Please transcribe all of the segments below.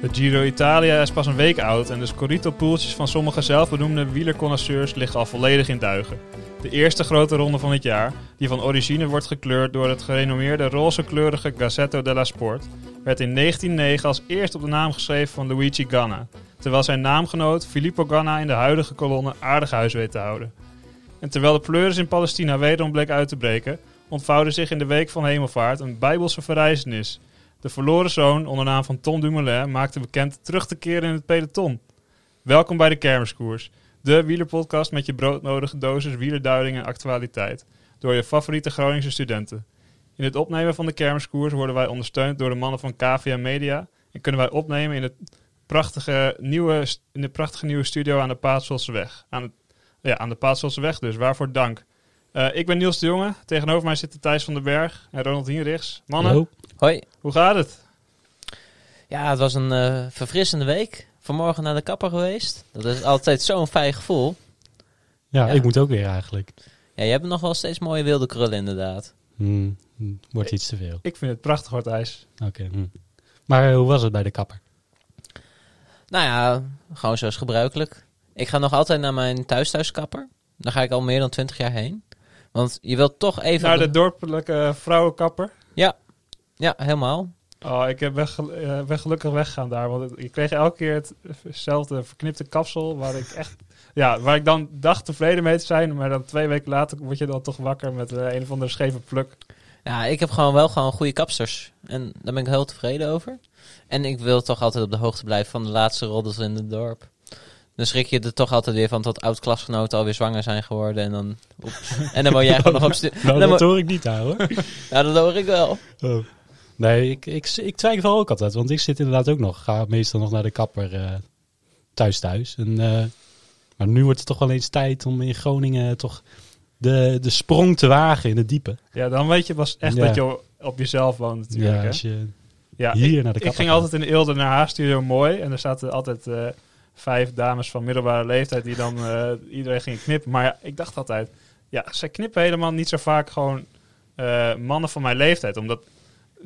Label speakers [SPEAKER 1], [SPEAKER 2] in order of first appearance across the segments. [SPEAKER 1] De Giro Italia is pas een week oud en de Scorito-poeltjes van sommige zelfbenoemde wielerconnoisseurs liggen al volledig in duigen. De eerste grote ronde van het jaar, die van origine wordt gekleurd door het gerenommeerde rozekleurige Gazzetto della Sport, werd in 1909 als eerst op de naam geschreven van Luigi Ganna, terwijl zijn naamgenoot Filippo Ganna in de huidige kolonne aardig huis weet te houden. En terwijl de pleuris in Palestina wederom bleek uit te breken, ontvouwde zich in de week van hemelvaart een bijbelse verrijzenis. De verloren zoon, onder naam van Tom Dumoulin, maakte bekend terug te keren in het peloton. Welkom bij de Kermiskoers, de wielerpodcast met je broodnodige dosis wielerduiding en actualiteit, door je favoriete Groningse studenten. In het opnemen van de Kermiskoers worden wij ondersteund door de mannen van KVA Media en kunnen wij opnemen in, het prachtige nieuwe, in de prachtige nieuwe studio aan de Paatselseweg. Aan, het, ja, aan de Paatselseweg dus, waarvoor dank. Eh, ik ben Niels de Jonge, tegenover mij zitten Thijs van den Berg en Ronald Hienrichs. Mannen,
[SPEAKER 2] Hoi.
[SPEAKER 1] hoe gaat het?
[SPEAKER 2] Ja, het was een eh, verfrissende week. Vanmorgen naar de kapper geweest. Dat is altijd zo'n fijn gevoel.
[SPEAKER 3] Ja,
[SPEAKER 2] Ja.
[SPEAKER 3] ik moet ook weer eigenlijk.
[SPEAKER 2] Ja, je hebt nog wel steeds mooie wilde krullen inderdaad.
[SPEAKER 3] Hmm, hmm, wordt iets te veel.
[SPEAKER 1] Ik vind het prachtig hoor, Thijs.
[SPEAKER 3] Oké. hmm. Maar eh, hoe was het bij de kapper?
[SPEAKER 2] Nou ja, gewoon zoals gebruikelijk. Ik ga nog altijd naar mijn thuis-thuiskapper. Daar ga ik al meer dan twintig jaar heen. Want je wilt toch even...
[SPEAKER 1] Naar de dorpelijke eh, vrouwenkapper.
[SPEAKER 2] Ja, helemaal.
[SPEAKER 1] Oh, ik heb- ben, gel- eh, ben gelukkig weggegaan daar, want het- ik kreeg elke keer het- hetzelfde verknipte kapsel waar ik echt... Ja, waar ik dan dacht tevreden mee te zijn, maar dan twee weken later word je dan toch wakker met eh, een of andere scheve pluk.
[SPEAKER 2] Ja, ik heb gewoon wel gewoon goede kapsters. En daar ben ik heel tevreden over. En ik wil toch altijd op de hoogte blijven van de laatste roddels in het dorp. Dan schrik je er toch altijd weer van dat oud-klasgenoten alweer zwanger zijn geworden. En dan, oeps. en dan woon jij gewoon nog op stu-
[SPEAKER 3] Nou,
[SPEAKER 2] dan
[SPEAKER 3] dat
[SPEAKER 2] wo-
[SPEAKER 3] hoor ik niet aan hoor.
[SPEAKER 2] Ja, dat hoor ik wel.
[SPEAKER 3] Oh. Nee, ik, ik, ik twijfel ook altijd. Want ik zit inderdaad ook nog. Ga meestal nog naar de kapper eh, thuis thuis. En, eh, maar nu wordt het toch wel eens tijd om in Groningen eh, toch de, de sprong te wagen in het diepe.
[SPEAKER 1] Ja, dan weet je pas echt
[SPEAKER 3] Ja.
[SPEAKER 1] dat je o- op jezelf woont natuurlijk.
[SPEAKER 3] ja,
[SPEAKER 1] hè?
[SPEAKER 3] als je
[SPEAKER 1] ja
[SPEAKER 3] hier
[SPEAKER 1] ik,
[SPEAKER 3] naar de kapper
[SPEAKER 1] ik ging
[SPEAKER 3] gaat.
[SPEAKER 1] altijd in de Eelde naar haar studio mooi en er zaten altijd eh, vijf dames van middelbare leeftijd die dan eh, iedereen gingen knippen. Maar ja, ik dacht altijd, ja, zij knippen helemaal niet zo vaak gewoon eh, mannen van mijn leeftijd. Omdat,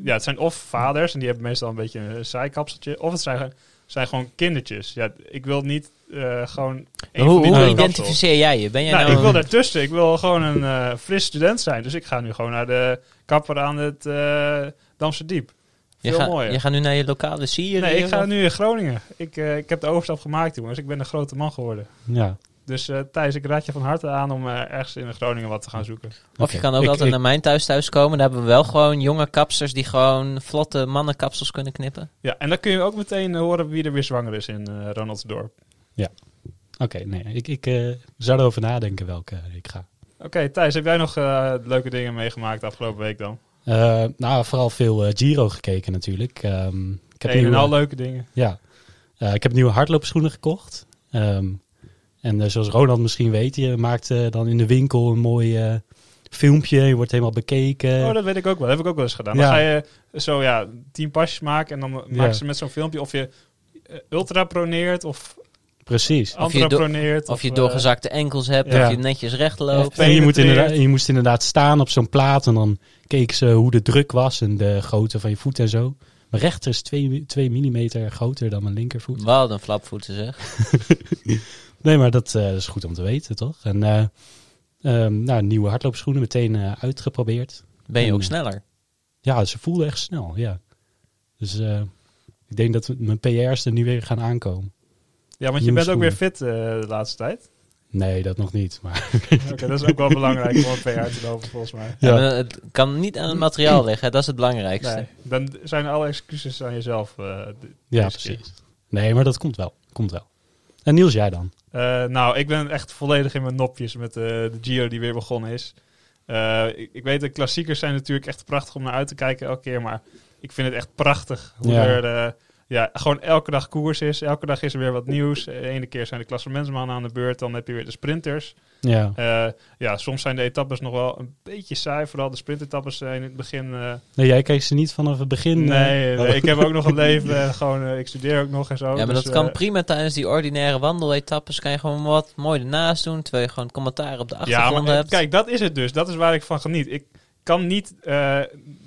[SPEAKER 1] ja, het zijn of vaders en die hebben meestal een beetje een zijkapseltje, of het zijn, gewoon- zijn gewoon kindertjes. Ja, ik wil niet eh, gewoon één van
[SPEAKER 2] Hoe,
[SPEAKER 1] die
[SPEAKER 2] hoe
[SPEAKER 1] twee kapsels.
[SPEAKER 2] identificeer jij je? Ben jij nou,
[SPEAKER 1] Nou, ik wil
[SPEAKER 2] een-
[SPEAKER 1] daartussen. Ik wil gewoon een eh, fris student zijn. Dus ik ga nu gewoon naar de kapper aan het eh Damse Diep.
[SPEAKER 2] je,
[SPEAKER 1] Veel
[SPEAKER 2] gaat-
[SPEAKER 1] mooier.
[SPEAKER 2] je gaat nu naar je lokale Syrië?
[SPEAKER 1] nee, ik ga
[SPEAKER 2] of-
[SPEAKER 1] nu in Groningen. Ik, eh, ik heb de overstap gemaakt, jongens. Ik ben een grote man geworden.
[SPEAKER 3] Ja.
[SPEAKER 1] Dus eh, Thijs, ik raad je van harte aan om eh, ergens in Groningen wat te gaan zoeken.
[SPEAKER 2] Of
[SPEAKER 3] Oké.
[SPEAKER 2] je kan ook
[SPEAKER 3] Ik-
[SPEAKER 2] altijd
[SPEAKER 3] ik-
[SPEAKER 2] naar mijn thuis thuis komen. Daar hebben we wel gewoon jonge kapsters die gewoon vlotte mannenkapsels kunnen knippen.
[SPEAKER 1] Ja, en dan kun je ook meteen eh, horen wie er weer zwanger is in eh Ronaldsdorp.
[SPEAKER 3] Oké, nee. Ik, ik eh, zou erover nadenken welke ik ga.
[SPEAKER 1] Oké, Thijs, heb jij nog eh, leuke dingen meegemaakt de afgelopen week dan?
[SPEAKER 3] Eh, nou, vooral veel eh, Giro gekeken natuurlijk. Ehm, ik heb
[SPEAKER 1] Een en
[SPEAKER 3] nieuwe,
[SPEAKER 1] al leuke dingen.
[SPEAKER 3] ja. Eh, ik heb nieuwe hardloopschoenen gekocht. Ehm, en eh, zoals Ronald misschien weet, je maakt eh, dan in de winkel een mooi eh, filmpje. Je wordt helemaal bekeken.
[SPEAKER 1] Oh, dat weet ik ook wel. Dat heb ik ook wel eens gedaan. Dan
[SPEAKER 3] Eh. Ja.
[SPEAKER 1] ga je zo ja, tien pasjes maken en dan maken
[SPEAKER 3] Ja.
[SPEAKER 1] ze met zo'n filmpje of je eh, ultraproneert of Oh,
[SPEAKER 3] Precies.
[SPEAKER 2] Of je do-
[SPEAKER 1] antraproneert.
[SPEAKER 2] Of je
[SPEAKER 1] eh,
[SPEAKER 2] doorgezakte enkels hebt,
[SPEAKER 3] ja.
[SPEAKER 2] of je netjes recht loopt.
[SPEAKER 3] En je, moet
[SPEAKER 1] penetreert.
[SPEAKER 3] inderdaad, je moest inderdaad staan op zo'n plaat en dan keek ze hoe de druk was en de grootte van je voet en zo. Mijn rechter is 2 mm groter dan mijn linkervoet.
[SPEAKER 2] Wat een flapvoeten zeg.
[SPEAKER 3] Nee, maar dat eh, is goed om te weten, toch? En eh, ehm, nou, nieuwe hardloopschoenen meteen eh, uitgeprobeerd.
[SPEAKER 2] Ben je ook
[SPEAKER 3] Hmm.
[SPEAKER 2] sneller?
[SPEAKER 3] Ja, ze voelden echt snel, ja. Dus eh, ik denk dat mijn PR's er nu weer gaan aankomen.
[SPEAKER 1] eh, Ja, want je
[SPEAKER 3] nieuwe
[SPEAKER 1] bent ook weer
[SPEAKER 3] schoenen.
[SPEAKER 1] fit eh, de laatste tijd.
[SPEAKER 3] Nee, dat nog niet, maar...
[SPEAKER 1] Oké, dat is ook wel belangrijk om een PR te lopen volgens mij.
[SPEAKER 3] Ja. Hmm.
[SPEAKER 2] En, eh, het kan niet aan het materiaal liggen, hè, dat is het belangrijkste.
[SPEAKER 1] Nee, dan zijn alle excuses aan jezelf. eh, d-
[SPEAKER 3] Ja,
[SPEAKER 1] deze keer.
[SPEAKER 3] precies. Nee, maar dat komt wel. Komt wel. En Niels, jij dan?
[SPEAKER 1] Eh, nou, ik ben echt volledig in mijn nopjes met eh, de Giro die weer begonnen is. Eh, ik, ik weet, de klassiekers zijn natuurlijk echt prachtig om naar uit te kijken elke keer. Maar ik vind het echt prachtig hoe
[SPEAKER 3] Ja.
[SPEAKER 1] er eh, ja, gewoon elke dag koers is. Elke dag is er weer wat nieuws. De ene keer zijn de klassementsmannen aan de beurt. Dan heb je weer de sprinters.
[SPEAKER 3] Ja,
[SPEAKER 1] Eh, ja, soms zijn de etappes nog wel een beetje saai. Vooral de sprintetappes zijn in het begin... eh,
[SPEAKER 3] nee, jij keek ze niet vanaf het begin.
[SPEAKER 1] nee,
[SPEAKER 3] eh,
[SPEAKER 1] nee, ik heb ook nog een leven. en gewoon, eh, ik studeer ook nog en zo.
[SPEAKER 2] Ja, maar
[SPEAKER 1] dus,
[SPEAKER 2] dat kan
[SPEAKER 1] eh,
[SPEAKER 2] prima tijdens die ordinaire wandeletappes. Kan je gewoon wat mooi ernaast doen, terwijl je gewoon commentaar op de
[SPEAKER 1] Ja,
[SPEAKER 2] achtergrond
[SPEAKER 1] maar eh,
[SPEAKER 2] hebt.
[SPEAKER 1] kijk, dat is het dus. Dat is waar ik van geniet. Ik kan niet eh,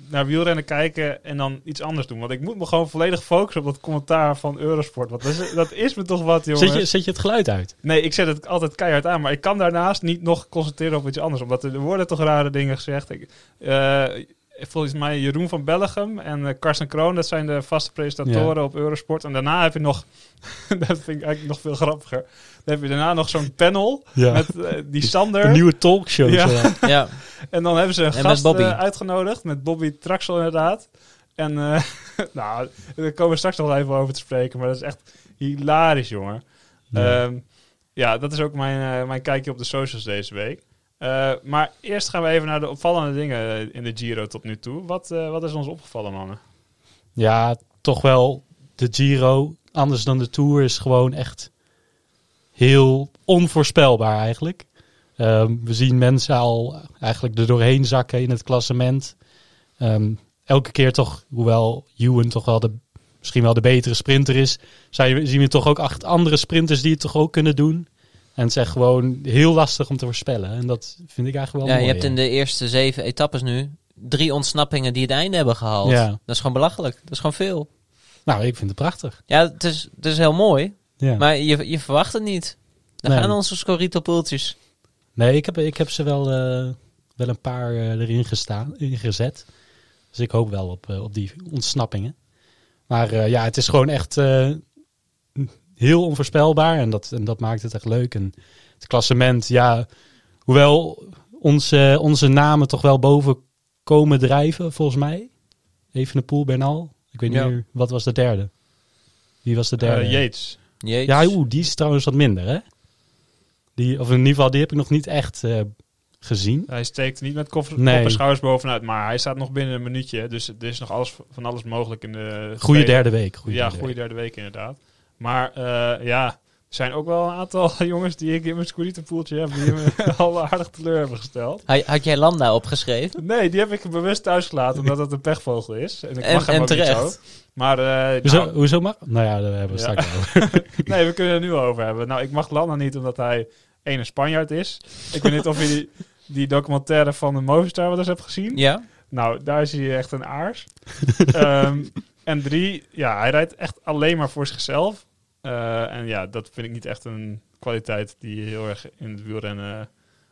[SPEAKER 1] naar wielrennen kijken en dan iets anders doen. Want ik moet me gewoon volledig focussen op dat commentaar van Eurosport. Want dat is, dat is me toch wat, jongen.
[SPEAKER 3] Zet je, zet je het geluid uit?
[SPEAKER 1] Nee, ik zet het altijd keihard aan. Maar ik kan daarnaast niet nog concentreren op iets anders. Omdat er worden toch rare dingen gezegd. Ik, eh, volgens mij Jeroen van Bellegem en eh, Karsten Kroon. Dat zijn de vaste presentatoren op Eurosport. En daarna heb je nog... dat vind ik eigenlijk nog veel grappiger. Dan heb je daarna nog zo'n panel
[SPEAKER 3] Ja.
[SPEAKER 1] met eh, die Sander.
[SPEAKER 3] Een nieuwe talkshow.
[SPEAKER 1] Ja.
[SPEAKER 3] zo.
[SPEAKER 2] Ja,
[SPEAKER 1] En dan hebben ze een
[SPEAKER 2] En
[SPEAKER 1] gast
[SPEAKER 2] met Bobby.
[SPEAKER 1] eh, uitgenodigd. Met Bobby Traxel inderdaad. En eh, nou, daar komen we straks nog wel even over te spreken. Maar dat is echt hilarisch, jongen.
[SPEAKER 3] Ja.
[SPEAKER 1] Ehm, ja, dat is ook mijn, eh, mijn kijkje op de socials deze week. Eh, maar eerst gaan we even naar de opvallende dingen eh, in de Giro tot nu toe. Wat, eh, wat is ons opgevallen, mannen?
[SPEAKER 3] Ja, toch wel. De Giro, anders dan de Tour, is gewoon echt heel onvoorspelbaar eigenlijk. Ehm, we zien mensen al eigenlijk er doorheen zakken in het klassement. Ehm, elke keer toch, hoewel Ewan toch wel de, misschien wel de betere sprinter is, zijn- zien we toch ook acht andere sprinters die het toch ook kunnen doen. En het is echt gewoon heel lastig om te voorspellen. En dat vind ik eigenlijk wel
[SPEAKER 2] ja je
[SPEAKER 3] mooi.
[SPEAKER 2] hebt in de eerste zeven etappes nu drie ontsnappingen die het einde hebben gehaald.
[SPEAKER 3] Ja.
[SPEAKER 2] Dat is gewoon belachelijk. Dat is gewoon veel.
[SPEAKER 3] Nou, ik vind het prachtig.
[SPEAKER 2] Ja, het is, het is heel mooi,
[SPEAKER 3] Ja.
[SPEAKER 2] maar je, je verwacht het niet. Dan
[SPEAKER 3] Nee.
[SPEAKER 2] gaan onze scorito-poeltjes.
[SPEAKER 3] Nee, ik heb, ik heb ze wel, eh, wel een paar eh, erin gestaan, ingezet. Dus ik hoop wel op, eh, op die ontsnappingen. Maar eh, ja, het is gewoon echt eh, heel onvoorspelbaar. En dat, en dat maakt het echt leuk. En het klassement, ja, hoewel onze, onze namen toch wel boven komen drijven, volgens mij. Even de poel, Bernal. Ik weet niet
[SPEAKER 2] Ja.
[SPEAKER 3] meer, wat was de derde? Wie was de derde?
[SPEAKER 1] Eh, Yates.
[SPEAKER 2] Jeetje.
[SPEAKER 3] Ja, oeh, die is trouwens wat minder, hè? Die, of in ieder geval, die heb ik nog niet echt eh, gezien.
[SPEAKER 1] Hij steekt niet met koffer,
[SPEAKER 3] Nee.
[SPEAKER 1] kop en schouders bovenuit. Maar hij staat nog binnen een minuutje. Dus er is nog alles, van alles mogelijk in de...
[SPEAKER 3] Goede
[SPEAKER 1] tweede-
[SPEAKER 3] derde week. Goede
[SPEAKER 1] ja,
[SPEAKER 3] derde
[SPEAKER 1] goede derde week inderdaad. Maar eh, ja, er zijn ook wel een aantal jongens die ik in mijn scooterpoeltje heb... die me al aardig teleur hebben gesteld.
[SPEAKER 2] Had, had jij Landa opgeschreven?
[SPEAKER 1] Nee, die heb ik bewust thuisgelaten omdat dat een pechvogel is. En ik
[SPEAKER 2] En-
[SPEAKER 1] mag hem
[SPEAKER 2] en
[SPEAKER 1] ook niet zo.
[SPEAKER 2] terecht.
[SPEAKER 1] Maar eh,
[SPEAKER 3] week. Hoezo,
[SPEAKER 1] nou,
[SPEAKER 3] hoezo mag? Nou ja, daar hebben we
[SPEAKER 1] Ja.
[SPEAKER 3] straks over.
[SPEAKER 1] nee, we kunnen het er nu over hebben. Nou, ik mag Landa niet omdat hij ene Spanjaard is. Ik weet niet of je die, die documentaire van de Movistar wel eens hebt gezien.
[SPEAKER 2] Ja.
[SPEAKER 1] Nou, daar is hij echt een aars. Ehm, en drie, ja, hij rijdt echt alleen maar voor zichzelf. Eh, en ja, dat vind ik niet echt een kwaliteit die je heel erg in het wielrennen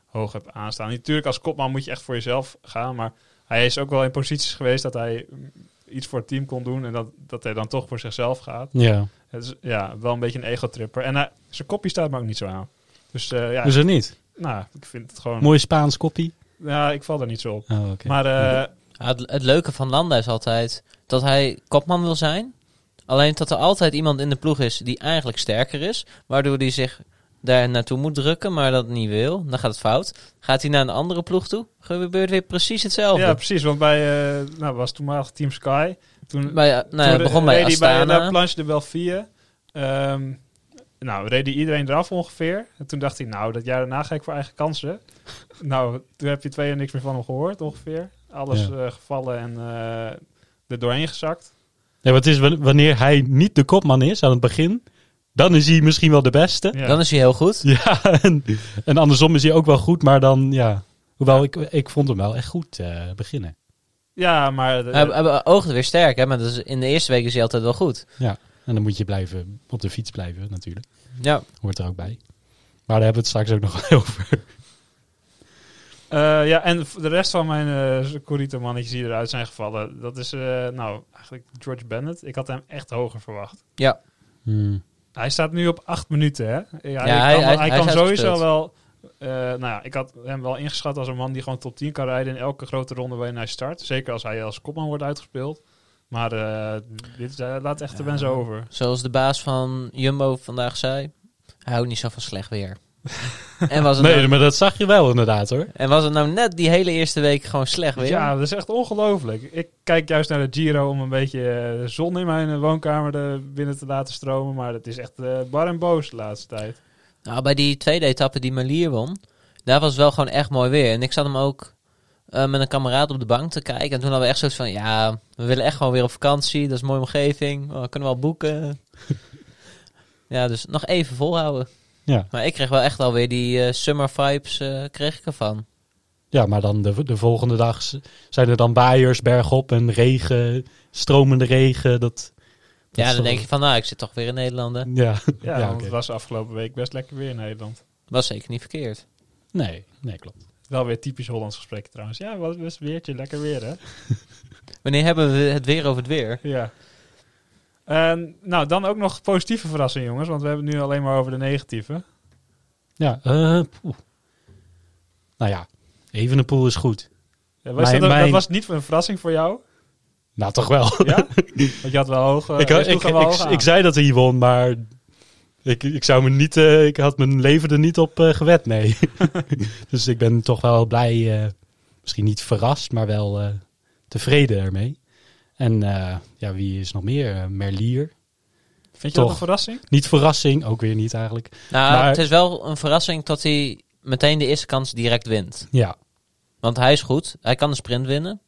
[SPEAKER 1] hoog hebt aanstaan. Natuurlijk, als kopman moet je echt voor jezelf gaan. Maar hij is ook wel in posities geweest dat hij mm, iets voor het team kon doen. En dat, dat hij dan toch voor zichzelf gaat.
[SPEAKER 3] Ja,
[SPEAKER 1] Het is ja, wel een beetje een ego-tripper. En hij- zijn kopje staat me ook niet zo aan. Dus eh, ja,
[SPEAKER 3] hoezo niet?
[SPEAKER 1] nou, ik vind het gewoon...
[SPEAKER 3] Mooi Spaans koppie.
[SPEAKER 1] Ja, ik val daar niet zo op.
[SPEAKER 3] Oh, oké.
[SPEAKER 1] Maar eh,
[SPEAKER 2] Ja, Het, het leuke van Landa is altijd dat hij kopman wil zijn. Alleen dat er altijd iemand in de ploeg is die eigenlijk sterker is. Waardoor hij zich daar naartoe moet drukken, maar dat niet wil. Dan gaat het fout. Gaat hij naar een andere ploeg toe, gebeurt weer precies hetzelfde.
[SPEAKER 1] Ja, precies. Want bij, eh nou, was toenmalig Team Sky. Toen,
[SPEAKER 2] Maar ja, nou, ja,
[SPEAKER 1] toen
[SPEAKER 2] begon
[SPEAKER 1] reed
[SPEAKER 2] bij
[SPEAKER 1] hij bij
[SPEAKER 2] Astana.
[SPEAKER 1] La Planche de Belfie. Ehm nou, reed hij iedereen eraf ongeveer. En toen dacht hij, nou, dat jaar daarna ga ik voor eigen kansen. nou, toen heb je twee jaar niks meer van hem gehoord ongeveer. Alles
[SPEAKER 3] Ja.
[SPEAKER 1] eh, gevallen en eh, er doorheen gezakt.
[SPEAKER 3] ja, wat is wa- wanneer hij niet de kopman is aan het begin, dan is hij misschien wel de beste.
[SPEAKER 1] Ja.
[SPEAKER 2] Dan is hij heel goed.
[SPEAKER 3] Ja, en, en andersom is hij ook wel goed, maar dan ja. Hoewel ik, ik vond hem wel echt goed eh, beginnen.
[SPEAKER 1] ja, maar... de-
[SPEAKER 2] Hij, hij oogde weer sterk, hè? maar dat is, in de eerste week is hij altijd wel goed.
[SPEAKER 3] En dan moet je blijven op de fiets blijven natuurlijk.
[SPEAKER 2] Ja,
[SPEAKER 3] Hoort er ook bij. Maar daar hebben we het straks ook nog wel over.
[SPEAKER 1] Eh, ja, en v- de rest van mijn eh Corito-mannetjes die eruit zijn gevallen, dat is, eh, nou, eigenlijk George Bennett. Ik had hem echt hoger verwacht.
[SPEAKER 2] ja.
[SPEAKER 3] Hmm.
[SPEAKER 1] Hij staat nu op acht minuten, hè? Ja, hij,
[SPEAKER 2] hij-
[SPEAKER 1] kan,
[SPEAKER 2] hij-
[SPEAKER 1] hij
[SPEAKER 2] hij
[SPEAKER 1] kan
[SPEAKER 2] is
[SPEAKER 1] sowieso
[SPEAKER 2] uitgespeeld.
[SPEAKER 1] wel... eh, nou ja, ik had hem wel ingeschat als een man die gewoon top 10 kan rijden in elke grote ronde waarin hij start. Zeker als hij als kopman wordt uitgespeeld. Maar eh, dit eh, laat echt de
[SPEAKER 2] Ja.
[SPEAKER 1] wensen over.
[SPEAKER 2] Zoals de baas van Jumbo vandaag zei, hij houdt niet zo van slecht weer. en, was het
[SPEAKER 3] Nee,
[SPEAKER 2] nou,
[SPEAKER 3] maar dat zag je wel inderdaad hoor.
[SPEAKER 2] en was het nou net die hele eerste week gewoon slecht weer?
[SPEAKER 1] Ja, dat is echt ongelooflijk. Ik kijk juist naar de Giro om een beetje eh, zon in mijn eh, woonkamer er binnen te laten stromen. Maar het is echt eh, bar en boos de laatste tijd.
[SPEAKER 2] Nou, bij die tweede etappe die Malier won, daar was wel gewoon echt mooi weer. En ik zat hem ook eh, met een kameraad op de bank te kijken. En toen hadden we echt zoiets van, ja, we willen echt gewoon weer op vakantie. Dat is een mooie omgeving. Oh, we kunnen wel boeken. ja, dus nog even volhouden.
[SPEAKER 3] Ja.
[SPEAKER 2] Maar ik kreeg wel echt alweer die eh, summer vibes, eh, kreeg ik ervan.
[SPEAKER 3] Ja, maar dan de, de volgende dag s- zijn er dan waaiers bergop en regen, stromende regen. Dat, dat
[SPEAKER 2] Ja,
[SPEAKER 3] is
[SPEAKER 2] dan denk je van, nou, ik zit toch weer in Nederland. hè.
[SPEAKER 3] Ja,
[SPEAKER 1] Ja,
[SPEAKER 3] ja,
[SPEAKER 1] want
[SPEAKER 3] oké.
[SPEAKER 1] het was afgelopen week best lekker weer in Nederland.
[SPEAKER 2] Was zeker niet verkeerd.
[SPEAKER 3] Nee, nee, klopt.
[SPEAKER 1] Wel weer typisch Hollands gesprek trouwens. Ja, wat was weertje, lekker weer hè?
[SPEAKER 2] Wanneer hebben we het weer over het weer?
[SPEAKER 1] Ja. En, nou, dan ook nog positieve verrassing jongens, want we hebben het nu alleen maar over de negatieve.
[SPEAKER 3] Ja, eh, poeh. Nou ja, Evenepoel is goed.
[SPEAKER 1] Ja, was
[SPEAKER 3] Mijn-
[SPEAKER 1] dat, ook- dat
[SPEAKER 3] mijn-
[SPEAKER 1] was niet een verrassing voor jou,
[SPEAKER 3] Nou, toch wel.
[SPEAKER 1] ja? Want je had wel hoog... eh,
[SPEAKER 3] ik,
[SPEAKER 1] hij
[SPEAKER 3] ik,
[SPEAKER 1] sloeg
[SPEAKER 3] ik,
[SPEAKER 1] hem wel hoog
[SPEAKER 3] ik,
[SPEAKER 1] aan.
[SPEAKER 3] ik zei dat hij won, maar ik, ik, zou me niet, eh, ik had mijn leven er niet op eh, gewed, nee. dus ik ben toch wel blij, eh, misschien niet verrast, maar wel eh, tevreden ermee. En eh, ja, wie is nog meer? Eh, Merlier.
[SPEAKER 1] Vind je dat
[SPEAKER 3] toch.
[SPEAKER 1] een verrassing?
[SPEAKER 3] Niet verrassing, ook weer niet eigenlijk.
[SPEAKER 2] Nou,
[SPEAKER 3] Maar-
[SPEAKER 2] het is wel een verrassing dat hij meteen de eerste kans direct wint.
[SPEAKER 3] Ja,
[SPEAKER 2] Want hij is goed, hij kan de sprint winnen.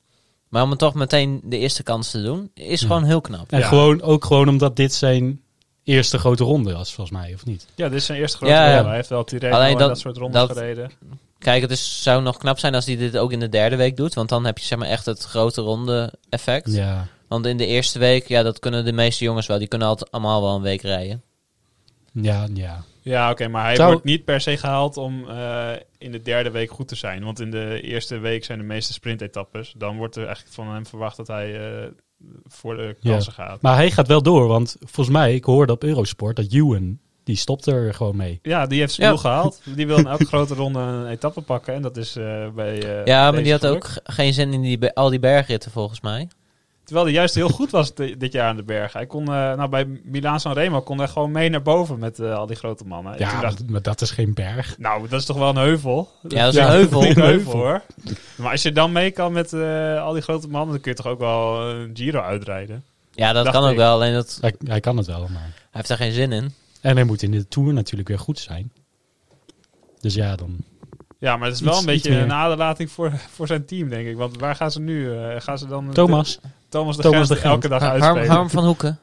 [SPEAKER 2] Maar om het toch meteen de eerste kans te doen, is
[SPEAKER 3] Ja.
[SPEAKER 2] gewoon heel knap.
[SPEAKER 3] en
[SPEAKER 1] Ja.
[SPEAKER 3] Gewoon, ook gewoon omdat dit zijn eerste grote ronde was, volgens mij, of niet?
[SPEAKER 1] Ja, dit is zijn eerste grote
[SPEAKER 2] Ja, ja.
[SPEAKER 1] ronde. Hij heeft wel Tirreno
[SPEAKER 2] Alleen
[SPEAKER 1] en
[SPEAKER 2] dat-
[SPEAKER 1] dat soort rondes
[SPEAKER 2] dat-
[SPEAKER 1] gereden.
[SPEAKER 2] Kijk, het is, zou nog knap zijn als hij dit ook in de derde week doet. Want dan heb je zeg maar echt het grote ronde effect.
[SPEAKER 3] Ja,
[SPEAKER 2] Want in de eerste week, ja, dat kunnen de meeste jongens wel. Die kunnen altijd allemaal wel een week rijden.
[SPEAKER 3] ja, ja.
[SPEAKER 1] Ja, oké, maar hij
[SPEAKER 3] Trouw-
[SPEAKER 1] wordt niet per se gehaald om eh, in de derde week goed te zijn. Want in de eerste week zijn de meeste sprintetappes. Dan wordt er eigenlijk van hem verwacht dat hij eh, voor de
[SPEAKER 3] Ja.
[SPEAKER 1] kansen gaat.
[SPEAKER 3] Maar hij gaat wel door, want volgens mij, ik hoorde op Eurosport dat Ewan, die stopt er gewoon mee.
[SPEAKER 1] Ja, die heeft
[SPEAKER 2] Ja.
[SPEAKER 1] Spiel gehaald. Die wil in elke grote ronde een etappe pakken. En dat is eh, bij eh,
[SPEAKER 2] ja, maar
[SPEAKER 1] deze
[SPEAKER 2] die had ook
[SPEAKER 1] gelukt.
[SPEAKER 2] ge- geen zin in die, be- al die bergritten volgens mij.
[SPEAKER 1] Terwijl hij juist heel goed was di- dit jaar aan de berg. Hij kon, eh, nou, bij Milaan San Remo kon hij gewoon mee naar boven met eh, al die grote mannen. En
[SPEAKER 3] Ja,
[SPEAKER 1] toen dacht ik,
[SPEAKER 3] maar, maar dat is geen berg.
[SPEAKER 1] nou, dat is toch wel een heuvel?
[SPEAKER 2] Ja, dat is
[SPEAKER 3] Ja.
[SPEAKER 2] een heuvel.
[SPEAKER 1] Een
[SPEAKER 3] Een
[SPEAKER 1] heuvel
[SPEAKER 3] heuvel.
[SPEAKER 1] hoor. Maar als je dan mee kan met eh, al die grote mannen, dan kun je toch ook wel een Giro uitrijden.
[SPEAKER 2] Ja, dat
[SPEAKER 1] Dacht
[SPEAKER 2] kan ook
[SPEAKER 1] ik.
[SPEAKER 2] wel. Alleen dat, hij
[SPEAKER 3] Hij, hij kan het wel, maar...
[SPEAKER 2] heeft daar geen zin in.
[SPEAKER 3] En hij moet in de Tour natuurlijk weer goed zijn. Dus ja, dan...
[SPEAKER 1] Ja, maar het is wel
[SPEAKER 3] Iets-
[SPEAKER 1] een
[SPEAKER 3] iets
[SPEAKER 1] beetje een
[SPEAKER 3] meer.
[SPEAKER 1] aderlating voor, voor zijn team, denk ik. Want waar gaan ze nu? eh, gaan ze dan
[SPEAKER 3] Thomas.
[SPEAKER 1] Thomas de
[SPEAKER 3] Thomas
[SPEAKER 1] Gent
[SPEAKER 3] de Gent.
[SPEAKER 1] elke dag
[SPEAKER 2] Ha-
[SPEAKER 1] uitspelen?
[SPEAKER 2] Harm, Harm van Hoeken.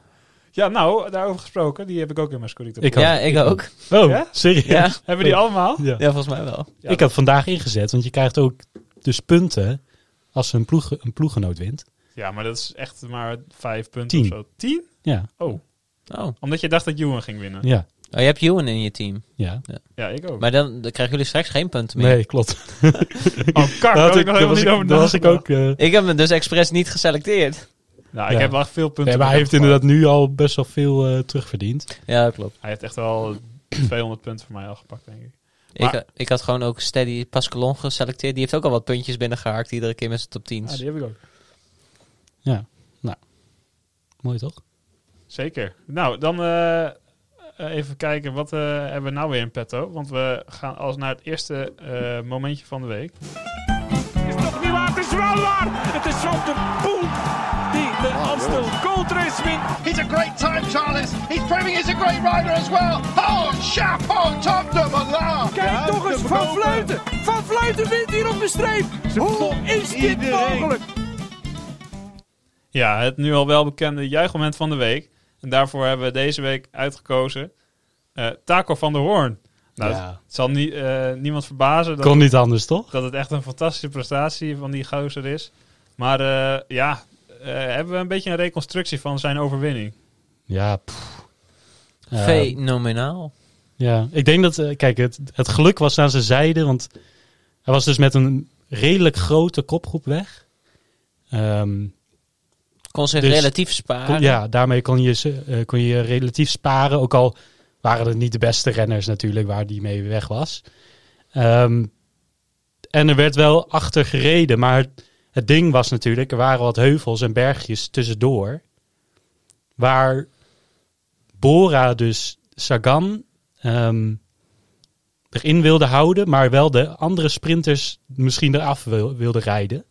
[SPEAKER 1] Ja, nou, daarover gesproken. Die heb ik ook in mijn scorito.
[SPEAKER 3] Ik
[SPEAKER 2] Ja,
[SPEAKER 3] ook.
[SPEAKER 2] ik ook.
[SPEAKER 3] Oh,
[SPEAKER 1] Ja?
[SPEAKER 3] serieus?
[SPEAKER 2] Ja.
[SPEAKER 1] Hebben die allemaal?
[SPEAKER 3] Ja.
[SPEAKER 2] ja, volgens mij wel.
[SPEAKER 1] Ja.
[SPEAKER 3] Ik had vandaag ingezet, want je krijgt ook dus punten als een, ploeg, een ploeggenoot wint.
[SPEAKER 1] Ja, maar dat is echt maar vijf punten
[SPEAKER 3] Tien.
[SPEAKER 1] of zo. Tien?
[SPEAKER 3] Ja,
[SPEAKER 1] Oh,
[SPEAKER 2] Oh. oh,
[SPEAKER 1] omdat je dacht dat Ewan ging winnen. Ja,
[SPEAKER 3] ja,
[SPEAKER 2] je hebt Ewan in je team.
[SPEAKER 3] ja.
[SPEAKER 1] ik ook.
[SPEAKER 2] Maar dan, dan krijgen jullie straks geen punten meer.
[SPEAKER 3] Nee, klopt.
[SPEAKER 1] Oh, kak, daar
[SPEAKER 3] had
[SPEAKER 1] had ik nog
[SPEAKER 3] daar
[SPEAKER 1] helemaal
[SPEAKER 3] was
[SPEAKER 1] niet
[SPEAKER 3] ik-
[SPEAKER 1] over
[SPEAKER 3] daar was ik
[SPEAKER 1] nagedacht.
[SPEAKER 3] ook... eh,
[SPEAKER 2] Ik heb me dus expres niet geselecteerd.
[SPEAKER 1] Nou, ik
[SPEAKER 3] Ja.
[SPEAKER 1] heb wel echt veel punten.
[SPEAKER 3] nee, maar hij heeft
[SPEAKER 1] opgepakt.
[SPEAKER 3] inderdaad nu al best wel veel eh, terugverdiend.
[SPEAKER 2] Ja, klopt.
[SPEAKER 1] Hij heeft echt wel 200 punten voor mij al gepakt, denk ik. Maar-
[SPEAKER 2] Ik, ik had gewoon ook Steady Pascalon geselecteerd. Die heeft ook al wat puntjes binnengehaakt iedere keer met zijn top 10.
[SPEAKER 1] Ja, Ah, die heb ik ook.
[SPEAKER 3] Ja, nou. Mooi toch?
[SPEAKER 1] Zeker. Nou, dan eh, eh, even kijken wat eh, hebben we nou weer in petto. Want we gaan als naar het eerste eh, momentje van de week.
[SPEAKER 4] is toch niet waar? Het is wel waar! Het is van de Poel die de Amstel Gold Race wint.
[SPEAKER 5] He's a great time, Charles. He's proving he's a great rider as well. Oh, chapeau, top de malade.
[SPEAKER 4] Kijk toch eens, Van Vleuten! Van Vleuten wint hier op de streep! Hoe is dit mogelijk?
[SPEAKER 1] Ja, het nu al wel bekende juichmoment van de week. En daarvoor hebben we deze week uitgekozen eh, Taco van der Hoorn. Nou,
[SPEAKER 3] Ja.
[SPEAKER 1] het zal nie- eh, niemand verbazen dat,
[SPEAKER 3] Kon niet anders toch?
[SPEAKER 1] dat het echt een fantastische prestatie van die gozer is. Maar eh, ja, eh, hebben we een beetje een reconstructie van zijn overwinning.
[SPEAKER 3] Ja, pff. Ja.
[SPEAKER 2] Fenomenaal.
[SPEAKER 3] Ja, ik denk dat, eh, kijk, het, het geluk was aan zijn zijde, want hij was dus met een redelijk grote kopgroep weg. Ehm,
[SPEAKER 2] Kon zich
[SPEAKER 3] Dus-
[SPEAKER 2] relatief sparen.
[SPEAKER 3] kon- ja, daarmee kon je, ze- eh, kon je relatief sparen, ook al waren het niet de beste renners natuurlijk waar die mee weg was. Ehm, en er werd wel achter gereden, maar het, het ding was natuurlijk, er waren wat heuvels en bergjes tussendoor, waar Bora dus Sagan ehm, erin wilde houden, maar wel de andere sprinters misschien eraf wil, wilde rijden.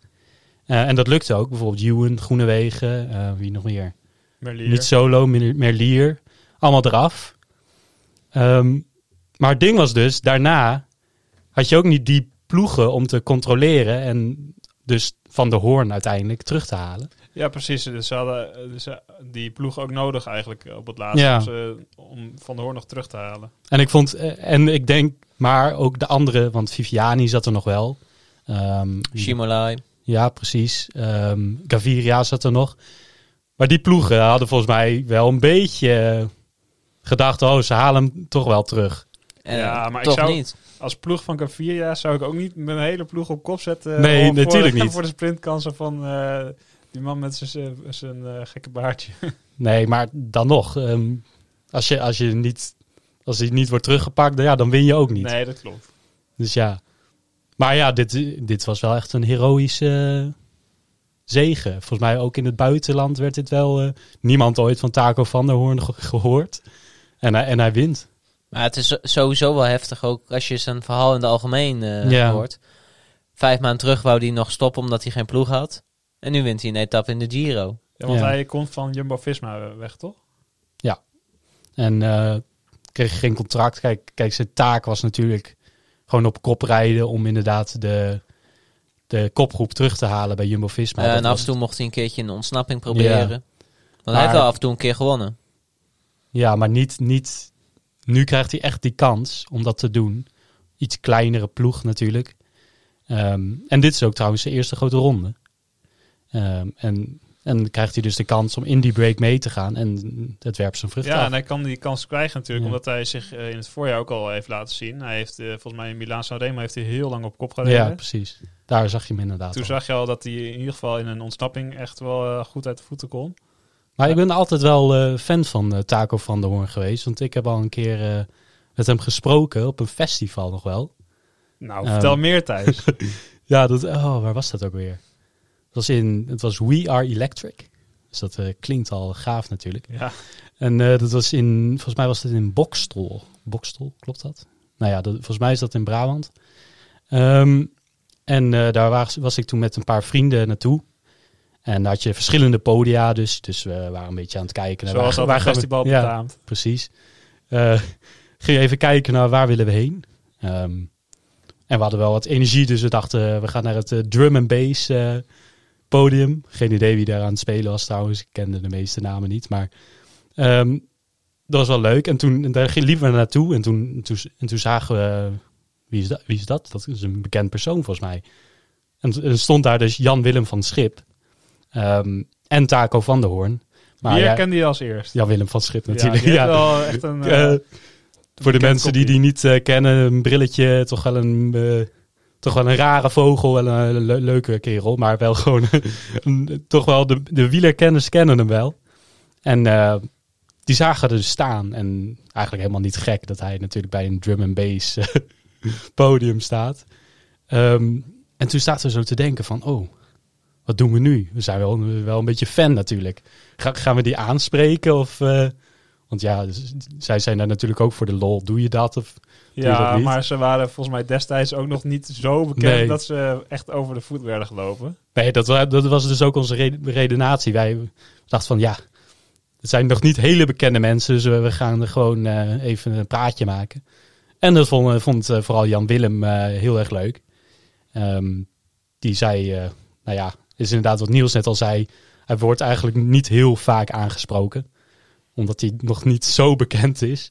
[SPEAKER 3] Eh, en dat lukte ook. Bijvoorbeeld Ewan, Groenewegen, eh, wie nog meer?
[SPEAKER 1] Merlier.
[SPEAKER 3] Niet Solo, Mer- Merlier. Allemaal eraf. Ehm, maar het ding was dus, daarna had je ook niet die ploegen om te controleren en dus van de hoorn uiteindelijk terug te halen.
[SPEAKER 1] Ja, precies. Dus ze hadden eh, dus, eh, die ploeg ook nodig eigenlijk op het laatste.
[SPEAKER 3] Ja.
[SPEAKER 1] Om, ze- om Van der Hoorn nog terug te halen.
[SPEAKER 3] En ik vond, eh, en ik denk, maar ook de andere, want Viviani zat er nog wel. Ehm,
[SPEAKER 2] Shimolai.
[SPEAKER 3] ja, precies. Ehm, Gaviria zat er nog. Maar die ploegen hadden volgens mij wel een beetje eh, gedacht, oh, ze halen hem toch wel terug.
[SPEAKER 2] En eh,
[SPEAKER 1] Ja, maar ik
[SPEAKER 2] toch
[SPEAKER 1] zou-
[SPEAKER 2] niet.
[SPEAKER 1] Als ploeg van Gaviria zou ik ook niet mijn hele ploeg op kop zetten. eh,
[SPEAKER 3] Nee,
[SPEAKER 1] om voor-
[SPEAKER 3] natuurlijk niet.
[SPEAKER 1] Voor de sprintkansen van eh, die man met zijn- zijn eh, gekke baardje.
[SPEAKER 3] Nee, maar dan nog. ehm, als, je, als, je niet, als hij niet wordt teruggepakt, dan, ja, dan win je ook niet.
[SPEAKER 1] Nee, dat klopt.
[SPEAKER 3] Dus ja. Maar ja, dit, dit was wel echt een heroïsche eh, zegen. Volgens mij ook in het buitenland werd dit wel... eh, niemand ooit van Taco van der Hoorn ge- gehoord. En hij, en hij wint.
[SPEAKER 2] Maar het is zo- sowieso wel heftig ook als je zijn verhaal in de algemeen eh,
[SPEAKER 3] Ja.
[SPEAKER 2] hoort. Vijf maanden terug wou hij nog stoppen omdat hij geen ploeg had. En nu wint hij een etappe in de Giro.
[SPEAKER 1] Ja, want
[SPEAKER 3] Ja.
[SPEAKER 1] hij komt van Jumbo-Visma weg, toch?
[SPEAKER 3] En eh, kreeg geen contract. Kijk, kijk, zijn taak was natuurlijk gewoon op kop rijden... om inderdaad de, de kopgroep terug te halen bij Jumbo-Visma.
[SPEAKER 2] Eh,
[SPEAKER 3] Dat
[SPEAKER 2] en af
[SPEAKER 3] was-
[SPEAKER 2] en toe mocht hij een keertje een ontsnapping proberen. Want hij heeft
[SPEAKER 3] Maar-
[SPEAKER 2] wel af en toe een keer gewonnen.
[SPEAKER 3] Ja, maar niet, niet. Nu krijgt hij echt die kans om dat te doen. Iets kleinere ploeg natuurlijk. Ehm, en dit is ook trouwens zijn eerste grote ronde. Ehm, en, en dan krijgt hij dus de kans om in die break mee te gaan. En dat werpt zijn vrucht
[SPEAKER 1] Ja,
[SPEAKER 3] af.
[SPEAKER 1] en hij kan die kans krijgen natuurlijk,
[SPEAKER 3] Ja.
[SPEAKER 1] omdat hij zich eh, in het voorjaar ook al heeft laten zien. Hij heeft, eh, volgens mij in Milaan Sanremo heeft hij heel lang op kop gereden.
[SPEAKER 3] ja, precies. Daar zag je hem inderdaad.
[SPEAKER 1] Toen
[SPEAKER 3] al.
[SPEAKER 1] zag je al dat hij in ieder geval in een ontsnapping echt wel eh, goed uit de voeten kon.
[SPEAKER 3] Maar ik ben altijd wel eh, fan van eh, Taco van der Hoorn geweest. Want ik heb al een keer eh, met hem gesproken op een festival nog wel.
[SPEAKER 1] Nou,
[SPEAKER 3] Ehm.
[SPEAKER 1] vertel meer Thijs.
[SPEAKER 3] Ja, dat, oh, waar was dat ook weer? Het was, in, het was We Are Electric. Dus dat eh, klinkt al gaaf natuurlijk.
[SPEAKER 1] ja.
[SPEAKER 3] En eh, dat was in, volgens mij was dat in Bokstol. Bokstol, klopt dat? Nou ja, dat, volgens mij is dat in Brabant. Ehm, en eh, daar was, was ik toen met een paar vrienden naartoe. En daar had je verschillende podia, dus, dus we waren een beetje aan het kijken. naar
[SPEAKER 1] Zoals dat
[SPEAKER 3] waar, waar
[SPEAKER 1] een
[SPEAKER 3] gaan we-
[SPEAKER 1] festival
[SPEAKER 3] Ja,
[SPEAKER 1] betaamt.
[SPEAKER 3] precies. Eh ging even kijken naar waar willen we heen. Ehm, en we hadden wel wat energie, dus we dachten eh, we gaan naar het eh, drum and bass eh, podium. Geen idee wie daar aan het spelen was trouwens. Ik kende de meeste namen niet, maar ehm, dat was wel leuk. En toen en daar ging- liepen we er naartoe en toen, toen, en toen zagen we, eh, wie is, dat, wie is dat? Dat is een bekend persoon volgens mij. En t- er stond daar dus Jan-Willem van Schip ehm, en Taco van der Hoorn.
[SPEAKER 1] Wie
[SPEAKER 3] Maar Nou ja,
[SPEAKER 1] herkende je als eerst?
[SPEAKER 3] Jan-Willem van Schip
[SPEAKER 1] Ja, die
[SPEAKER 3] natuurlijk.
[SPEAKER 1] heeft
[SPEAKER 3] ja.
[SPEAKER 1] wel echt een...
[SPEAKER 3] Eh,
[SPEAKER 1] eh,
[SPEAKER 3] voor de
[SPEAKER 1] bekend
[SPEAKER 3] mensen die die
[SPEAKER 1] kopje.
[SPEAKER 3] niet eh, kennen, een brilletje, toch wel een, eh, toch wel een rare vogel en een eh, le- leuke kerel, maar wel gewoon, een- toch wel de, de wielerkenners kennen hem wel. En eh, die zagen er dus staan en eigenlijk helemaal niet gek dat hij natuurlijk bij een drum and bass eh, podium staat. Ehm, en toen zaten we zo te denken van, oh, wat doen we nu? We zijn wel, wel een beetje fan natuurlijk. Ga- gaan we die aanspreken of... eh, want ja, z- zij zijn daar natuurlijk ook voor de lol. Doe je dat? Of, doe je dat
[SPEAKER 1] ja,
[SPEAKER 3] niet?
[SPEAKER 1] maar ze waren volgens mij destijds ook nog niet zo bekend
[SPEAKER 3] Nee.
[SPEAKER 1] dat ze echt over de voet werden gelopen.
[SPEAKER 3] Nee, dat, wa- dat was dus ook onze re- redenatie. Wij dachten van ja, het zijn nog niet hele bekende mensen, dus we- we gaan er gewoon eh, even een praatje maken. En dat vond, vond eh, vooral Jan Willem eh, heel erg leuk. Ehm, die zei, eh, nou ja, is inderdaad wat Niels net al zei. Hij wordt eigenlijk niet heel vaak aangesproken, omdat hij nog niet zo bekend is.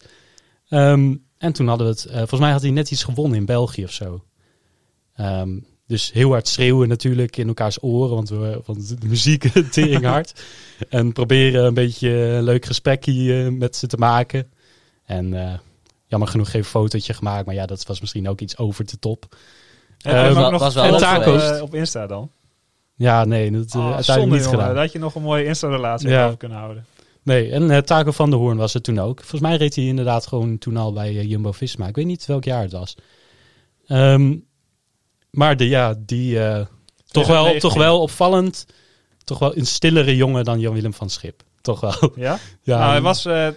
[SPEAKER 3] Ehm, en toen hadden we het, eh, volgens mij had hij net iets gewonnen in België of zo. Ehm, dus heel hard schreeuwen natuurlijk in elkaars oren, want, we, want de muziek tering hard. en proberen een beetje een leuk gesprekje eh, met ze te maken. En eh, jammer genoeg geen fotootje gemaakt, maar ja, dat was misschien ook iets over de top.
[SPEAKER 1] Heb
[SPEAKER 3] Eh,
[SPEAKER 1] je hem
[SPEAKER 2] wa-
[SPEAKER 1] ook nog
[SPEAKER 2] was wel
[SPEAKER 1] gevolgd
[SPEAKER 3] leuk
[SPEAKER 1] op,
[SPEAKER 3] geweest.
[SPEAKER 1] eh, op Insta dan?
[SPEAKER 3] Ja, nee, dat eh,
[SPEAKER 1] Ah,
[SPEAKER 3] uiteindelijk
[SPEAKER 1] zonde,
[SPEAKER 3] niet
[SPEAKER 1] jongen.
[SPEAKER 3] gedaan.
[SPEAKER 1] Dat je nog een mooie Insta-relatie
[SPEAKER 3] Ja.
[SPEAKER 1] over kunnen houden.
[SPEAKER 3] Nee, en eh, Taco van der Hoorn was het toen ook. Volgens mij reed hij inderdaad gewoon toen al bij eh, Jumbo-Visma. Ik weet niet welk jaar het was. Ehm, maar de, ja, die eh, toch, wel,
[SPEAKER 1] 2019.
[SPEAKER 3] toch wel opvallend. Toch wel een stillere jongen dan Jan-Willem van Schip. Toch wel.
[SPEAKER 1] Ja?
[SPEAKER 3] ja,
[SPEAKER 1] nou, hij was, eh,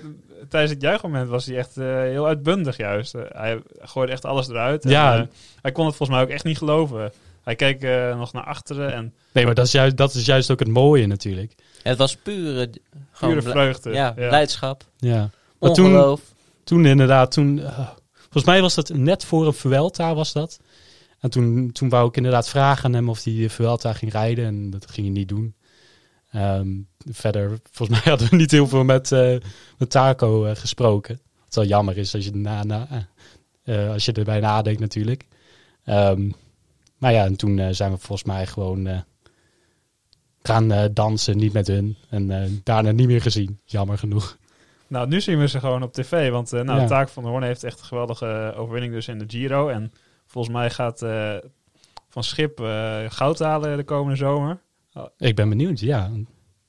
[SPEAKER 1] tijdens het juichmoment was hij echt eh, heel uitbundig juist. Eh, hij gooide echt alles eruit. En,
[SPEAKER 3] Ja.
[SPEAKER 1] eh, hij kon het volgens mij ook echt niet geloven. Hij keek eh, nog naar achteren en
[SPEAKER 3] Nee, maar dat is, juist, dat is juist ook het mooie natuurlijk.
[SPEAKER 2] Het was pure, gewoon
[SPEAKER 1] pure
[SPEAKER 2] bl-
[SPEAKER 1] vreugde.
[SPEAKER 2] ja, blijdschap,
[SPEAKER 3] Ja. Maar toen,
[SPEAKER 2] ongeloof.
[SPEAKER 3] toen inderdaad, toen... eh, volgens mij was dat net voor een Vuelta was dat. En toen, toen wou ik inderdaad vragen aan hem of hij de Vuelta ging rijden. En dat ging hij niet doen. Ehm, verder, volgens mij hadden we niet heel veel met, eh, met Taco eh, gesproken. Wat wel eh, jammer is als je, na, na, eh, als je erbij nadenkt natuurlijk. Ehm, Maar ja, en toen eh, zijn we volgens mij gewoon eh, gaan eh, dansen, niet met hun. En eh, daarna niet meer gezien, jammer genoeg.
[SPEAKER 1] Nou, nu zien we ze gewoon op tv. Want eh nou,
[SPEAKER 3] Ja.
[SPEAKER 1] Taak van de Hoorn heeft echt een geweldige overwinning dus in de Giro. En volgens mij gaat eh, Van Schip eh, goud halen de komende zomer.
[SPEAKER 3] Ik ben benieuwd, ja.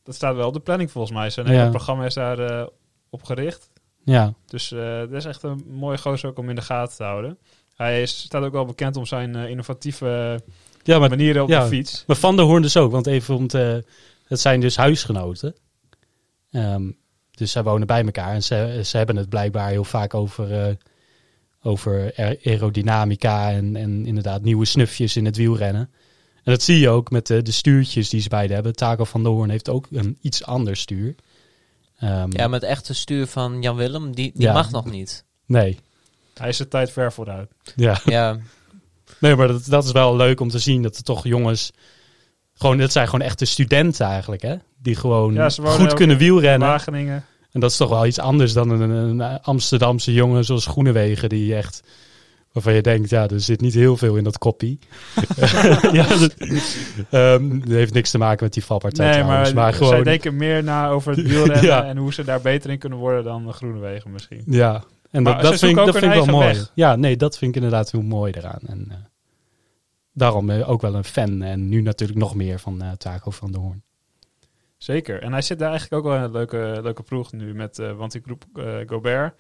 [SPEAKER 1] Dat staat wel op de planning volgens mij. Zijn
[SPEAKER 3] Ja.
[SPEAKER 1] hele programma is daar eh, op gericht.
[SPEAKER 3] Ja,
[SPEAKER 1] Dus eh, dat is echt een mooie gozer ook om in de gaten te houden. Hij is, staat ook wel bekend om zijn eh, innovatieve
[SPEAKER 3] ja maar,
[SPEAKER 1] manieren op
[SPEAKER 3] ja.
[SPEAKER 1] de fiets.
[SPEAKER 3] maar Van der Hoorn dus ook. Want even om te... Het zijn dus huisgenoten. Ehm, dus zij wonen bij elkaar. En ze, ze hebben het blijkbaar heel vaak over, eh, over aer- aerodynamica en, en inderdaad nieuwe snufjes in het wielrennen. En dat zie je ook met de, de stuurtjes die ze beide hebben. Taco van der Hoorn heeft ook een iets ander stuur. Ehm,
[SPEAKER 2] Ja, met echt het stuur van Jan Willem, die, die
[SPEAKER 3] Ja.
[SPEAKER 2] mag nog niet.
[SPEAKER 3] Nee.
[SPEAKER 1] Hij is de tijd ver vooruit.
[SPEAKER 3] Ja.
[SPEAKER 2] Ja,
[SPEAKER 3] Nee, maar dat, dat is wel leuk om te zien dat er toch jongens. Gewoon, dat zijn gewoon echte studenten eigenlijk, hè? Die gewoon
[SPEAKER 1] Ja, ze wonen
[SPEAKER 3] goed
[SPEAKER 1] ook
[SPEAKER 3] kunnen wielrennen.
[SPEAKER 1] Wageningen.
[SPEAKER 3] En dat is toch wel iets anders dan een, een Amsterdamse jongen zoals Groenewegen, die echt. Waarvan je denkt, ja, er zit niet heel veel in dat koppie. ja, dat, ehm, dat heeft niks te maken met die valpartij
[SPEAKER 1] Nee,
[SPEAKER 3] trouwens.
[SPEAKER 1] maar,
[SPEAKER 3] Maar
[SPEAKER 1] zij
[SPEAKER 3] gewoon,
[SPEAKER 1] denken meer na over het wielrennen
[SPEAKER 3] Ja.
[SPEAKER 1] en hoe ze daar beter in kunnen worden dan de Groenewegen misschien.
[SPEAKER 3] Ja, en
[SPEAKER 1] Maar
[SPEAKER 3] dat,
[SPEAKER 1] ze
[SPEAKER 3] dat vind,
[SPEAKER 1] zoeken
[SPEAKER 3] ik- dat
[SPEAKER 1] ook
[SPEAKER 3] vind ik
[SPEAKER 1] hun
[SPEAKER 3] wel mooi.
[SPEAKER 1] eigen weg.
[SPEAKER 3] Ja, nee, dat vind ik inderdaad heel mooi eraan. En eh, daarom eh, ook wel een fan. En nu natuurlijk nog meer van eh, Taco van der Hoorn.
[SPEAKER 1] Zeker. En hij zit daar eigenlijk ook wel in een leuke, leuke ploeg nu. Met, eh, want die groep eh, Gobert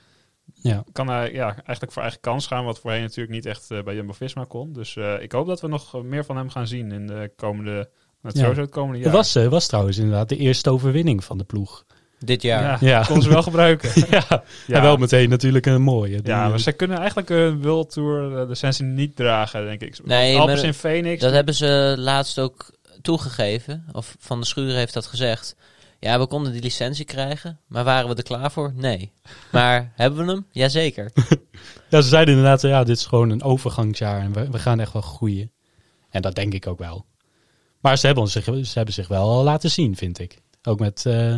[SPEAKER 3] Ja.
[SPEAKER 1] kan hij ja, eigenlijk voor eigen kans gaan. Wat voorheen natuurlijk niet echt eh, bij Jumbo-Visma kon. Dus eh, ik hoop dat we nog eh, meer van hem gaan zien in de komende... nou, Het
[SPEAKER 3] Ja.
[SPEAKER 1] sowieso het komende jaar.
[SPEAKER 3] Het was, eh, was trouwens inderdaad de eerste overwinning van de ploeg.
[SPEAKER 2] dit
[SPEAKER 1] ja,
[SPEAKER 2] jaar.
[SPEAKER 3] Ja.
[SPEAKER 1] kon ze wel gebruiken.
[SPEAKER 3] ja, en wel meteen natuurlijk een mooie. Die,
[SPEAKER 1] Ja, maar
[SPEAKER 3] eh,
[SPEAKER 1] ze kunnen eigenlijk hun World Tour eh, licentie niet dragen, denk ik.
[SPEAKER 2] Nee,
[SPEAKER 1] Nee, Alpes
[SPEAKER 2] maar
[SPEAKER 1] in Phoenix.
[SPEAKER 2] Dat hebben ze laatst ook toegegeven. Of Van de Schuur heeft dat gezegd. Ja, we konden die licentie krijgen, maar waren we er klaar voor? Nee. Maar hebben we hem? Jazeker.
[SPEAKER 3] ja, ze zeiden inderdaad, eh, ja, dit is gewoon een overgangsjaar en we, we gaan echt wel groeien. En dat denk ik ook wel. Maar ze hebben, ons, zich- ze hebben zich wel laten zien, vind ik. Ook met, eh,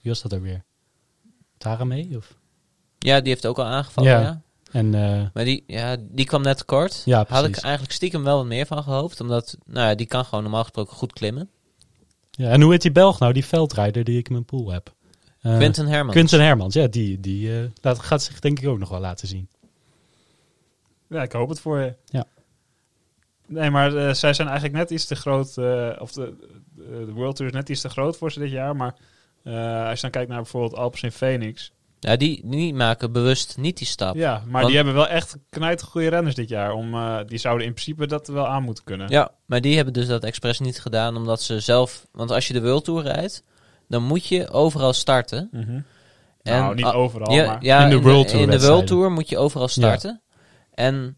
[SPEAKER 3] wie was dat ook weer? Tara mee? Of?
[SPEAKER 2] Ja, die heeft ook al aangevallen, ja.
[SPEAKER 3] Ja. En eh,
[SPEAKER 2] Maar die, ja, die kwam net kort.
[SPEAKER 3] Ja,
[SPEAKER 2] Had ik
[SPEAKER 3] precies.
[SPEAKER 2] eigenlijk stiekem wel wat meer van gehoopt. Omdat, nou ja, die kan gewoon normaal gesproken goed klimmen.
[SPEAKER 3] Ja, en hoe heet die Belg nou, die veldrijder die ik in mijn pool heb? Eh,
[SPEAKER 2] Quinten Herman.
[SPEAKER 3] Quinten Hermans, ja, die, die eh, laat, gaat zich denk ik ook nog wel laten zien.
[SPEAKER 1] Ja, ik hoop het voor je.
[SPEAKER 3] Ja.
[SPEAKER 1] Nee, maar eh, zij zijn eigenlijk net iets te groot. eh, of de, de World Tour is net iets te groot voor ze dit jaar. Maar eh, als je dan kijkt naar bijvoorbeeld Alpes in Phoenix.
[SPEAKER 2] Ja, die, die maken bewust niet die stap.
[SPEAKER 1] Ja, maar
[SPEAKER 2] Want-
[SPEAKER 1] die hebben wel echt knijt goede renners dit jaar. Om, eh, die zouden in principe dat wel aan moeten kunnen.
[SPEAKER 2] Ja, maar die hebben dus dat expres niet gedaan omdat ze zelf... Want als je de World Tour rijdt, dan moet je overal starten.
[SPEAKER 1] Mhm. nou, niet
[SPEAKER 2] a-
[SPEAKER 1] overal,
[SPEAKER 2] ah, ja,
[SPEAKER 1] maar
[SPEAKER 2] ja,
[SPEAKER 3] In de World Tour
[SPEAKER 2] In de World
[SPEAKER 3] wedstrijden.
[SPEAKER 2] Tour moet je overal starten. En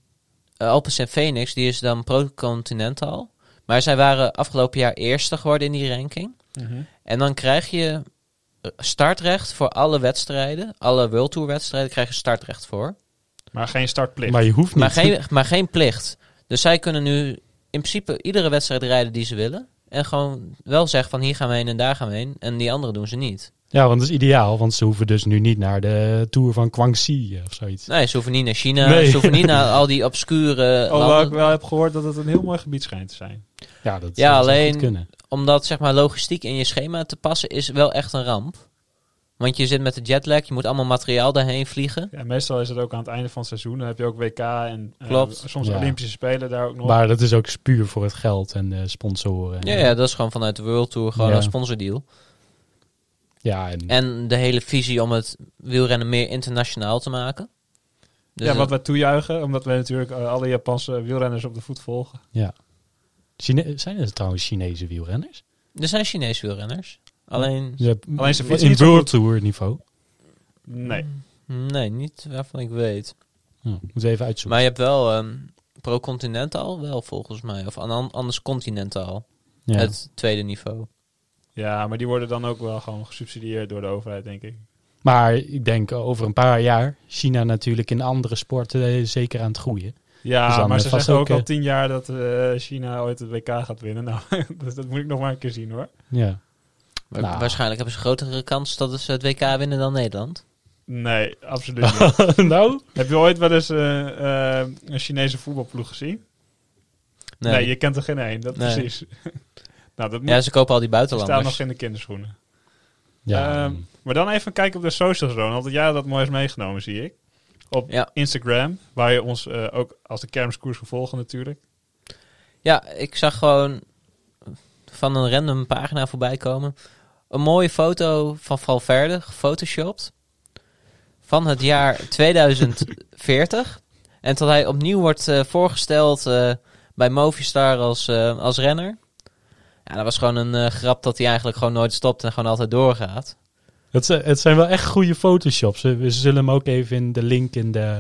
[SPEAKER 2] eh, Alpes en Phoenix, die is dan pro-continental. Maar zij waren afgelopen jaar eerste geworden in die ranking.
[SPEAKER 1] Mhm.
[SPEAKER 2] En dan krijg je eh, startrecht voor alle wedstrijden. Alle World Tour wedstrijden krijg je startrecht voor.
[SPEAKER 1] maar geen startplicht.
[SPEAKER 3] Maar je hoeft niet.
[SPEAKER 2] Maar geen, maar geen plicht. Dus zij kunnen nu in principe iedere wedstrijd rijden die ze willen. En gewoon wel zeggen van hier gaan we heen en daar gaan we heen. En die anderen doen ze niet.
[SPEAKER 3] Ja, want dat is ideaal, want ze hoeven dus nu niet naar de Tour van Guangxi eh, of zoiets.
[SPEAKER 2] Nee, ze hoeven niet naar China.
[SPEAKER 3] Nee.
[SPEAKER 2] Ze hoeven niet naar al die obscure
[SPEAKER 1] Alhoewel Oh, ik
[SPEAKER 2] landen.
[SPEAKER 1] wel heb gehoord dat het een heel mooi gebied schijnt te zijn.
[SPEAKER 3] Ja, dat
[SPEAKER 2] Ja,
[SPEAKER 3] dat zou
[SPEAKER 2] alleen-
[SPEAKER 3] goed kunnen.
[SPEAKER 2] Om dat zeg maar logistiek in je schema te passen is wel echt een ramp. Want je zit met de jetlag. Je moet allemaal materiaal daarheen vliegen.
[SPEAKER 1] Ja, meestal is het ook aan het einde van het seizoen. Dan heb je ook WK en eh,
[SPEAKER 2] Klopt.
[SPEAKER 1] soms
[SPEAKER 3] Ja.
[SPEAKER 1] Olympische Spelen daar ook nog.
[SPEAKER 3] Maar dat is ook puur voor het geld en de sponsoren.
[SPEAKER 2] Ja, ja, dat is gewoon vanuit de World Tour. Gewoon
[SPEAKER 3] Ja.
[SPEAKER 2] een sponsordeal.
[SPEAKER 3] Ja, en,
[SPEAKER 2] En de hele visie om het wielrennen meer internationaal te maken. Dus
[SPEAKER 1] ja,
[SPEAKER 2] dat-
[SPEAKER 1] wat wij toejuichen, omdat wij natuurlijk eh, alle Japanse wielrenners op de voet volgen.
[SPEAKER 3] ja. Chine- zijn er trouwens Chinese wielrenners?
[SPEAKER 2] Er zijn Chinese wielrenners. Alleen,
[SPEAKER 3] Ja,
[SPEAKER 1] Alleen ze fietsen
[SPEAKER 3] in
[SPEAKER 1] niet zo
[SPEAKER 3] World
[SPEAKER 1] goed.
[SPEAKER 3] Tour niveau.
[SPEAKER 1] Nee.
[SPEAKER 3] Hmm.
[SPEAKER 2] nee, niet waarvan ik weet.
[SPEAKER 3] Ja, moet even uitzoeken.
[SPEAKER 2] Maar je hebt wel ehm, pro-continental, wel volgens mij. Of an- an- anders continental.
[SPEAKER 3] ja.
[SPEAKER 2] Het tweede niveau.
[SPEAKER 1] Ja, maar die worden dan ook wel gewoon gesubsidieerd door de overheid, denk ik.
[SPEAKER 3] Maar ik denk over een paar jaar, China natuurlijk in andere sporten eh, zeker aan het groeien. Dus
[SPEAKER 1] Ja,
[SPEAKER 3] dan
[SPEAKER 1] maar ze
[SPEAKER 3] vast
[SPEAKER 1] zeggen ook
[SPEAKER 3] ook,
[SPEAKER 1] al
[SPEAKER 3] eh,
[SPEAKER 1] tien jaar dat eh, China ooit het WK gaat winnen. Nou, dat, dat moet ik nog maar een keer zien hoor.
[SPEAKER 3] Ja.
[SPEAKER 2] Maar
[SPEAKER 3] Nou.
[SPEAKER 2] Waarschijnlijk hebben ze grotere kans dat ze het WK winnen dan Nederland.
[SPEAKER 1] Nee, absoluut niet.
[SPEAKER 3] nou?
[SPEAKER 1] Heb je ooit wel eens eh, eh, een Chinese voetbalploeg gezien? Nee, je kent er geen één. Dat
[SPEAKER 2] Nee.
[SPEAKER 1] precies. nou, dat moet
[SPEAKER 2] Ja, ze kopen al die
[SPEAKER 1] staan
[SPEAKER 2] buitenlanders.
[SPEAKER 1] nog in de kinderschoenen.
[SPEAKER 3] Ja,
[SPEAKER 1] Ehm, maar dan even kijken op de socials, Ronald. Want jij had dat mooi is meegenomen, zie ik. Op
[SPEAKER 2] Ja.
[SPEAKER 1] Instagram, waar je ons eh, ook als de kermiskoers kan volgen natuurlijk.
[SPEAKER 2] Ja, ik zag gewoon van een random pagina voorbij komen. Een mooie foto van Valverde, gefotoshopt. Van het jaar 2040. En dat hij opnieuw wordt eh, voorgesteld eh, bij Movistar als, eh, als renner. Ja, dat was gewoon een eh, grap dat hij eigenlijk gewoon nooit stopt en gewoon altijd doorgaat.
[SPEAKER 3] het, zi- het zijn wel echt goede photoshops. We, we zullen hem ook even in de link in de,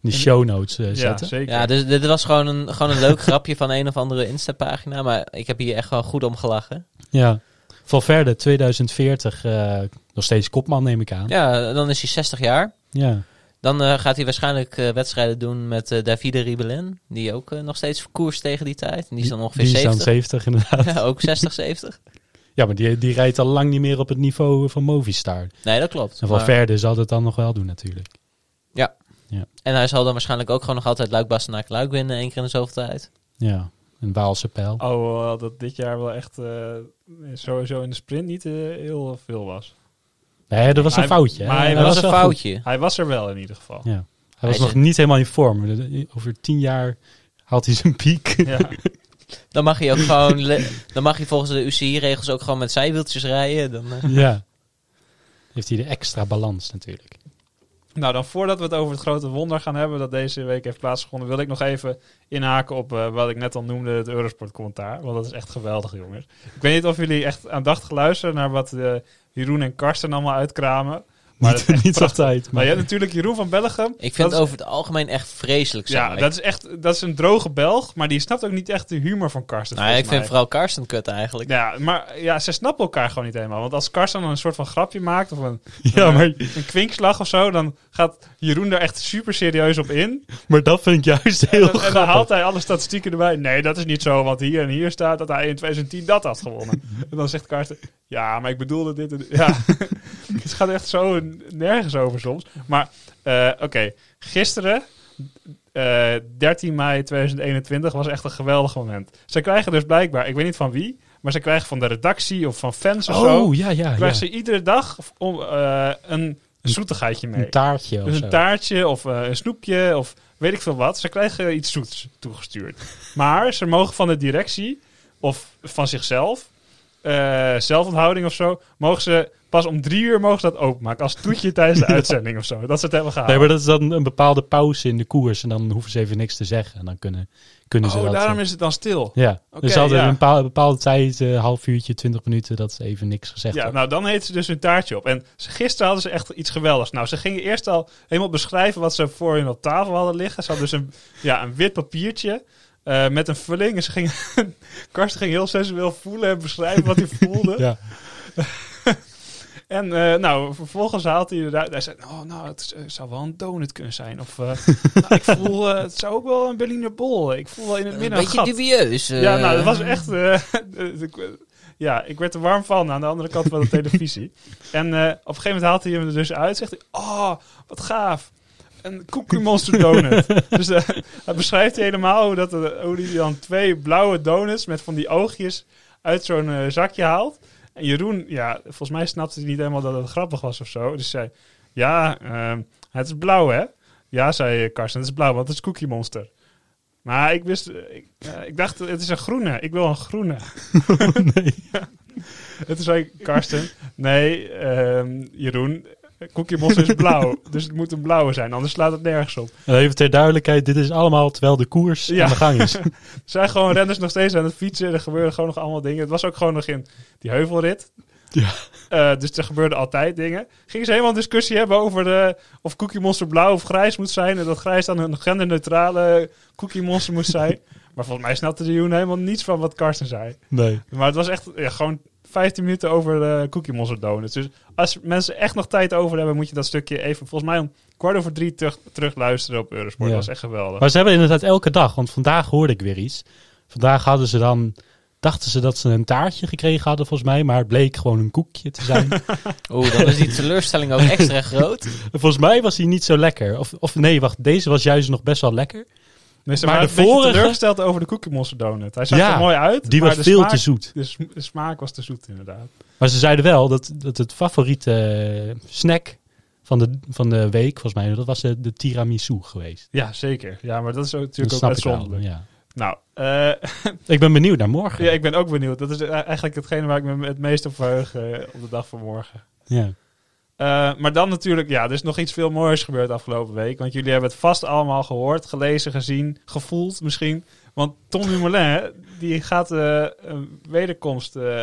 [SPEAKER 3] in de show notes eh,
[SPEAKER 1] ja,
[SPEAKER 3] zetten.
[SPEAKER 1] zeker.
[SPEAKER 2] Ja, dus dit was gewoon een, gewoon een leuk grapje van een of andere Insta-pagina. Maar ik heb hier echt gewoon goed om gelachen.
[SPEAKER 3] Ja. Valverde 2040, eh, nog steeds kopman neem ik aan.
[SPEAKER 2] Ja, dan is hij 60 jaar.
[SPEAKER 3] ja.
[SPEAKER 2] Dan eh, gaat hij waarschijnlijk eh, wedstrijden doen met eh, Davide Ribelin. Die ook eh, nog steeds verkoerst tegen die tijd. En die is dan ongeveer
[SPEAKER 3] Die is dan
[SPEAKER 2] 70.
[SPEAKER 3] 70 inderdaad.
[SPEAKER 2] Ja, ook 60, 70.
[SPEAKER 3] Ja, maar die, die rijdt al lang niet meer op het niveau van Movistar.
[SPEAKER 2] Nee, dat klopt.
[SPEAKER 3] En
[SPEAKER 2] Maar-
[SPEAKER 3] Valverde zal dat dan nog wel doen natuurlijk.
[SPEAKER 2] en hij zal dan waarschijnlijk ook gewoon nog altijd Luik Bastenaak Luik winnen. één keer in de zoveel tijd.
[SPEAKER 3] Ja, een Waalse pijl.
[SPEAKER 1] Oh, wel dat dit jaar wel echt eh, sowieso in de sprint niet eh, heel veel was.
[SPEAKER 3] Nee, dat was
[SPEAKER 1] Maar
[SPEAKER 3] een
[SPEAKER 1] hij-
[SPEAKER 3] foutje. hè.
[SPEAKER 1] maar hij
[SPEAKER 2] dat was
[SPEAKER 3] wel
[SPEAKER 2] een
[SPEAKER 3] goed.
[SPEAKER 2] foutje.
[SPEAKER 1] Hij was er wel in ieder geval.
[SPEAKER 3] Ja. Hij,
[SPEAKER 2] Hij
[SPEAKER 3] was
[SPEAKER 2] is
[SPEAKER 3] nog
[SPEAKER 2] in-
[SPEAKER 3] niet helemaal in vorm. Over tien jaar haalt hij zijn piek.
[SPEAKER 1] Ja.
[SPEAKER 2] Dan mag hij ook gewoon... le- dan mag hij volgens de UCI-regels ook gewoon met zijwieltjes rijden. Dan, eh,
[SPEAKER 3] ja. Heeft hij de extra balans natuurlijk.
[SPEAKER 1] Nou, dan voordat we het over het grote wonder gaan hebben dat deze week heeft plaatsgevonden, wil ik nog even inhaken op eh, wat ik net al noemde, het Eurosport-commentaar. Want dat is echt geweldig, jongens. Ik weet niet of jullie echt aandachtig luisteren naar wat eh, Jeroen en Karsten allemaal uitkramen. Maar dat is
[SPEAKER 3] niet
[SPEAKER 1] echt
[SPEAKER 3] niet
[SPEAKER 1] prachtig.
[SPEAKER 3] altijd.
[SPEAKER 1] Maar
[SPEAKER 3] Maar
[SPEAKER 1] je hebt natuurlijk Jeroen van Bellegem.
[SPEAKER 2] ik
[SPEAKER 1] Dat
[SPEAKER 2] vind
[SPEAKER 1] is-
[SPEAKER 2] het over het algemeen echt vreselijk. zeg
[SPEAKER 1] Ja,
[SPEAKER 2] maar.
[SPEAKER 1] dat is echt dat is een droge Belg, maar die snapt ook niet echt de humor van Karsten.
[SPEAKER 2] nou, ik
[SPEAKER 1] volgens
[SPEAKER 2] vind
[SPEAKER 1] mij.
[SPEAKER 2] vooral Karsten kut eigenlijk.
[SPEAKER 1] Ja, maar ja, ze snappen elkaar gewoon niet helemaal. Want als Karsten dan een soort van grapje maakt of een,
[SPEAKER 3] ja,
[SPEAKER 1] een,
[SPEAKER 3] maar,
[SPEAKER 1] een kwinkslag of zo, dan gaat Jeroen daar echt super serieus op in.
[SPEAKER 3] maar dat vind ik juist heel
[SPEAKER 1] En dan- en dan
[SPEAKER 3] grappig.
[SPEAKER 1] haalt hij alle statistieken erbij. Nee, dat is niet zo, want hier en hier staat dat hij in 2010 dat had gewonnen. en dan zegt Karsten, ja, maar ik bedoelde dit en dit." Ja, het gaat echt zo nergens over soms. Maar, eh, oké, gisteren, eh, 13 mei 2021, was echt een geweldig moment. Ze krijgen dus blijkbaar, ik weet niet van wie, maar ze krijgen van de redactie of van fans of zo,
[SPEAKER 3] Oh, ja, ja. ja.
[SPEAKER 1] krijgen ze iedere dag om, eh, een zoetigheidje mee.
[SPEAKER 3] Een taartje of
[SPEAKER 1] Dus
[SPEAKER 3] zo.
[SPEAKER 1] een taartje of eh, een snoepje of weet ik veel wat. Ze krijgen iets zoets toegestuurd. maar ze mogen van de directie of van zichzelf, eh, zelfonthouding of zo, mogen ze pas om drie uur mogen ze dat openmaken. Als toetje tijdens de uitzending of zo. Dat ze het hebben gehaald.
[SPEAKER 3] Nee, maar dat is dan een bepaalde pauze in de koers. En dan hoeven ze even niks te zeggen. En dan kunnen, kunnen ze
[SPEAKER 1] oh,
[SPEAKER 3] dat...
[SPEAKER 1] daarom
[SPEAKER 3] eh,
[SPEAKER 1] is het dan stil. Ja,
[SPEAKER 3] Ja,
[SPEAKER 1] Oké,
[SPEAKER 3] dus altijd
[SPEAKER 1] ja.
[SPEAKER 3] een bepaalde, bepaalde tijd, een half uurtje, twintig minuten, dat ze even niks gezegd hebben.
[SPEAKER 1] nou dan heet ze dus hun taartje op. En ze- gisteren hadden ze echt iets geweldigs. Nou, ze gingen eerst al helemaal beschrijven wat ze voor hun op tafel hadden liggen. Ze hadden dus een, ja, een wit papiertje eh, met een vulling. En ze gingen, Karsten ging heel sensueel voelen en beschrijven wat hij voelde.
[SPEAKER 3] Ja.
[SPEAKER 1] En eh, nou, vervolgens haalt hij eruit. Hij zei, oh, nou, het is- eh, zou wel een donut kunnen zijn. Of eh, nou, ik voel, eh, het zou ook wel een Berliner bol. Ik voel wel in het
[SPEAKER 2] Een
[SPEAKER 1] midden een
[SPEAKER 2] beetje
[SPEAKER 1] gat.
[SPEAKER 2] dubieus. eh.
[SPEAKER 1] Ja, nou, dat was echt... eh, ik- ja, ik werd er warm van aan de andere kant van de televisie. En eh, op een gegeven moment haalt hij hem er dus uit. Zegt hij, oh, wat gaaf. Een Cookie Monster donut. dus eh, hij beschrijft helemaal hoe, dat, eh, hoe hij dan twee blauwe donuts met van die oogjes uit zo'n eh, zakje haalt. En Jeroen, ja, volgens mij snapte hij niet helemaal dat het grappig was of zo. Dus zei, ja, ehm, het is blauw hè? Ja, zei Karsten, het is blauw, want het is Cookie Monster. Maar ik wist, eh, ik, eh, ik dacht, het is een groene. Ik wil een groene.
[SPEAKER 3] Nee.
[SPEAKER 1] En toen zei Karsten, nee, ehm, Jeroen, Cookie Monster is blauw. dus het moet een blauwe zijn, anders slaat het nergens op.
[SPEAKER 3] En Nou, Even ter duidelijkheid, dit is allemaal terwijl de koers
[SPEAKER 1] Ja.
[SPEAKER 3] aan de gang is.
[SPEAKER 1] Er zijn gewoon renners nog steeds aan het fietsen. Er gebeuren gewoon nog allemaal dingen. Het was ook gewoon nog in die heuvelrit.
[SPEAKER 3] Ja.
[SPEAKER 1] Eh, dus er gebeurden altijd dingen. Gingen ze helemaal een discussie hebben over de, of Cookie Monster blauw of grijs moet zijn. En dat grijs dan een genderneutrale Cookie Monster moest zijn. maar volgens mij snapte de Jeroen helemaal niets van wat Karsten zei.
[SPEAKER 3] Nee.
[SPEAKER 1] Maar het was echt ja, gewoon 15 minuten over de Cookie Monster Donuts. Dus als mensen echt nog tijd over hebben, moet je dat stukje even, volgens mij om kwart over drie terug, terug luisteren op Eurosport.
[SPEAKER 3] Ja.
[SPEAKER 1] Dat was echt geweldig.
[SPEAKER 3] Maar ze hebben inderdaad elke dag, want vandaag hoorde ik weer iets. Vandaag hadden ze dan, dachten ze dat ze een taartje gekregen hadden volgens mij, maar het bleek gewoon een koekje te zijn.
[SPEAKER 2] Oeh, dan is die teleurstelling ook extra groot.
[SPEAKER 3] En volgens mij was die niet zo lekker. Of, of nee, wacht, deze was juist nog best wel lekker.
[SPEAKER 1] Nee, ze
[SPEAKER 3] Maar
[SPEAKER 1] waren
[SPEAKER 3] de
[SPEAKER 1] een beetje
[SPEAKER 3] vorige-
[SPEAKER 1] teleurgesteld over de cookie monster donut. Hij zag
[SPEAKER 3] Ja,
[SPEAKER 1] er mooi uit.
[SPEAKER 3] Die
[SPEAKER 1] maar
[SPEAKER 3] was
[SPEAKER 1] de
[SPEAKER 3] veel
[SPEAKER 1] smaak-
[SPEAKER 3] te zoet.
[SPEAKER 1] De, sm- de smaak was te zoet, inderdaad.
[SPEAKER 3] Maar ze zeiden wel dat, dat het favoriete eh, snack van de, van de week, volgens mij, dat was de, de tiramisu geweest.
[SPEAKER 1] Ja, zeker. Ja, maar dat is ook-
[SPEAKER 3] Dat
[SPEAKER 1] natuurlijk ook
[SPEAKER 3] snap ik wel,
[SPEAKER 1] uitzonderlijk.
[SPEAKER 3] ja.
[SPEAKER 1] Nou, eh,
[SPEAKER 3] Ik ben benieuwd naar morgen.
[SPEAKER 1] ja, ik ben ook benieuwd. Dat is eh, eigenlijk hetgene waar ik me het meest op verheug eh, op de dag van morgen.
[SPEAKER 3] Ja.
[SPEAKER 1] Eh, maar dan natuurlijk, ja, er is nog iets veel moois gebeurd afgelopen week. Want jullie hebben het vast allemaal gehoord, gelezen, gezien, gevoeld misschien. Want Tom Dumoulin, die gaat eh, een wederkomst eh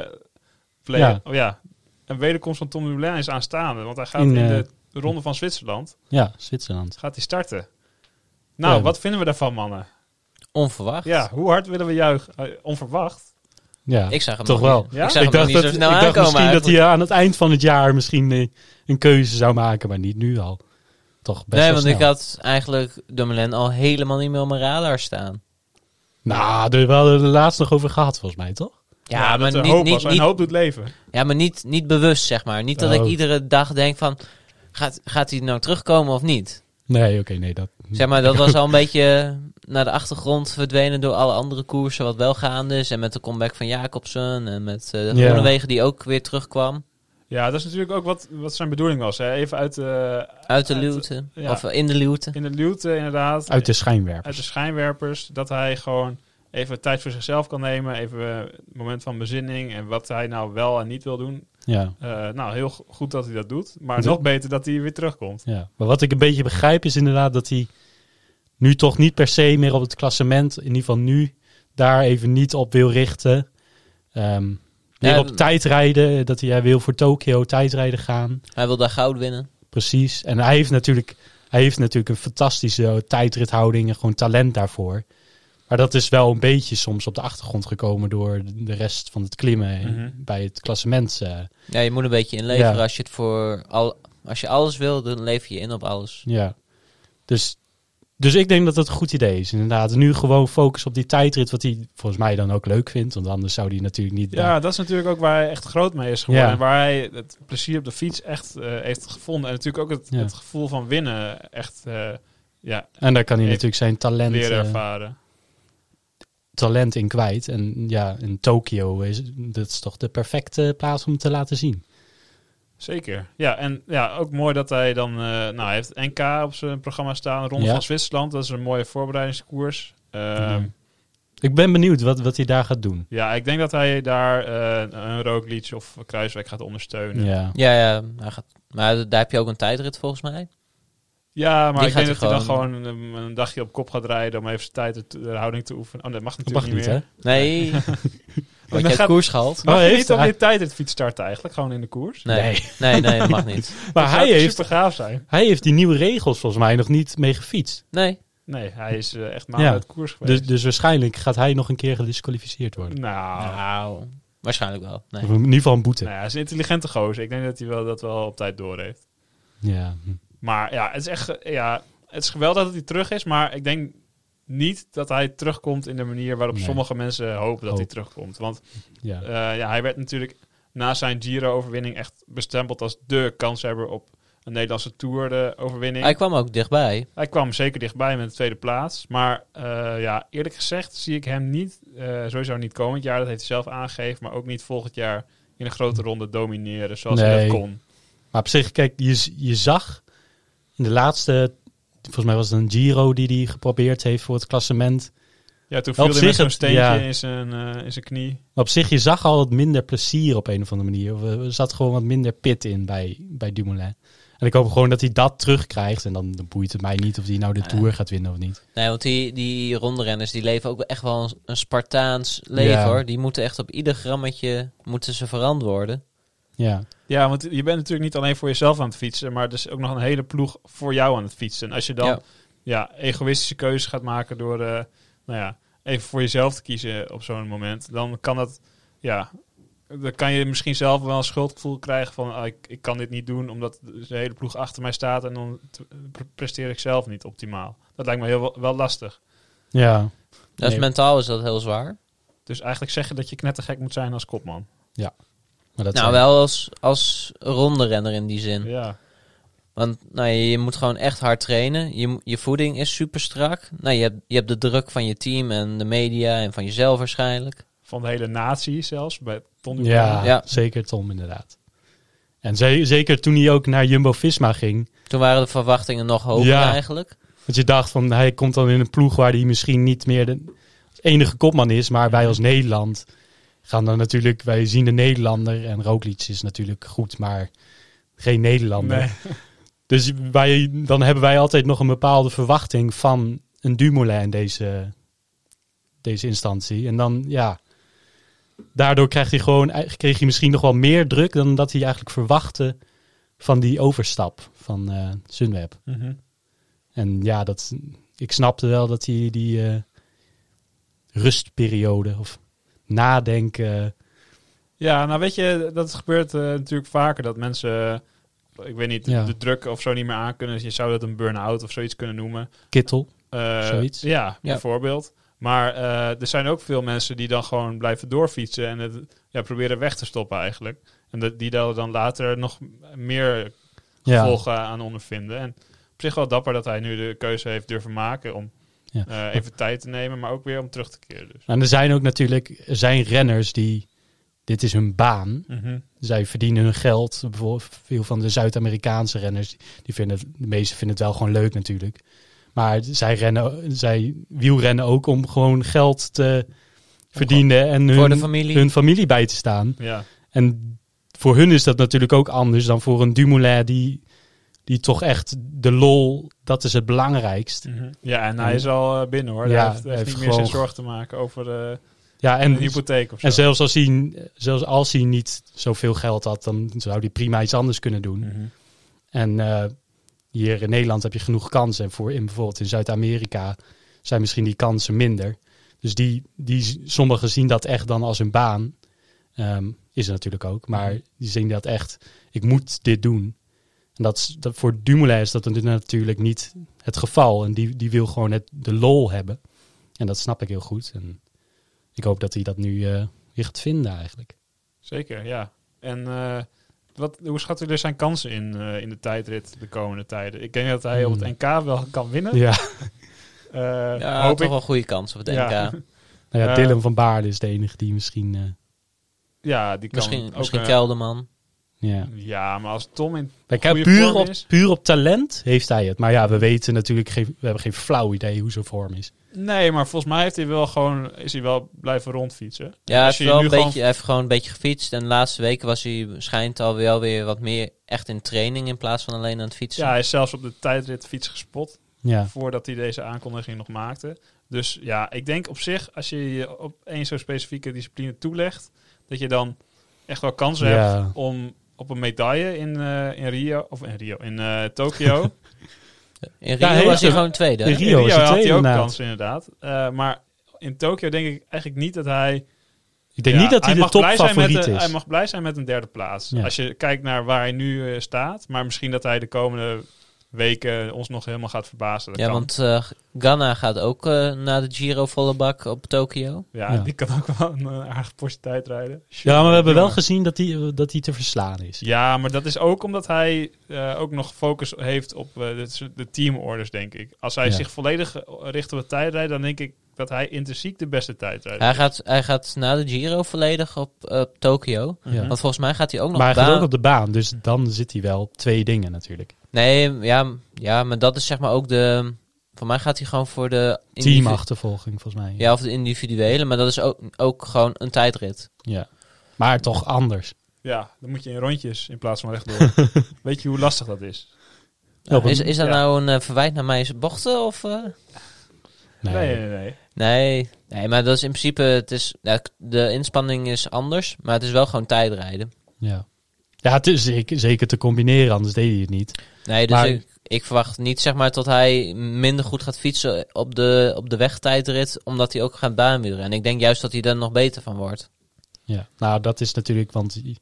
[SPEAKER 1] plegen.
[SPEAKER 3] Ja.
[SPEAKER 1] Oh ja, een wederkomst van Tom Dumoulin is aanstaande. Want hij gaat in,
[SPEAKER 3] In, eh,
[SPEAKER 1] de ronde van Zwitserland,
[SPEAKER 3] Ja, Zwitserland.
[SPEAKER 1] gaat hij starten. Nou,
[SPEAKER 3] Ja.
[SPEAKER 1] wat vinden we daarvan, mannen?
[SPEAKER 2] Onverwacht.
[SPEAKER 1] Ja, hoe hard willen we juichen? Eh, onverwacht.
[SPEAKER 3] Ja,
[SPEAKER 2] Ik zag hem
[SPEAKER 3] toch
[SPEAKER 2] nog
[SPEAKER 3] wel.
[SPEAKER 2] niet. Ik zag hem nog niet
[SPEAKER 3] dat,
[SPEAKER 2] zo snel
[SPEAKER 3] ik dacht
[SPEAKER 2] aankomen
[SPEAKER 3] misschien dat
[SPEAKER 2] eigenlijk.
[SPEAKER 3] hij aan het eind van het jaar misschien eh, een keuze zou maken, maar niet nu al. Toch best wel
[SPEAKER 2] nee, want
[SPEAKER 3] snel.
[SPEAKER 2] ik had eigenlijk Dumoulin al helemaal niet meer op mijn radar staan.
[SPEAKER 3] Nou, daar hadden we het laatst nog over gehad, volgens mij, toch?
[SPEAKER 2] Ja,
[SPEAKER 1] dat
[SPEAKER 2] maar,
[SPEAKER 1] er
[SPEAKER 2] niet,
[SPEAKER 1] hoop
[SPEAKER 2] niet,
[SPEAKER 1] was. En
[SPEAKER 2] niet-
[SPEAKER 1] hoop doet leven.
[SPEAKER 2] ja, maar niet, niet bewust, zeg maar. Niet dat
[SPEAKER 3] Oh.
[SPEAKER 2] ik iedere dag denk van, gaat, gaat hij nou terugkomen of niet?
[SPEAKER 3] Nee, oké, nee, dat...
[SPEAKER 2] Zeg maar, dat was al een beetje naar de achtergrond verdwenen door alle andere koersen wat wel gaande is. En met de comeback van Jacobsen en met eh, de
[SPEAKER 3] Ja.
[SPEAKER 2] Groenewegen die ook weer terugkwam.
[SPEAKER 1] Ja, dat is natuurlijk ook wat, wat zijn bedoeling was. Hè? Even uit de,
[SPEAKER 2] Uit de
[SPEAKER 1] Uit-
[SPEAKER 2] luwte.
[SPEAKER 1] ja.
[SPEAKER 2] Of in de luwte.
[SPEAKER 1] in de luwte inderdaad.
[SPEAKER 3] Uit de
[SPEAKER 1] uit
[SPEAKER 3] schijnwerpers.
[SPEAKER 1] de schijnwerpers. Dat hij gewoon even tijd voor zichzelf kan nemen. Even eh, een moment van bezinning. En wat hij nou wel en niet wil doen.
[SPEAKER 3] Ja,
[SPEAKER 1] Eh, nou, heel go- goed dat hij dat doet. Maar
[SPEAKER 3] Ja.
[SPEAKER 1] nog beter dat hij weer terugkomt.
[SPEAKER 3] ja. Maar wat ik een beetje begrijp is inderdaad dat hij nu toch niet per se meer op het klassement, in ieder geval nu, daar even niet op wil richten. Ehm meer
[SPEAKER 2] Ja,
[SPEAKER 3] op
[SPEAKER 2] d-
[SPEAKER 3] tijdrijden, dat hij, hij wil voor Tokio tijdrijden gaan.
[SPEAKER 2] Hij wil daar goud winnen.
[SPEAKER 3] Precies. En hij heeft natuurlijk, hij heeft natuurlijk een fantastische eh, tijdrithouding en gewoon talent daarvoor. Maar dat is wel een beetje soms op de achtergrond gekomen door de rest van het klimmen en
[SPEAKER 1] Mhm.
[SPEAKER 3] bij het klassement. eh.
[SPEAKER 2] Ja, je moet een beetje inleveren.
[SPEAKER 3] Ja.
[SPEAKER 2] Als, je het voor al, als je alles wil, dan lever je in op alles.
[SPEAKER 3] ja. Dus, dus ik denk dat dat een goed idee is. Inderdaad, nu gewoon focus op die tijdrit, wat hij volgens mij dan ook leuk vindt. Want anders zou hij natuurlijk niet...
[SPEAKER 1] Ja, dat is natuurlijk ook waar hij echt groot mee is geworden.
[SPEAKER 3] Ja.
[SPEAKER 1] En waar hij het plezier op de fiets echt eh, heeft gevonden. En natuurlijk ook het,
[SPEAKER 3] Ja.
[SPEAKER 1] het gevoel van winnen echt eh, ja,
[SPEAKER 3] en daar kan hij
[SPEAKER 1] Ik
[SPEAKER 3] natuurlijk zijn talent,
[SPEAKER 1] leren
[SPEAKER 3] eh,
[SPEAKER 1] ervaren.
[SPEAKER 3] talent in kwijt. En ja, in Tokio is dat is toch de perfecte plaats om te laten zien.
[SPEAKER 1] Zeker. Ja, en ja, ook mooi dat hij dan... eh, nou, hij heeft NK op zijn programma staan. Ronde
[SPEAKER 3] Ja. Mhm.
[SPEAKER 1] van Zwitserland. Dat is een mooie voorbereidingskoers. Ehm,
[SPEAKER 3] Ja. Ik ben benieuwd wat, wat hij daar gaat doen.
[SPEAKER 1] Ja, ik denk dat hij daar eh een Roglic of Kruiswijk gaat ondersteunen. Ja,
[SPEAKER 3] Ja.
[SPEAKER 2] Ja, ja. Hij gaat, maar daar heb je ook een tijdrit volgens mij.
[SPEAKER 1] maar
[SPEAKER 2] Die
[SPEAKER 1] ik denk dat
[SPEAKER 2] gaat
[SPEAKER 1] hij
[SPEAKER 2] hij
[SPEAKER 1] dan gewoon een, een dagje op kop gaat rijden om even zijn tijd en te- de houding te oefenen. Oh, dat mag
[SPEAKER 3] Dat
[SPEAKER 1] natuurlijk
[SPEAKER 3] mag
[SPEAKER 1] niet
[SPEAKER 3] niet,
[SPEAKER 1] meer.
[SPEAKER 3] hè?
[SPEAKER 2] Nee. Word
[SPEAKER 1] dan
[SPEAKER 2] jij
[SPEAKER 1] gaat-
[SPEAKER 2] koers gehaald?
[SPEAKER 1] Mag
[SPEAKER 3] Oh,
[SPEAKER 1] je
[SPEAKER 3] heeft
[SPEAKER 1] niet op
[SPEAKER 3] hij?
[SPEAKER 1] je tijdrit fiets starten eigenlijk, gewoon in de koers?
[SPEAKER 2] Nee.
[SPEAKER 3] Nee.
[SPEAKER 2] Nee, nee, dat mag niet.
[SPEAKER 3] Maar hij heeft,
[SPEAKER 1] super gaaf zijn.
[SPEAKER 3] hij heeft die nieuwe regels volgens mij nog niet mee gefietst.
[SPEAKER 2] Nee.
[SPEAKER 1] Nee, hij is eh, echt maanden
[SPEAKER 3] Ja.
[SPEAKER 1] uit koers
[SPEAKER 3] Dus,
[SPEAKER 1] geweest.
[SPEAKER 3] dus waarschijnlijk gaat hij nog een keer gedisqualificeerd worden.
[SPEAKER 1] nou, nou
[SPEAKER 2] Nou, waarschijnlijk wel. Nee.
[SPEAKER 3] Of in ieder geval een boete.
[SPEAKER 1] ja, hij is een intelligente gozer. Ik denk dat hij wel, dat wel op tijd door heeft.
[SPEAKER 3] Ja. hm.
[SPEAKER 1] Maar ja, het is echt eh, ja, het is geweldig dat hij terug is, maar ik denk niet dat hij terugkomt in de manier waarop
[SPEAKER 3] Nee.
[SPEAKER 1] sommige mensen hopen dat hij
[SPEAKER 3] Hoop.
[SPEAKER 1] terugkomt. Want
[SPEAKER 3] ja.
[SPEAKER 1] Eh, ja, hij werd natuurlijk na zijn Giro-overwinning echt bestempeld als dé kanshebber op een Nederlandse Tour-overwinning.
[SPEAKER 2] Hij kwam ook dichtbij.
[SPEAKER 1] Hij kwam zeker dichtbij met de tweede plaats. Maar eh, ja, eerlijk gezegd zie ik hem niet, eh, sowieso niet komend jaar, dat heeft hij zelf aangegeven, maar ook niet volgend jaar in een grote ronde domineren zoals hij
[SPEAKER 3] Nee.
[SPEAKER 1] dat kon.
[SPEAKER 3] Maar op zich, kijk, je, z- je zag in de laatste... Volgens mij was het een Giro die hij geprobeerd heeft voor het klassement.
[SPEAKER 1] Ja, toen
[SPEAKER 3] Op
[SPEAKER 1] viel hij met
[SPEAKER 3] zich
[SPEAKER 1] zo'n
[SPEAKER 3] het-
[SPEAKER 1] steentje
[SPEAKER 3] ja.
[SPEAKER 1] in, zijn, eh, in zijn knie.
[SPEAKER 3] Maar op zich, je zag al wat minder plezier op een of andere manier. Of, eh, Er zat gewoon wat minder pit in bij, bij Dumoulin. En ik hoop gewoon dat hij dat terugkrijgt. En dan, dan boeit het mij niet of hij nou de
[SPEAKER 2] Ja.
[SPEAKER 3] Tour gaat winnen of niet.
[SPEAKER 2] Nee, want die, die rondrenners die leven ook echt wel een, een Spartaans leven
[SPEAKER 3] Ja.
[SPEAKER 2] hoor. Die moeten echt op ieder grammetje moeten ze verantwoorden.
[SPEAKER 3] Ja.
[SPEAKER 1] Ja, want je bent natuurlijk niet alleen voor jezelf aan het fietsen, maar er is ook nog een hele ploeg voor jou aan het fietsen. En als je dan
[SPEAKER 2] Ja.
[SPEAKER 1] ja, egoïstische keuzes gaat maken door eh, nou ja, even voor jezelf te kiezen op zo'n moment, dan kan dat, ja, dan kan je misschien zelf wel een schuldgevoel krijgen van ah, ik, ik kan dit niet doen omdat de hele ploeg achter mij staat en dan t- pre- presteer ik zelf niet optimaal. Dat lijkt me heel wel, wel lastig.
[SPEAKER 3] Ja.
[SPEAKER 2] Dat is
[SPEAKER 3] Nee.
[SPEAKER 2] mentaal is dat heel zwaar.
[SPEAKER 1] Dus eigenlijk zeggen dat je knettergek moet zijn als kopman.
[SPEAKER 3] Maar dat
[SPEAKER 2] nou,
[SPEAKER 3] zijn-
[SPEAKER 2] Hm. wel als, als rondrenner in die zin.
[SPEAKER 1] Ja,
[SPEAKER 2] Want nou, ja, je moet gewoon echt hard trainen. Je, mo- je voeding is super strak. Nou, je, hebt, je hebt de druk van je team en de media en van jezelf waarschijnlijk.
[SPEAKER 1] Van de hele natie zelfs, bij Ton Dumoulin.
[SPEAKER 3] Ja,
[SPEAKER 2] Ja.
[SPEAKER 3] zeker Tom inderdaad. En ze- zeker toen hij ook naar Jumbo-Visma ging.
[SPEAKER 2] Toen waren de verwachtingen nog hoger
[SPEAKER 3] Ja.
[SPEAKER 2] eigenlijk.
[SPEAKER 3] Want je dacht van hij komt dan in een ploeg waar hij misschien niet meer de enige kopman is. Maar wij als Nederland gaan dan natuurlijk, wij zien de Nederlander. En Roglic is natuurlijk goed, maar geen Nederlander.
[SPEAKER 1] Nee.
[SPEAKER 3] Dus wij, dan hebben wij altijd nog een bepaalde verwachting van een Dumoulin in deze, deze instantie. En dan, ja, daardoor krijgt hij gewoon, kreeg hij misschien nog wel meer druk dan dat hij eigenlijk verwachtte van die overstap van eh, Sunweb.
[SPEAKER 1] Mhm.
[SPEAKER 3] En ja, dat, ik snapte wel dat hij die eh, rustperiode of nadenken. eh,
[SPEAKER 1] Ja, nou weet je, dat gebeurt eh, natuurlijk vaker dat mensen, eh, ik weet niet, de-
[SPEAKER 3] Ja.
[SPEAKER 1] de druk of zo niet meer aankunnen. Dus je zou dat een burn-out of zoiets kunnen noemen.
[SPEAKER 3] Kittel.
[SPEAKER 1] Eh,
[SPEAKER 3] Zoiets.
[SPEAKER 1] Ja, bijvoorbeeld. Maar eh, er zijn ook veel mensen die dan gewoon blijven doorfietsen en het ja, proberen weg te stoppen eigenlijk. En dat, die daar dan later nog meer
[SPEAKER 3] Ja.
[SPEAKER 1] gevolgen aan ondervinden. En op zich wel dapper dat hij nu de keuze heeft durven maken om
[SPEAKER 3] Ja.
[SPEAKER 1] eh, even tijd te nemen, maar ook weer om terug te keren. Dus.
[SPEAKER 3] En er zijn ook natuurlijk er zijn renners die, dit is hun baan. Zij verdienen hun geld. Bijvoorbeeld veel van de Zuid-Amerikaanse renners, die vinden, het- de meesten vinden het wel gewoon leuk natuurlijk. Maar zij, rennen, zij wielrennen ook om gewoon geld te verdienen en hun,
[SPEAKER 2] Voor de familie.
[SPEAKER 3] hun familie bij te staan.
[SPEAKER 1] Ja.
[SPEAKER 3] En voor hun is dat natuurlijk ook anders dan voor een Dumoulin die, die toch echt de lol, dat is het belangrijkst.
[SPEAKER 2] Mhm.
[SPEAKER 1] ja, en hij is al eh, binnen hoor.
[SPEAKER 3] Ja,
[SPEAKER 1] hij heeft,
[SPEAKER 3] hij
[SPEAKER 1] echt
[SPEAKER 3] heeft
[SPEAKER 1] niet meer zijn
[SPEAKER 3] gewoon-
[SPEAKER 1] zorg te maken over de,
[SPEAKER 3] Ja,
[SPEAKER 1] en,
[SPEAKER 3] en,
[SPEAKER 1] hypotheek of zo.
[SPEAKER 3] en zelfs, als hij, zelfs als hij niet zoveel geld had, dan zou hij prima iets anders kunnen doen.
[SPEAKER 1] Mhm.
[SPEAKER 3] En eh, hier in Nederland heb je genoeg kansen. En voor in, bijvoorbeeld in Zuid-Amerika zijn misschien die kansen minder. Dus die, die, sommigen zien dat echt dan als een baan. Ehm, is het natuurlijk ook. Maar die zien dat echt, ik moet dit doen. En dat, is- dat, voor Dumoulin is dat natuurlijk niet het geval. En die, die wil gewoon het, de lol hebben. En dat snap ik heel goed. En ik hoop dat hij dat nu eh, weer gaat vinden eigenlijk.
[SPEAKER 1] Zeker, ja. En eh, wat, hoe schat u er zijn kansen in, eh, in de tijdrit de komende tijden? Ik denk dat hij op het
[SPEAKER 3] Hmm.
[SPEAKER 1] NK wel kan winnen.
[SPEAKER 3] Ja,
[SPEAKER 1] Eh,
[SPEAKER 2] Ja,
[SPEAKER 1] hoop
[SPEAKER 2] toch
[SPEAKER 1] ik.
[SPEAKER 2] wel goede kans op het
[SPEAKER 1] Ja.
[SPEAKER 2] NK.
[SPEAKER 3] nou ja
[SPEAKER 1] Eh,
[SPEAKER 3] Dylan van Baarden is de enige die misschien... eh,
[SPEAKER 1] Ja, die kan
[SPEAKER 2] Misschien,
[SPEAKER 1] ook,
[SPEAKER 2] misschien
[SPEAKER 1] eh,
[SPEAKER 2] Kelderman.
[SPEAKER 3] ja.
[SPEAKER 1] Ja, maar als Tom in
[SPEAKER 3] Kijk,
[SPEAKER 1] goede
[SPEAKER 3] hè, puur,
[SPEAKER 1] vorm
[SPEAKER 3] op,
[SPEAKER 1] is.
[SPEAKER 3] puur op talent heeft hij het. Maar ja, we weten natuurlijk, geen, we hebben geen flauw idee hoe zijn vorm is.
[SPEAKER 1] Nee, maar volgens mij heeft hij wel gewoon, is hij wel blijven rondfietsen.
[SPEAKER 2] Ja, hij
[SPEAKER 1] Als
[SPEAKER 2] heeft,
[SPEAKER 1] je
[SPEAKER 2] wel
[SPEAKER 1] nu
[SPEAKER 2] een
[SPEAKER 1] gewoon-
[SPEAKER 2] beetje, hij heeft gewoon een beetje gefietst. En de laatste weken was hij schijnt al wel weer wat meer echt in training in plaats van alleen aan het fietsen.
[SPEAKER 1] Ja, hij is zelfs op de tijdritfiets gespot.
[SPEAKER 3] Ja,
[SPEAKER 1] voordat hij deze aankondiging nog maakte. Dus ja, ik denk op zich, als je je op één zo'n specifieke discipline toelegt, dat je dan echt wel kans
[SPEAKER 3] Ja.
[SPEAKER 1] hebt om op een medaille in, eh, in Rio, of in Rio, in eh, Tokio.
[SPEAKER 2] In Rio
[SPEAKER 3] Ja, heel
[SPEAKER 2] was hij
[SPEAKER 3] erg.
[SPEAKER 2] gewoon tweede.
[SPEAKER 3] In
[SPEAKER 2] hè?
[SPEAKER 1] In
[SPEAKER 3] Rio is het
[SPEAKER 1] had hij
[SPEAKER 3] tweede,
[SPEAKER 1] ook
[SPEAKER 3] inderdaad.
[SPEAKER 1] kans inderdaad. Eh, maar in Tokio denk ik eigenlijk niet dat hij...
[SPEAKER 3] ik denk
[SPEAKER 1] Ja,
[SPEAKER 3] niet dat hij, de
[SPEAKER 1] mag blij zijn met
[SPEAKER 3] topfavoriet
[SPEAKER 1] een-
[SPEAKER 3] is.
[SPEAKER 1] Hij mag blij zijn met een derde plaats.
[SPEAKER 3] Ja.
[SPEAKER 1] Als je kijkt naar waar hij nu eh, staat. Maar misschien dat hij de komende weken ons nog helemaal gaat verbazen. Dat
[SPEAKER 2] Ja,
[SPEAKER 1] kan.
[SPEAKER 2] want eh, Ghana gaat ook eh, na de Giro volle bak op Tokio.
[SPEAKER 1] ja,
[SPEAKER 3] Ja.
[SPEAKER 1] die kan ook wel een eh, aardige portie tijd rijden.
[SPEAKER 3] ja, maar we hebben wel
[SPEAKER 1] Jongen.
[SPEAKER 3] gezien dat hij, dat hij te verslaan is.
[SPEAKER 1] Ja, maar dat is ook omdat hij eh, ook nog focus heeft op eh, de, de teamorders, denk ik. Als hij
[SPEAKER 3] Ja.
[SPEAKER 1] zich volledig eh, richt op het tijdrijden, dan denk ik dat hij intrinsiek de beste tijdrijder
[SPEAKER 2] Hij
[SPEAKER 1] is.
[SPEAKER 2] gaat, hij gaat na de Giro volledig op eh, op Tokio.
[SPEAKER 3] Ja.
[SPEAKER 2] Want volgens mij gaat hij ook nog
[SPEAKER 3] Maar hij gaat
[SPEAKER 2] baan-
[SPEAKER 3] ook op de baan, dus dan zit hij wel op twee dingen natuurlijk.
[SPEAKER 2] Nee, ja, m- ja, maar dat is zeg maar ook de... Voor mij gaat hij gewoon voor de... individu-
[SPEAKER 3] Teamachtervolging volgens mij.
[SPEAKER 2] Ja, of de individuele. Maar dat is ook, ook gewoon een tijdrit.
[SPEAKER 3] Ja. Maar toch anders.
[SPEAKER 1] Ja, dan moet je in rondjes in plaats van rechtdoor. Weet je hoe lastig dat is?
[SPEAKER 3] Ja, op een-
[SPEAKER 2] is, is dat
[SPEAKER 1] ja.
[SPEAKER 2] nou een eh, verwijt naar mijn bochten? Of, eh?
[SPEAKER 3] Nee.
[SPEAKER 1] Nee, nee, nee.
[SPEAKER 2] Nee, nee, maar dat is in principe... Het is, ja, k- de inspanning is anders, maar het is wel gewoon tijdrijden.
[SPEAKER 3] Ja. ja, het is zeker, zeker te combineren, anders deed hij het niet.
[SPEAKER 2] Nee, dus
[SPEAKER 3] Maar-
[SPEAKER 2] ik, ik verwacht niet zeg maar dat hij minder goed gaat fietsen op de, op de wegtijdrit, omdat hij ook gaat baanwielrennen. En ik denk juist dat hij daar nog beter van wordt.
[SPEAKER 3] Ja. Nou, dat is natuurlijk, want je-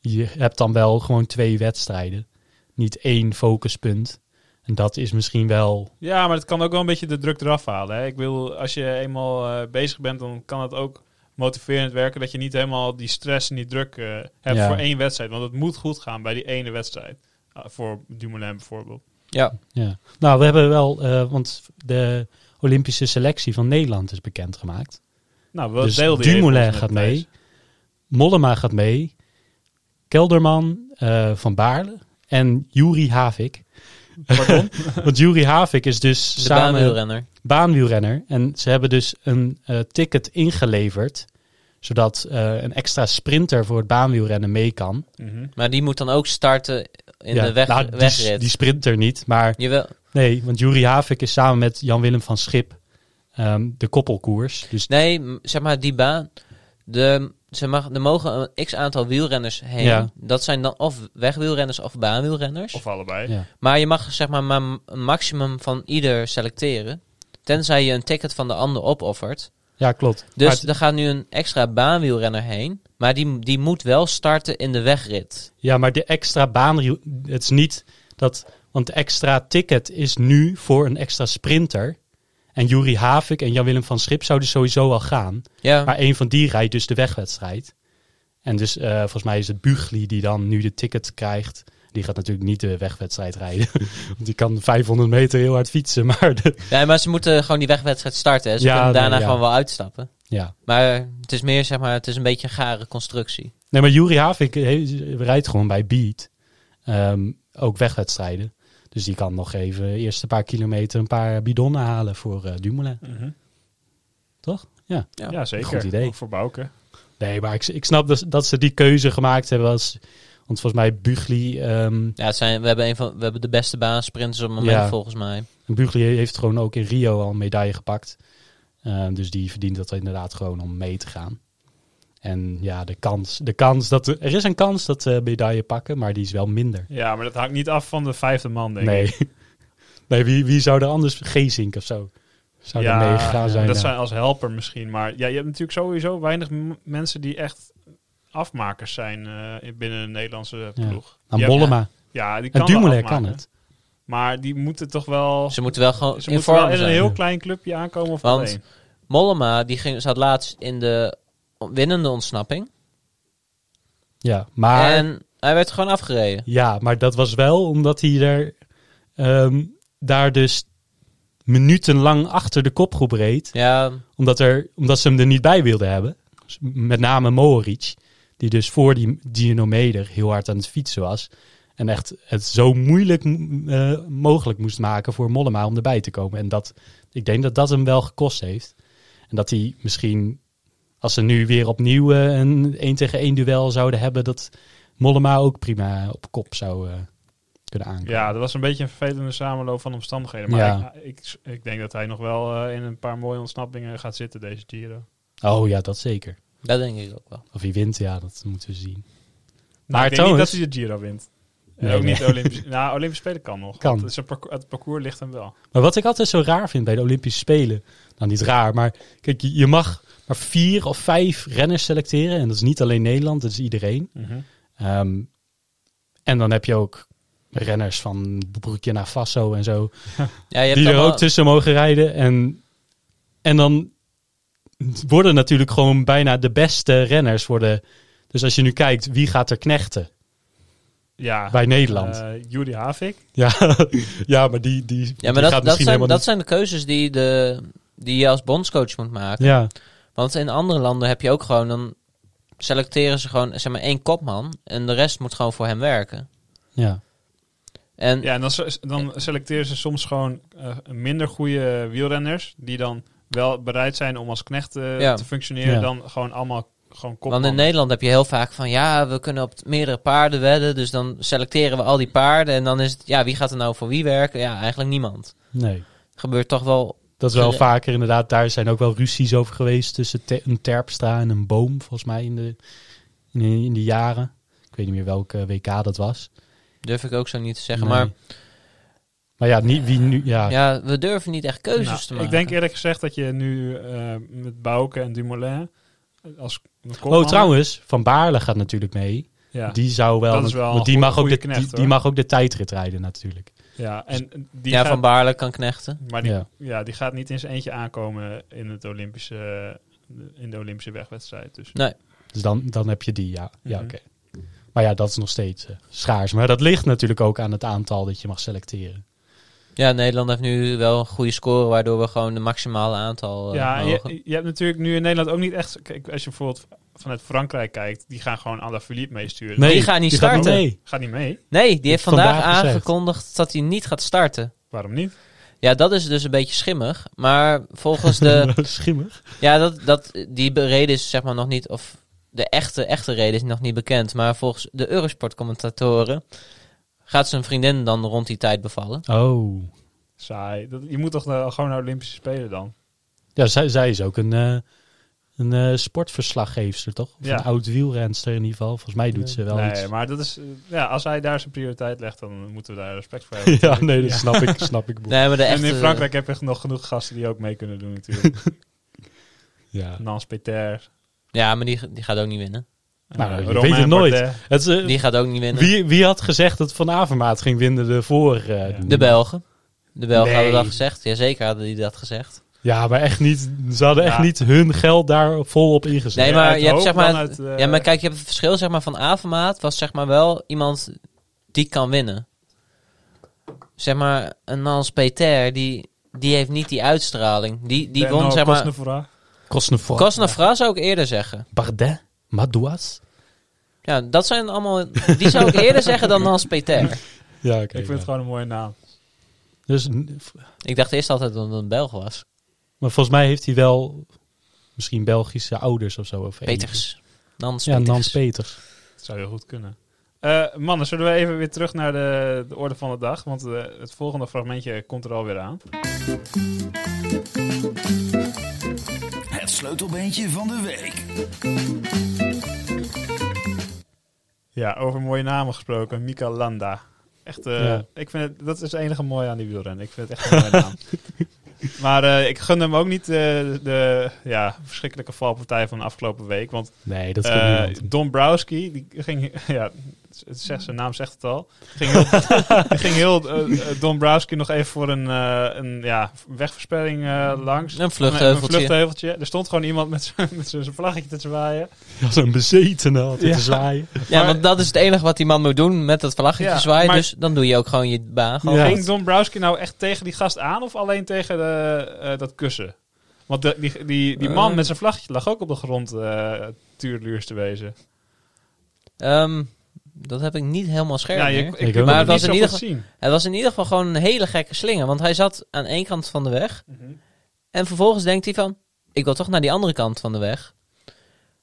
[SPEAKER 3] je hebt dan wel gewoon twee wedstrijden. Niet één focuspunt. En dat is misschien wel
[SPEAKER 1] Ja, maar het kan ook wel een beetje de druk eraf halen. Hè? Ik wil, als je eenmaal eh, bezig bent, dan kan het ook motiverend werken dat je niet helemaal die stress en die druk eh, hebt
[SPEAKER 3] Ja.
[SPEAKER 1] voor één wedstrijd. Want het moet goed gaan bij die ene wedstrijd. Ah, voor Dumoulin bijvoorbeeld.
[SPEAKER 2] Ja,
[SPEAKER 3] Ja. Nou, we hebben wel, eh, want de Olympische selectie van Nederland is bekendgemaakt.
[SPEAKER 1] Nou, wel
[SPEAKER 3] Dus
[SPEAKER 1] deel die
[SPEAKER 3] Dumoulin
[SPEAKER 1] regels met
[SPEAKER 3] gaat
[SPEAKER 1] Thijs.
[SPEAKER 3] mee. Mollema gaat mee. Kelderman, eh, Van Baarle en Juri Havik.
[SPEAKER 1] Pardon?
[SPEAKER 3] Want Juri Havik is dus
[SPEAKER 2] de
[SPEAKER 3] samen
[SPEAKER 2] baanwielrenner.
[SPEAKER 3] baanwielrenner. En ze hebben dus een eh, ticket ingeleverd. Zodat eh, een extra sprinter voor het baanwielrennen mee kan.
[SPEAKER 1] Mhm.
[SPEAKER 2] Maar die moet dan ook starten in
[SPEAKER 3] Ja,
[SPEAKER 2] de weg,
[SPEAKER 3] nou, die,
[SPEAKER 2] wegrit.
[SPEAKER 3] die sprinter niet. Maar
[SPEAKER 2] Jawel.
[SPEAKER 3] nee, want Juri Havik is samen met Jan-Willem van Schip ehm, de koppelkoers. Dus
[SPEAKER 2] Nee, m- zeg maar die baan. De, ze mag, er mogen een x aantal wielrenners heen.
[SPEAKER 3] Ja.
[SPEAKER 2] Dat zijn dan of wegwielrenners of baanwielrenners.
[SPEAKER 1] Of allebei.
[SPEAKER 3] ja.
[SPEAKER 2] Maar je mag zeg maar, maar een maximum van ieder selecteren. Tenzij je een ticket van de ander opoffert.
[SPEAKER 3] ja, klopt. Maar
[SPEAKER 2] Dus
[SPEAKER 3] het-
[SPEAKER 2] er gaat nu een extra baanwielrenner heen. Maar die, die moet wel starten in de wegrit.
[SPEAKER 3] Ja, maar de extra baan, het is niet dat, want de extra ticket is nu voor een extra sprinter. En Juri Havik en Jan-Willem van Schip zouden sowieso al gaan.
[SPEAKER 2] Ja,
[SPEAKER 3] Maar een van die rijdt dus de wegwedstrijd. En dus eh, volgens mij is het Bugli die dan nu de ticket krijgt. Die gaat natuurlijk niet de wegwedstrijd rijden. Want die kan 500 meter heel hard fietsen. Maar de-
[SPEAKER 2] nee, maar ze moeten gewoon die wegwedstrijd starten. Hè. Ze
[SPEAKER 3] Ja,
[SPEAKER 2] kunnen daarna
[SPEAKER 3] nee, ja.
[SPEAKER 2] gewoon wel uitstappen.
[SPEAKER 3] ja.
[SPEAKER 2] Maar het is meer, zeg maar, het is een beetje een gare constructie.
[SPEAKER 3] Nee, maar Juri Havik he- rijdt gewoon bij Beat. Ehm, ook wegwedstrijden. Dus die kan nog even eerst een paar kilometer een paar bidonnen halen voor eh, Dumoulin.
[SPEAKER 1] Mhm.
[SPEAKER 3] Toch? Ja.
[SPEAKER 1] Ja, zeker.
[SPEAKER 3] Goed idee.
[SPEAKER 1] Ook voor Bouke.
[SPEAKER 3] Nee, maar ik, ik snap dus dat, dat ze die keuze gemaakt hebben. Als, want volgens mij Bugli, ehm
[SPEAKER 2] Ja, het zijn, we, hebben een van, we hebben de beste baansprinters op het moment,
[SPEAKER 3] Ja.
[SPEAKER 2] volgens mij.
[SPEAKER 3] Bugli heeft gewoon ook in Rio al een medaille gepakt. Ehm, dus die verdient dat inderdaad gewoon om mee te gaan. En ja, de kans, de kans dat er, er is een kans dat ze medaille pakken, maar die is wel minder.
[SPEAKER 1] Ja, maar dat hangt niet af van de vijfde man, denk ik.
[SPEAKER 3] Nee. nee wie, wie zou er anders? Geesink of zo. Zou er
[SPEAKER 1] ja,
[SPEAKER 3] meegegaan zijn? eh,
[SPEAKER 1] dat
[SPEAKER 3] ja.
[SPEAKER 1] zijn als helper misschien. Maar ja, je hebt natuurlijk sowieso weinig m- mensen die echt afmakers zijn eh, in- binnen de Nederlandse
[SPEAKER 3] Ja.
[SPEAKER 1] ploeg.
[SPEAKER 3] Nou,
[SPEAKER 1] Je hebt-
[SPEAKER 3] Bollema.
[SPEAKER 1] Ja, die kan
[SPEAKER 3] En
[SPEAKER 1] wel
[SPEAKER 3] Dumoulin
[SPEAKER 1] afmaken.
[SPEAKER 3] kan het.
[SPEAKER 1] Maar die moeten toch wel...
[SPEAKER 2] Ze moeten wel gewoon
[SPEAKER 1] Ze
[SPEAKER 2] in
[SPEAKER 1] moeten wel
[SPEAKER 2] vorm
[SPEAKER 1] in een
[SPEAKER 2] zijn.
[SPEAKER 1] heel klein clubje aankomen of
[SPEAKER 2] Want-
[SPEAKER 1] alleen.
[SPEAKER 2] Mollema, die ging, zat laatst in de winnende ontsnapping.
[SPEAKER 3] Ja, maar,
[SPEAKER 2] En hij werd gewoon afgereden.
[SPEAKER 3] ja, maar dat was wel omdat hij er, ehm, daar dus minutenlang achter de kopgroep reed.
[SPEAKER 2] Ja,
[SPEAKER 3] Omdat, er, omdat ze hem er niet bij wilden hebben. Dus Met name Mohoric. Die dus voor die dynamometer heel hard aan het fietsen was. En echt het zo moeilijk m- eh, mogelijk moest maken voor Mollema om erbij te komen. En dat, ik denk dat dat hem wel gekost heeft. En dat hij misschien, als ze nu weer opnieuw eh, een 1 tegen 1 duel zouden hebben, dat Mollema ook prima op kop zou eh, kunnen aankomen.
[SPEAKER 1] Ja, dat was een beetje een vervelende samenloop van omstandigheden. Maar
[SPEAKER 3] Ja.
[SPEAKER 1] ik, ik, ik denk dat hij nog wel eh, in een paar mooie ontsnappingen gaat zitten deze Giro. Nou,
[SPEAKER 3] Oh ja, dat zeker.
[SPEAKER 2] dat denk ik ook wel.
[SPEAKER 3] Of hij wint, ja, dat moeten we zien.
[SPEAKER 1] Nou, ik
[SPEAKER 3] Maar
[SPEAKER 1] denk niet
[SPEAKER 3] trouwens-
[SPEAKER 1] dat hij de Giro wint. En
[SPEAKER 3] Nee,
[SPEAKER 1] ook
[SPEAKER 3] nee.
[SPEAKER 1] niet de Olympische... nou, Olympische Spelen kan nog.
[SPEAKER 3] Kan.
[SPEAKER 1] want Het, is een parcours, het parcours ligt hem wel.
[SPEAKER 3] Maar wat ik altijd zo raar vind bij de Olympische Spelen. Nou, niet raar, maar kijk, je je mag maar vier of vijf renners selecteren. En dat is niet alleen Nederland, dat is iedereen.
[SPEAKER 2] Mhm.
[SPEAKER 3] Ehm, en dan heb je ook renners van Burkina Faso en zo.
[SPEAKER 2] Ja, je hebt
[SPEAKER 3] Die er
[SPEAKER 2] allemaal-
[SPEAKER 3] ook tussen mogen rijden. En, en dan worden natuurlijk gewoon bijna de beste renners worden. Dus als je nu kijkt, wie gaat er knechten
[SPEAKER 1] Ja.
[SPEAKER 3] bij Nederland?
[SPEAKER 1] Eh, Juri Havik.
[SPEAKER 2] Mm.
[SPEAKER 3] ja, ja, maar die, die, die
[SPEAKER 2] ja, maar
[SPEAKER 3] gaat
[SPEAKER 2] dat, dat,
[SPEAKER 3] misschien
[SPEAKER 2] zijn,
[SPEAKER 3] helemaal
[SPEAKER 2] dat zijn de keuzes die, de, die je als bondscoach moet maken.
[SPEAKER 3] niet- Ja,
[SPEAKER 2] Want in andere landen heb je ook gewoon, dan selecteren ze gewoon zeg maar één kopman. En de rest moet gewoon voor hem werken.
[SPEAKER 3] ja.
[SPEAKER 2] En
[SPEAKER 1] Ja, en dan, se- dan selecteren ze soms gewoon eh, minder goede wielrenners. Die dan wel bereid zijn om als knecht eh,
[SPEAKER 2] Ja.
[SPEAKER 1] te functioneren.
[SPEAKER 3] Ja.
[SPEAKER 1] Dan gewoon allemaal gewoon
[SPEAKER 2] Want in
[SPEAKER 1] kopmannen.
[SPEAKER 2] Nederland heb je heel vaak van ja, we kunnen op t- meerdere paarden wedden. Dus dan selecteren we al die paarden. En dan is het ja, wie gaat er nou voor wie werken? Ja, eigenlijk niemand.
[SPEAKER 3] Nee.
[SPEAKER 2] Gebeurt toch wel.
[SPEAKER 3] Dat is wel
[SPEAKER 2] Gere-
[SPEAKER 3] vaker inderdaad. Daar zijn ook wel ruzies over geweest tussen te- een terpstra en een boom, volgens mij, in de, in, de- in de jaren. Ik weet niet meer welke WK dat was.
[SPEAKER 2] Durf ik ook zo niet te zeggen.
[SPEAKER 3] Nee.
[SPEAKER 2] Maar
[SPEAKER 3] Maar ja, niet, wie nu... Ja, ja.
[SPEAKER 2] ja, we durven niet echt keuzes
[SPEAKER 1] Nou,
[SPEAKER 2] te maken.
[SPEAKER 1] Ik denk eerlijk gezegd dat je nu eh, met Bouke en Dumoulin als
[SPEAKER 3] Oh,
[SPEAKER 1] kopmannen-
[SPEAKER 3] trouwens, Van Baarle gaat natuurlijk mee.
[SPEAKER 1] Ja,
[SPEAKER 3] Die zou wel...
[SPEAKER 1] Dat is wel
[SPEAKER 3] want die,
[SPEAKER 1] een
[SPEAKER 3] mag ook
[SPEAKER 1] goede
[SPEAKER 3] de,
[SPEAKER 1] knecht,
[SPEAKER 3] die, die
[SPEAKER 1] hoor.
[SPEAKER 3] mag ook de tijdrit rijden natuurlijk.
[SPEAKER 1] ja en die
[SPEAKER 2] ja,
[SPEAKER 1] gaat,
[SPEAKER 2] Van Baarle kan knechten.
[SPEAKER 1] maar die, ja.
[SPEAKER 3] Ja.
[SPEAKER 1] die gaat niet in zijn eentje aankomen in, het eh,
[SPEAKER 3] Nou,
[SPEAKER 1] Olympische, in de Olympische wegwedstrijd. Dus.
[SPEAKER 2] Nee.
[SPEAKER 3] Dus dan, dan heb je die, ja. Ja,
[SPEAKER 1] Mhm.
[SPEAKER 3] oké. Maar ja, dat is nog steeds eh, schaars. Maar dat ligt natuurlijk ook aan het aantal dat je mag selecteren.
[SPEAKER 2] Ja, Nederland heeft nu wel een goede score, waardoor we gewoon de maximale aantal eh,
[SPEAKER 1] Ja, en
[SPEAKER 2] mogen.
[SPEAKER 1] je, je hebt natuurlijk nu in Nederland ook niet echt... Kijk, als je bijvoorbeeld vanuit Frankrijk kijkt, die gaan gewoon aan de Philippe meesturen.
[SPEAKER 2] Nee. die gaat
[SPEAKER 3] gaat
[SPEAKER 2] niet starten.
[SPEAKER 3] mee.
[SPEAKER 1] Gaat niet mee.
[SPEAKER 2] Nee, die heeft
[SPEAKER 3] Heeft vandaag
[SPEAKER 2] vandaag,
[SPEAKER 3] gezegd.
[SPEAKER 2] aangekondigd dat hij niet gaat starten.
[SPEAKER 1] Waarom niet?
[SPEAKER 2] Ja, dat is dus een beetje schimmig. Maar volgens de.
[SPEAKER 3] Schimmig.
[SPEAKER 2] ja, dat, dat, die be- reden is zeg maar nog niet. Of de echte, echte reden is nog niet bekend. Maar volgens de Eurosport-commentatoren. gaat zijn vriendin dan rond die tijd bevallen.
[SPEAKER 3] Oh.
[SPEAKER 1] Saai. Dat, je moet toch eh, gewoon naar Olympische Spelen dan?
[SPEAKER 3] Ja, zij, zij is ook een, eh, een eh, sportverslaggeefster, toch? Of
[SPEAKER 1] Ja.
[SPEAKER 3] een oud wielrenster in ieder geval. Volgens mij doet ze wel
[SPEAKER 1] nee,
[SPEAKER 3] iets.
[SPEAKER 1] maar dat is... eh, ja, als hij daar zijn prioriteit legt, dan moeten we daar respect voor hebben.
[SPEAKER 3] Ja, nee, dat snap ik. Snap ik
[SPEAKER 2] Nee, maar de
[SPEAKER 1] En
[SPEAKER 2] echte,
[SPEAKER 3] eh,
[SPEAKER 1] in Frankrijk heb je nog genoeg gasten die ook mee kunnen doen natuurlijk.
[SPEAKER 3] ja.
[SPEAKER 1] Nans Peter.
[SPEAKER 2] Ja, maar die, die gaat ook niet winnen.
[SPEAKER 3] Nou,
[SPEAKER 1] eh,
[SPEAKER 3] je
[SPEAKER 1] Romain
[SPEAKER 3] weet het nooit.
[SPEAKER 1] Bardet.
[SPEAKER 3] Het, is, eh,
[SPEAKER 2] Die gaat ook niet winnen.
[SPEAKER 3] wie, wie had gezegd dat Van Avermaat ging winnen de vorige? eh,
[SPEAKER 1] Ja.
[SPEAKER 2] De Belgen. De Belgen
[SPEAKER 3] Nee.
[SPEAKER 2] hadden dat gezegd. Jazeker hadden die dat gezegd.
[SPEAKER 3] Ja, maar echt niet. Ze hadden echt
[SPEAKER 1] Ja.
[SPEAKER 3] niet hun geld daar vol op ingezet.
[SPEAKER 2] Nee,
[SPEAKER 1] Ja,
[SPEAKER 2] maar
[SPEAKER 1] uit
[SPEAKER 2] je hebt
[SPEAKER 1] hoop
[SPEAKER 2] zeg
[SPEAKER 1] dan
[SPEAKER 2] maar.
[SPEAKER 1] uit, eh,
[SPEAKER 2] ja, maar kijk, je hebt het verschil zeg maar van Avermaat was zeg maar wel iemand die kan winnen. Zeg maar een Nans Peter die die heeft niet die uitstraling. Die die
[SPEAKER 1] Bernard
[SPEAKER 2] won zeg maar.
[SPEAKER 1] Cosnefroid.
[SPEAKER 3] Kostnevo.
[SPEAKER 2] Kosnefra zou ik eerder zeggen.
[SPEAKER 3] Bardet. Madouas.
[SPEAKER 2] Ja, dat zijn allemaal. Die zou ik eerder zeggen dan Nans Peter.
[SPEAKER 3] Ja, oké.
[SPEAKER 1] Ik vind
[SPEAKER 3] ja.
[SPEAKER 1] het gewoon een mooie naam.
[SPEAKER 3] Dus, n- v-
[SPEAKER 2] Ik dacht eerst altijd dat het een Belg was.
[SPEAKER 3] maar volgens mij heeft hij wel misschien Belgische ouders of zo. Of
[SPEAKER 2] Peters. Nans
[SPEAKER 3] Ja,
[SPEAKER 2] Peters.
[SPEAKER 3] Nans Peters.
[SPEAKER 1] Dat zou heel goed kunnen. Eh, mannen, zullen we even weer terug naar de, de orde van de dag? Want eh, het volgende fragmentje komt er alweer aan.
[SPEAKER 6] Het sleutelbeentje van de week.
[SPEAKER 1] Ja, over mooie namen gesproken. Mika Landa. Echt, eh,
[SPEAKER 3] Ja.
[SPEAKER 1] ik vind het, dat is het enige mooie aan die wielrennen. Ik vind het echt een mooie naam. Maar eh, ik gun hem ook niet eh, de ja, verschrikkelijke valpartij van de afgelopen week. Want
[SPEAKER 3] Nee, dat
[SPEAKER 1] Eh,
[SPEAKER 3] kan niet.
[SPEAKER 1] Dombrowski, die ging, ja, het zegt, zijn naam zegt het al. Ging heel, ging heel eh, eh, Dombrowski nog even voor een, eh, een ja, wegversperring eh, langs.
[SPEAKER 2] Een vluchtheuveltje.
[SPEAKER 1] Een vluchtheuveltje. Er stond gewoon iemand met zijn- met zijn vlaggetje te zwaaien.
[SPEAKER 3] Ja, zo'n bezetene altijd
[SPEAKER 1] Ja.
[SPEAKER 3] te zwaaien.
[SPEAKER 2] Ja,
[SPEAKER 1] Maar-
[SPEAKER 2] want dat is het enige wat die man moet doen met dat vlaggetje
[SPEAKER 1] Ja,
[SPEAKER 2] zwaaien.
[SPEAKER 1] maar-
[SPEAKER 2] Dus dan doe je ook gewoon je baan. Gewoon
[SPEAKER 3] Ja.
[SPEAKER 2] goed.
[SPEAKER 1] Ging Dombrowski nou echt tegen die gast aan of alleen tegen de, eh, dat kussen? Want de- die, die, die man
[SPEAKER 2] Eh.
[SPEAKER 1] met zijn vlaggetje lag ook op de grond eh tuurluurs te wezen.
[SPEAKER 2] Ehm, dat heb ik niet helemaal scherp
[SPEAKER 1] Ja,
[SPEAKER 2] meer.
[SPEAKER 1] je, ik,
[SPEAKER 3] ook
[SPEAKER 1] kon
[SPEAKER 3] niet.
[SPEAKER 1] het
[SPEAKER 2] Maar
[SPEAKER 1] niet
[SPEAKER 2] het was
[SPEAKER 1] zo
[SPEAKER 2] in
[SPEAKER 1] goed
[SPEAKER 2] ieder
[SPEAKER 1] zien.
[SPEAKER 2] Het was in ieder geval gewoon een hele gekke slinger. Want hij zat aan één kant van de weg.
[SPEAKER 1] Mhm.
[SPEAKER 2] En vervolgens denkt hij van... Ik wil toch naar die andere kant van de weg.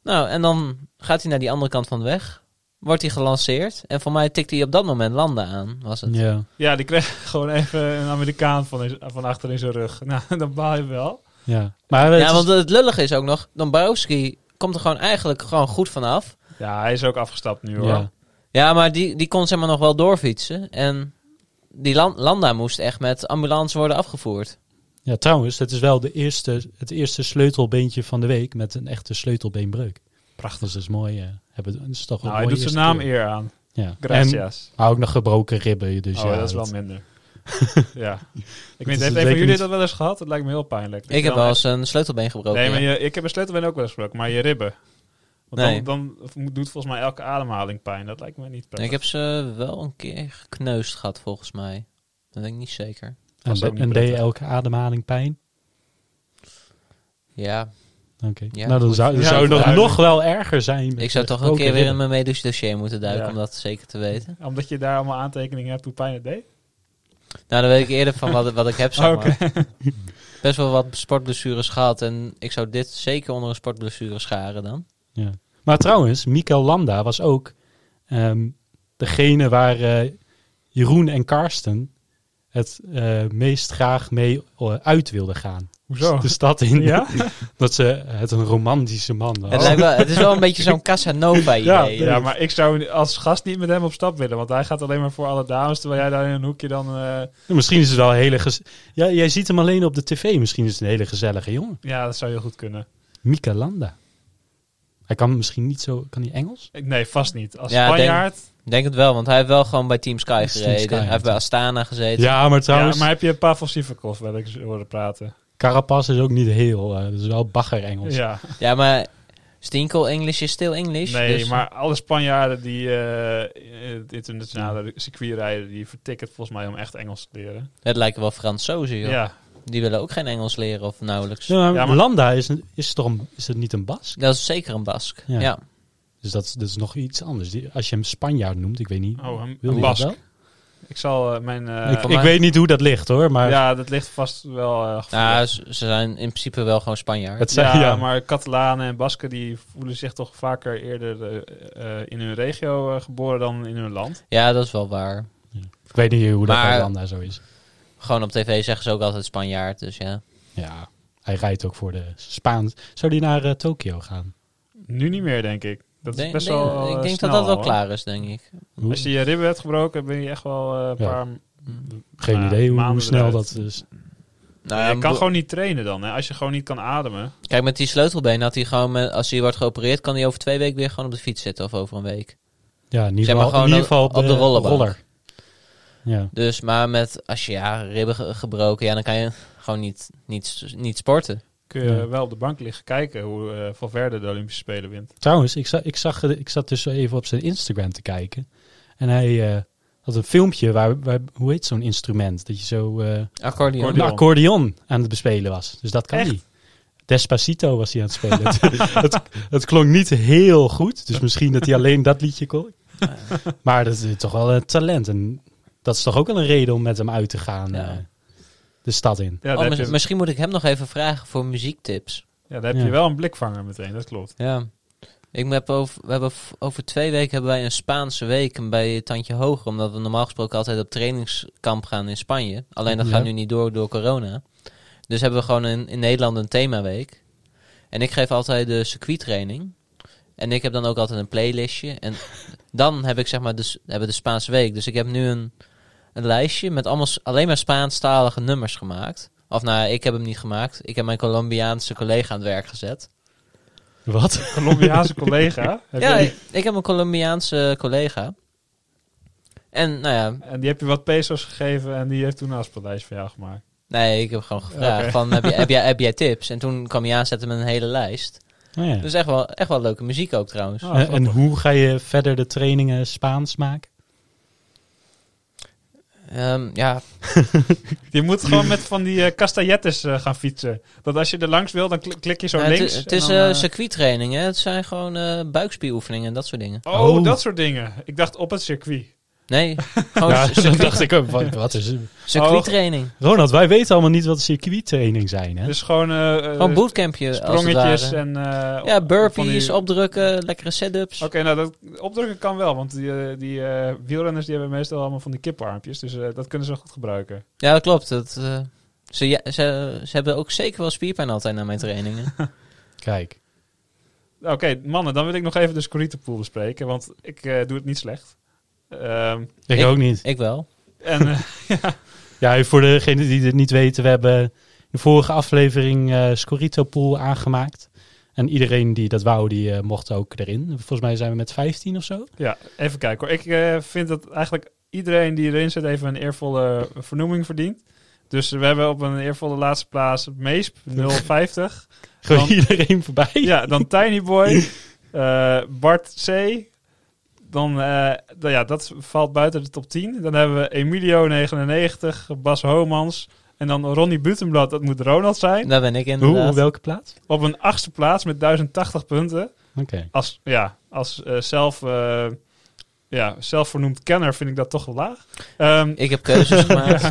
[SPEAKER 2] Nou, en dan gaat hij naar die andere kant van de weg. Wordt hij gelanceerd. En voor mij tikt hij op dat moment landen aan, was het.
[SPEAKER 3] Ja.
[SPEAKER 1] Ja, die kreeg gewoon even een Amerikaan van, in- van achter in zijn rug. Nou, dan baal je wel.
[SPEAKER 3] ja. Maar het
[SPEAKER 2] Ja,
[SPEAKER 3] is-
[SPEAKER 2] want het lullige is ook nog... Dombrowski komt er gewoon eigenlijk gewoon goed vanaf.
[SPEAKER 1] Ja, hij is ook afgestapt nu hoor.
[SPEAKER 3] ja.
[SPEAKER 2] Ja, maar die, die kon zeg maar nog wel doorfietsen. En die Lan- Landa moest echt met ambulance worden afgevoerd.
[SPEAKER 3] ja, trouwens, het is wel de eerste, het eerste sleutelbeentje van de week met een echte sleutelbeenbreuk. Prachtig. Dus dat is mooi. eh, hebben, dat is toch
[SPEAKER 1] Nou,
[SPEAKER 3] een
[SPEAKER 1] hij
[SPEAKER 3] mooie
[SPEAKER 1] doet zijn
[SPEAKER 3] eerste
[SPEAKER 1] naam
[SPEAKER 3] keer.
[SPEAKER 1] eer aan.
[SPEAKER 3] Ja. En,
[SPEAKER 1] Gracias.
[SPEAKER 3] maar ook nog gebroken ribben. Dus
[SPEAKER 1] oh,
[SPEAKER 3] ja,
[SPEAKER 1] dat is wel
[SPEAKER 3] dat-
[SPEAKER 1] minder. ja. Ik
[SPEAKER 3] is
[SPEAKER 1] weet, heeft een
[SPEAKER 3] zeker
[SPEAKER 1] van jullie
[SPEAKER 3] niet-
[SPEAKER 1] dat wel eens gehad? Dat lijkt me heel pijnlijk. Dat
[SPEAKER 2] Ik
[SPEAKER 1] je
[SPEAKER 2] heb
[SPEAKER 1] dan
[SPEAKER 2] wel eens een sleutelbeen
[SPEAKER 1] echt-
[SPEAKER 2] gebroken.
[SPEAKER 1] Nee,
[SPEAKER 2] ja.
[SPEAKER 1] maar je, ik heb een sleutelbeen ook wel eens gebroken, maar je ribben. Want
[SPEAKER 2] Nee.
[SPEAKER 1] dan, dan doet volgens mij elke ademhaling pijn. Dat lijkt me niet
[SPEAKER 2] Nee,
[SPEAKER 1] prettig.
[SPEAKER 2] ik heb ze wel een keer gekneusd gehad, volgens mij. Dat weet ik niet zeker.
[SPEAKER 1] Dat is ook
[SPEAKER 3] En,
[SPEAKER 1] niet
[SPEAKER 3] en deed je
[SPEAKER 1] prettig.
[SPEAKER 3] elke ademhaling pijn?
[SPEAKER 2] Ja,
[SPEAKER 3] Oké.
[SPEAKER 2] Ja,
[SPEAKER 3] nou, dan
[SPEAKER 2] goed.
[SPEAKER 3] zou, dan
[SPEAKER 1] Ja,
[SPEAKER 3] zou het nog,
[SPEAKER 1] duidelijk.
[SPEAKER 3] nog wel erger zijn. met
[SPEAKER 2] ik zou
[SPEAKER 3] de
[SPEAKER 2] toch een keer weer in
[SPEAKER 3] gebroken
[SPEAKER 2] mijn medisch dossier moeten duiken
[SPEAKER 1] Ja.
[SPEAKER 2] om dat zeker te weten.
[SPEAKER 1] Omdat je daar allemaal aantekeningen hebt hoe pijn het deed?
[SPEAKER 2] Nou, dan weet ik eerder van wat, wat ik heb, zeg maar.
[SPEAKER 1] Oké.
[SPEAKER 2] Best wel wat sportblessures gehad en ik zou dit zeker onder een sportblessure scharen dan.
[SPEAKER 3] ribben. Ja. Maar trouwens, Mikael Landa was ook ehm, degene waar eh, Jeroen en Karsten het eh, meest graag mee eh, uit wilden gaan.
[SPEAKER 1] Hoezo?
[SPEAKER 3] De stad in.
[SPEAKER 1] Ja?
[SPEAKER 3] dat ze het een romantische man was.
[SPEAKER 2] Het, lijkt wel, het is wel een beetje zo'n Casanova-idee.
[SPEAKER 1] Oh. Ja, maar ik zou als gast niet met hem op stap willen. Want hij gaat alleen maar voor alle dames. Terwijl jij daar in een hoekje dan... eh,
[SPEAKER 3] Misschien is het wel een hele... gez- Ja, jij ziet hem alleen op de tv. Misschien is het een hele gezellige jongen.
[SPEAKER 1] ja, dat zou heel goed kunnen.
[SPEAKER 3] Mika Landa. Hij kan misschien niet zo... Kan hij Engels?
[SPEAKER 1] Ik- Nee, vast niet. Als
[SPEAKER 2] Ja,
[SPEAKER 1] Spanjaard.
[SPEAKER 2] Ik denk het wel, want hij heeft wel gewoon bij Team Sky
[SPEAKER 3] Team
[SPEAKER 2] gereden.
[SPEAKER 3] Sky,
[SPEAKER 2] hij
[SPEAKER 3] ja.
[SPEAKER 2] heeft bij Astana gezeten.
[SPEAKER 3] Ja, maar trouwens,
[SPEAKER 1] Ja, maar heb je Pavel Sivakov wel eens horen praten?
[SPEAKER 3] Carapaz is ook niet heel. eh, dat is wel bagger Engels.
[SPEAKER 1] Ja.
[SPEAKER 2] Ja, maar Stinkel English is still English.
[SPEAKER 1] Nee,
[SPEAKER 2] dus-
[SPEAKER 1] maar alle Spanjaarden die eh, in het internationale circuit rijden, die vertikken het volgens mij om echt Engels te leren.
[SPEAKER 2] Het lijken wel Fransozen, joh.
[SPEAKER 1] Ja,
[SPEAKER 2] Die willen ook geen Engels leren of nauwelijks.
[SPEAKER 3] Ja, maar
[SPEAKER 1] Ja, maar-
[SPEAKER 3] Landa is, een- is, toch een- is het niet een Bas?
[SPEAKER 2] Dat is zeker een Bask.
[SPEAKER 3] Ja.
[SPEAKER 2] Ja.
[SPEAKER 3] Dus dat is, dat is nog iets anders. Die- Als je hem Spanjaard noemt, ik weet niet.
[SPEAKER 1] Oh, een-
[SPEAKER 3] wil
[SPEAKER 1] een
[SPEAKER 3] je dat
[SPEAKER 1] Bask.
[SPEAKER 3] wel?
[SPEAKER 1] ik zal eh, mijn... eh,
[SPEAKER 3] ik
[SPEAKER 2] voor
[SPEAKER 3] ik
[SPEAKER 2] mij-
[SPEAKER 3] weet niet hoe dat ligt hoor, maar
[SPEAKER 1] ja, dat ligt vast wel... eh, gevoelig.
[SPEAKER 2] Nou, ze ze zijn in principe wel gewoon Spanjaard.
[SPEAKER 3] het zijn,
[SPEAKER 1] ja,
[SPEAKER 3] ja,
[SPEAKER 1] maar Catalanen en Basken die voelen zich toch vaker eerder eh, eh, in hun regio eh, geboren dan in hun land.
[SPEAKER 2] Ja, dat is wel waar.
[SPEAKER 3] ik weet niet hoe dat
[SPEAKER 2] Maar-
[SPEAKER 3] bij Landa zo is.
[SPEAKER 2] Gewoon op tv zeggen ze ook altijd Spanjaard, dus ja.
[SPEAKER 3] Ja, hij rijdt ook voor de Spaans. Zou die naar eh, Tokio gaan?
[SPEAKER 1] Nu niet meer, denk ik. Dat is
[SPEAKER 2] Denk-
[SPEAKER 1] best
[SPEAKER 2] denk-
[SPEAKER 1] wel. eh,
[SPEAKER 2] ik denk
[SPEAKER 1] snel
[SPEAKER 2] dat dat wel
[SPEAKER 1] al,
[SPEAKER 2] klaar is, Nou denk ik.
[SPEAKER 1] hoor.
[SPEAKER 3] Hoe-
[SPEAKER 1] Als je je ribben hebt gebroken, ben je echt wel eh, een
[SPEAKER 3] Ja.
[SPEAKER 1] paar.
[SPEAKER 3] geen
[SPEAKER 1] nou,
[SPEAKER 3] idee hoe, hoe
[SPEAKER 1] maanden
[SPEAKER 3] snel
[SPEAKER 1] eruit.
[SPEAKER 3] dat is.
[SPEAKER 2] Nou,
[SPEAKER 1] je kan
[SPEAKER 2] bo-
[SPEAKER 1] gewoon niet trainen dan. Hè? Als je gewoon niet kan ademen.
[SPEAKER 2] Kijk, met die sleutelbeen had hij gewoon, met, als hij wordt geopereerd, kan hij over twee weken weer gewoon op de fiets zitten of over een week.
[SPEAKER 3] Ja, in ieder
[SPEAKER 2] Zeg maar
[SPEAKER 3] geval, in
[SPEAKER 2] gewoon
[SPEAKER 3] ieder
[SPEAKER 2] op-
[SPEAKER 3] geval op,
[SPEAKER 2] op
[SPEAKER 3] de
[SPEAKER 2] de rollenbank.
[SPEAKER 3] roller. Ja.
[SPEAKER 2] Dus, maar met, als je ja, ribben ge- gebroken, ja, dan kan je gewoon niet, niet, niet sporten.
[SPEAKER 1] Kun je
[SPEAKER 3] Ja.
[SPEAKER 1] wel op de bank liggen kijken hoe eh Valverde de Olympische Spelen wint.
[SPEAKER 3] Trouwens, ik, za- ik, zag, ik zat dus even op zijn Instagram te kijken. En hij eh, had een filmpje waar, waar, hoe heet zo'n instrument? Dat je zo eh,
[SPEAKER 2] Accordeon.
[SPEAKER 1] Accordeon.
[SPEAKER 3] een accordeon aan het bespelen was. Dus dat kan
[SPEAKER 1] Echt?
[SPEAKER 3] niet. Despacito was hij aan het spelen. het, het, het klonk niet heel goed. Dus misschien dat hij alleen dat liedje kon. maar dat is toch wel een talent. En dat is toch ook wel een reden om met hem uit te gaan.
[SPEAKER 2] Ja.
[SPEAKER 3] eh, de stad in.
[SPEAKER 1] Ja, daar,
[SPEAKER 2] Oh,
[SPEAKER 1] heb,
[SPEAKER 2] mis-
[SPEAKER 1] je,
[SPEAKER 2] misschien moet ik hem nog even vragen voor muziektips.
[SPEAKER 1] ja, daar heb
[SPEAKER 3] Ja.
[SPEAKER 1] je wel een blikvanger meteen, dat klopt.
[SPEAKER 2] Ja. Ik heb over, we hebben v- over twee weken hebben wij een Spaanse week en bij Tandje Hoger. Omdat we normaal gesproken altijd op trainingskamp gaan in Spanje. Alleen dat
[SPEAKER 3] Ja.
[SPEAKER 2] gaat nu niet door door corona. Dus hebben we gewoon in, in Nederland een themaweek. En ik geef altijd de circuittraining. En ik heb dan ook altijd een playlistje. En dan heb ik zeg maar de, s- hebben de Spaanse week. Dus ik heb nu een, een lijstje met allemaal, s- alleen maar Spaanstalige nummers gemaakt. Of nou, ik heb hem niet gemaakt. Ik heb mijn Colombiaanse collega aan het werk gezet
[SPEAKER 3] Wat?
[SPEAKER 1] Colombiaanse collega. heb
[SPEAKER 2] ja,
[SPEAKER 1] je-
[SPEAKER 2] ik, ik heb een Colombiaanse collega. En nou ja,
[SPEAKER 1] En die heb je wat pesos gegeven en die heeft toen een afspeellijst voor jou gemaakt.
[SPEAKER 2] nee, ik heb gewoon gevraagd
[SPEAKER 1] Oké.
[SPEAKER 2] van, heb, jij, heb, jij, heb jij tips? En toen kwam hij aanzetten met een hele lijst.
[SPEAKER 3] Oh ja. Eh,
[SPEAKER 2] Dus echt wel, echt wel leuke muziek ook trouwens.
[SPEAKER 1] Ah,
[SPEAKER 3] En- en
[SPEAKER 1] grappig.
[SPEAKER 3] hoe ga je verder de trainingen Spaans maken?
[SPEAKER 2] Ehm, ja,
[SPEAKER 1] Je moet gewoon met van die eh castaillettes eh, gaan fietsen. Dat als je er langs wil, dan klik, klik je zo
[SPEAKER 2] nou, het,
[SPEAKER 1] links.
[SPEAKER 2] het
[SPEAKER 1] en
[SPEAKER 2] is
[SPEAKER 1] dan,
[SPEAKER 2] eh,
[SPEAKER 1] eh,
[SPEAKER 2] circuittraining, hè. Het zijn gewoon eh buikspieroefeningen en dat soort dingen.
[SPEAKER 1] Oh,
[SPEAKER 3] Oh.
[SPEAKER 1] dat soort dingen. Ik dacht op het circuit.
[SPEAKER 2] Nee, gewoon
[SPEAKER 3] ja,
[SPEAKER 2] c-
[SPEAKER 3] dat dacht ik ook. Wat, wat is
[SPEAKER 1] Oh.
[SPEAKER 2] circuittraining.
[SPEAKER 3] Ronald, wij weten allemaal niet wat circuittraining zijn, hè?
[SPEAKER 1] Dus gewoon, eh, eh,
[SPEAKER 2] Gewoon bootcampje, als het
[SPEAKER 1] sprongetjes
[SPEAKER 2] ware.
[SPEAKER 1] en... eh,
[SPEAKER 2] ja,
[SPEAKER 1] op- van
[SPEAKER 2] burpees,
[SPEAKER 1] die-
[SPEAKER 2] opdrukken, lekkere setups.
[SPEAKER 1] Oké, nou, dat opdrukken kan wel, want die, eh, die eh, wielrenners die hebben meestal allemaal van die kippenarmpjes, dus eh, dat kunnen ze wel goed gebruiken.
[SPEAKER 2] Ja, dat klopt. Dat, eh, ze, ja, ze, ze hebben ook zeker wel spierpijn altijd na mijn trainingen.
[SPEAKER 3] Kijk.
[SPEAKER 1] Oké, mannen, dan wil ik nog even de scorietenpool bespreken, want ik eh, doe het niet slecht. Ehm,
[SPEAKER 3] Ik,
[SPEAKER 2] Ik-
[SPEAKER 3] ook niet.
[SPEAKER 2] Ik wel.
[SPEAKER 1] en eh,
[SPEAKER 3] Ja, voor degenen die dit niet weten, we hebben in de vorige aflevering eh Scorito Pool aangemaakt. En iedereen die dat wou, die eh, mocht ook erin. Volgens mij zijn we met 15 of zo.
[SPEAKER 1] ja, even kijken hoor. Ik eh, vind dat eigenlijk iedereen die erin zit even een eervolle vernoeming verdient. Dus we hebben op een eervolle laatste plaats Meesp 050.
[SPEAKER 3] Gewoon
[SPEAKER 1] Dan-
[SPEAKER 3] iedereen voorbij.
[SPEAKER 1] Ja, dan Tiny Boy, eh, Bart C. Dan, eh, dan, ja, dat valt buiten de top 10. Dan hebben we Emilio 99, Bas Homans en dan Ronnie Butenblad. Dat moet Ronald zijn.
[SPEAKER 2] Daar ben ik
[SPEAKER 3] Hoe, op
[SPEAKER 2] inderdaad.
[SPEAKER 3] welke plaats?
[SPEAKER 1] Op een achtste plaats met 1080 punten.
[SPEAKER 3] Oké.
[SPEAKER 1] Als, ja, als eh, zelf, eh, ja, zelfvernoemd kenner vind ik dat toch wel laag. Ehm
[SPEAKER 2] Ik heb keuzes gemaakt.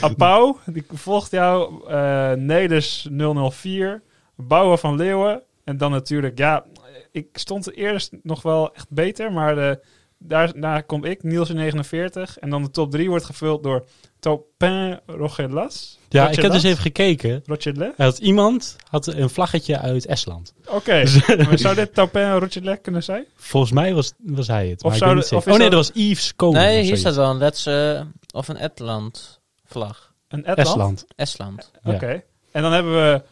[SPEAKER 1] Apau, die volgt jou. eh Nedes 004. Bouwen van Leeuwen. En dan natuurlijk, ja, ik stond eerst nog wel echt beter. Maar de, daarna kom ik, Niels 49. En dan de top 3 wordt gevuld door Topin Rogelas.
[SPEAKER 3] Ja, ik
[SPEAKER 1] Rogelas?
[SPEAKER 3] heb dus even gekeken.
[SPEAKER 1] Rogelas?
[SPEAKER 3] Er had iemand had een vlaggetje uit Estland.
[SPEAKER 1] Oké, maar zou dit Topin Rogelas kunnen zijn?
[SPEAKER 3] Volgens mij was, was hij het.
[SPEAKER 1] Of
[SPEAKER 3] maar ik
[SPEAKER 1] zou
[SPEAKER 3] weet niet
[SPEAKER 1] de-
[SPEAKER 3] zeker.
[SPEAKER 1] of is
[SPEAKER 3] oh nee,
[SPEAKER 1] dat-
[SPEAKER 3] dat was Yves Komen.
[SPEAKER 2] nee, hier staat wel een Letse of een Estland vlag.
[SPEAKER 1] Een Estland?
[SPEAKER 3] Estland.
[SPEAKER 2] Estland.
[SPEAKER 1] Oké. En dan hebben we,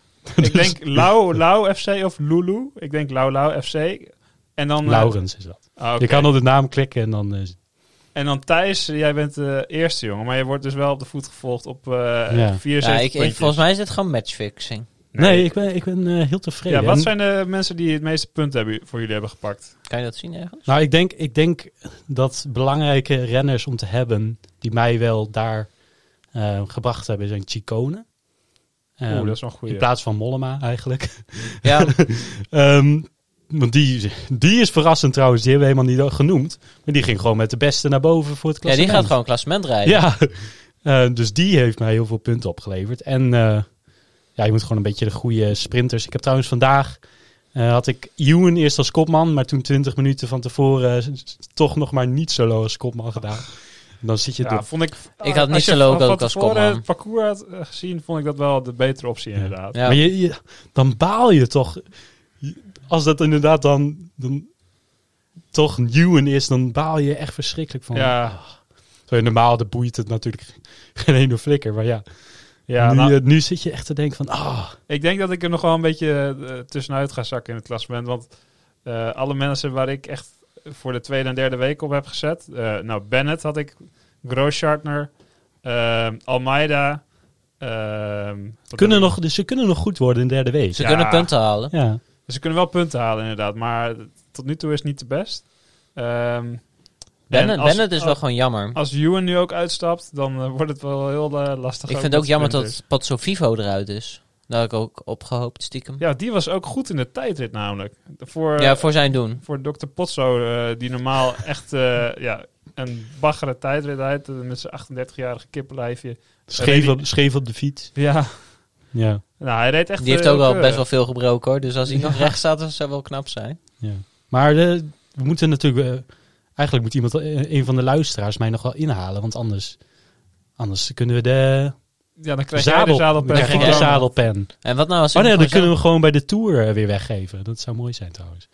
[SPEAKER 1] ik denk, Lau, Lau FC of Lulu. Ik denk Lau, Lau FC. En dan... eh,
[SPEAKER 3] Laurens is dat.
[SPEAKER 1] ah, oké.
[SPEAKER 3] Je kan op de naam klikken en dan... eh,
[SPEAKER 1] En dan Thijs, jij bent de eerste jongen, maar je wordt dus wel op de voet gevolgd op eh
[SPEAKER 3] Ja.
[SPEAKER 1] ja. 74
[SPEAKER 2] Ja, ik, ik,
[SPEAKER 1] puntjes.
[SPEAKER 2] volgens mij is het gewoon matchfixing.
[SPEAKER 3] Nee, ik ben, ik ben eh, heel tevreden.
[SPEAKER 1] Ja, wat
[SPEAKER 3] En-
[SPEAKER 1] zijn de mensen die het meeste punten hebben, voor jullie hebben gepakt?
[SPEAKER 2] Kan je dat zien ergens?
[SPEAKER 3] Nou, ik denk, ik denk dat belangrijke renners om te hebben, die mij wel daar eh, gebracht hebben, zijn Chicone. Ehm,
[SPEAKER 1] Oeh, dat is wel een goeie.
[SPEAKER 3] In plaats van Mollema eigenlijk.
[SPEAKER 2] Ja,
[SPEAKER 3] Ehm, want die, die is verrassend trouwens, die hebben we helemaal niet genoemd. Maar die ging gewoon met de beste naar boven voor het
[SPEAKER 2] ja die
[SPEAKER 3] klassement.
[SPEAKER 2] gaat gewoon klassement rijden.
[SPEAKER 3] Ja, Eh, dus die heeft mij heel veel punten opgeleverd. En eh, ja, je moet gewoon een beetje de goede sprinters. Ik heb trouwens vandaag, eh, had ik Ewan eerst als kopman, maar toen 20 minuten van tevoren eh, s- s- toch nog maar niet solo als kopman gedaan. Dan zit je
[SPEAKER 1] Ja,
[SPEAKER 3] door-
[SPEAKER 1] vond ik,
[SPEAKER 2] Ik had
[SPEAKER 1] als
[SPEAKER 2] niet
[SPEAKER 1] je
[SPEAKER 2] zo logo
[SPEAKER 1] van
[SPEAKER 2] ook als
[SPEAKER 1] tevoren
[SPEAKER 2] kopman.
[SPEAKER 1] het parcours had eh, gezien, vond ik dat wel de betere optie inderdaad.
[SPEAKER 2] Ja.
[SPEAKER 3] Maar je, je- dan baal je toch. Je- Als dat inderdaad dan, dan toch Ewan is, dan baal je echt verschrikkelijk van.
[SPEAKER 1] Ja,
[SPEAKER 3] Zo, normaal dan boeit het natuurlijk geen ene flikker. Maar ja,
[SPEAKER 1] ja
[SPEAKER 3] nu,
[SPEAKER 1] nou,
[SPEAKER 3] eh, nu zit je echt te denken van, ah,
[SPEAKER 1] ik denk dat ik er nog wel een beetje eh, tussenuit ga zakken in het klassement. Want eh, alle mensen waar ik echt voor de tweede en derde week op heb gezet. eh, nou, Bennett had ik, Grosschartner, ehm, Almeida. ehm, wat
[SPEAKER 3] kunnen
[SPEAKER 1] heb ik-
[SPEAKER 3] nog, dus ze kunnen nog goed worden in de derde week.
[SPEAKER 2] Ze
[SPEAKER 1] Ja.
[SPEAKER 2] kunnen punten halen.
[SPEAKER 3] Ja.
[SPEAKER 1] dus Ze kunnen wel punten halen inderdaad, maar tot nu toe is het niet de best. Ehm
[SPEAKER 2] Bennett,
[SPEAKER 1] en als-
[SPEAKER 2] Bennett is wel gewoon jammer.
[SPEAKER 1] Als Ewan nu ook uitstapt, dan eh, wordt het wel heel eh, lastig.
[SPEAKER 2] Ik
[SPEAKER 1] ook
[SPEAKER 2] vind
[SPEAKER 1] met
[SPEAKER 2] het ook jammer
[SPEAKER 1] sprinters.
[SPEAKER 2] dat Patso Vivo eruit is. Daar had ik ook op gehoopt, stiekem. Ja,
[SPEAKER 1] Ja, die was ook goed in de tijdrit namelijk. Voor,
[SPEAKER 2] voor zijn doen.
[SPEAKER 1] voor Dr. Potso, eh, die normaal echt eh, ja, een baggere tijdrit rijdt. eh, Met zijn 38-jarige kippenlijfje.
[SPEAKER 3] Scheef
[SPEAKER 1] Reed-
[SPEAKER 3] op, scheef op de fiets.
[SPEAKER 1] Ja,
[SPEAKER 3] Ja.
[SPEAKER 1] nou, hij reed echt...
[SPEAKER 2] Die heeft
[SPEAKER 1] eh,
[SPEAKER 2] ook wel
[SPEAKER 1] eh,
[SPEAKER 2] best wel veel gebroken hoor. Dus als hij nog recht staat, dat zou wel knap zijn.
[SPEAKER 3] ja. Maar eh, we moeten natuurlijk... eh, eigenlijk moet iemand, eh, een van de luisteraars mij nog wel inhalen. Want anders, anders kunnen we de
[SPEAKER 1] Ja, dan krijg jij de
[SPEAKER 3] zadel...
[SPEAKER 1] zadelpen.
[SPEAKER 3] krijg ik de
[SPEAKER 2] Ja.
[SPEAKER 3] zadelpen.
[SPEAKER 2] En wat nou als hij
[SPEAKER 3] Oh nee, dan
[SPEAKER 2] hem gewoon
[SPEAKER 3] kunnen we gewoon bij de Tour eh, weer weggeven. Dat zou mooi zijn trouwens.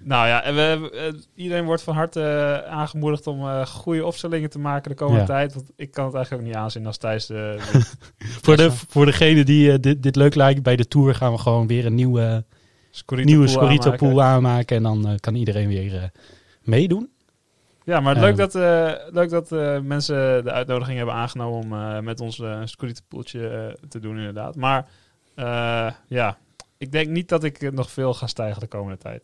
[SPEAKER 1] Nou ja, en we, eh, iedereen wordt van harte eh, aangemoedigd om eh, goede opstellingen te maken de komende
[SPEAKER 3] Ja.
[SPEAKER 1] tijd. Want ik kan het eigenlijk ook niet aanzien als Thijs... eh,
[SPEAKER 3] Voor, de, voor degene die eh, dit, dit leuk lijkt, bij de Tour gaan we gewoon weer een nieuwe,
[SPEAKER 1] Scorito
[SPEAKER 3] nieuwe
[SPEAKER 1] pool
[SPEAKER 3] Scorito
[SPEAKER 1] aanmaken.
[SPEAKER 3] pool aanmaken. En dan eh, kan iedereen weer eh, meedoen.
[SPEAKER 1] Ja, maar
[SPEAKER 3] Ja.
[SPEAKER 1] leuk dat, eh, leuk dat eh, mensen de uitnodiging hebben aangenomen om eh, met ons eh, een scooterpoeltje eh, te doen, inderdaad. Maar eh, ja, ik denk niet dat ik eh, nog veel ga stijgen de komende tijd.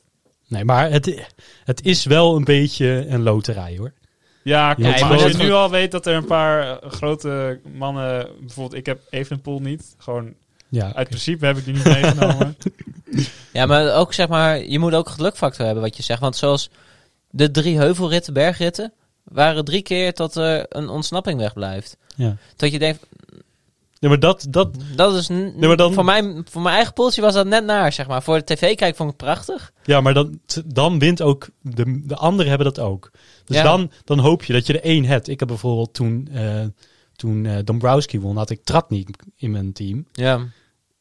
[SPEAKER 3] Nee, maar het, het is wel een beetje een loterij hoor.
[SPEAKER 1] Ja, klopt.
[SPEAKER 3] Ja, ik
[SPEAKER 1] maar
[SPEAKER 3] ben
[SPEAKER 1] als je
[SPEAKER 2] net
[SPEAKER 1] nu
[SPEAKER 2] goed.
[SPEAKER 1] al weet dat er een paar eh, grote mannen, bijvoorbeeld ik heb Evenepoel niet, gewoon
[SPEAKER 3] Ja,
[SPEAKER 1] uit principe heb ik die niet meegenomen.
[SPEAKER 2] Ja, maar ook zeg maar, je moet ook gelukfactor hebben wat je zegt. Want zoals de drie heuvelritten, bergritten, waren drie keer dat er een ontsnapping wegblijft.
[SPEAKER 3] ja.
[SPEAKER 2] Dat je denkt,
[SPEAKER 3] Ja, maar dat, dat,
[SPEAKER 2] dat is. n-
[SPEAKER 3] maar dan-
[SPEAKER 2] voor, mijn, voor mijn eigen poeltje was dat net naar, zeg maar. Voor de tv-kijk vond ik het prachtig.
[SPEAKER 3] ja, maar dan, dan wint ook, de, de anderen hebben dat ook. Dus
[SPEAKER 2] Ja.
[SPEAKER 3] dan, dan hoop je dat je er één hebt. Ik heb bijvoorbeeld toen, eh, toen eh, Dombrowski won, had ik Tratnik in mijn team.
[SPEAKER 2] Ja,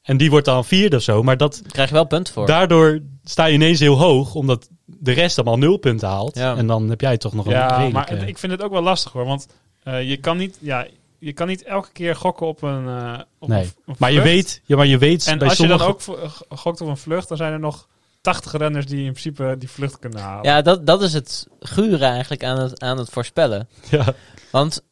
[SPEAKER 3] En die wordt dan vierde of zo. Maar dat,
[SPEAKER 2] daar krijg je wel punten voor.
[SPEAKER 3] daardoor sta je ineens heel hoog, omdat de rest allemaal nul punten haalt.
[SPEAKER 2] Ja.
[SPEAKER 3] En dan heb jij toch nog een
[SPEAKER 1] ja,
[SPEAKER 3] redelijk...
[SPEAKER 1] maar
[SPEAKER 3] eh,
[SPEAKER 1] het- ik vind het ook wel lastig hoor, want eh, je, kan niet, ja, je kan niet elke keer gokken op een... eh, op
[SPEAKER 3] nee.
[SPEAKER 1] een v- een
[SPEAKER 3] maar, je
[SPEAKER 1] vlucht.
[SPEAKER 3] weet, ja, maar je weet
[SPEAKER 1] En
[SPEAKER 3] bij
[SPEAKER 1] als je
[SPEAKER 3] sommige...
[SPEAKER 1] dan ook vo- eh, gokt op een vlucht, dan zijn er nog 80 renners die in principe die vlucht kunnen halen.
[SPEAKER 2] Ja, dat, dat is het gure eigenlijk aan het, aan het voorspellen.
[SPEAKER 3] Ja,
[SPEAKER 2] Want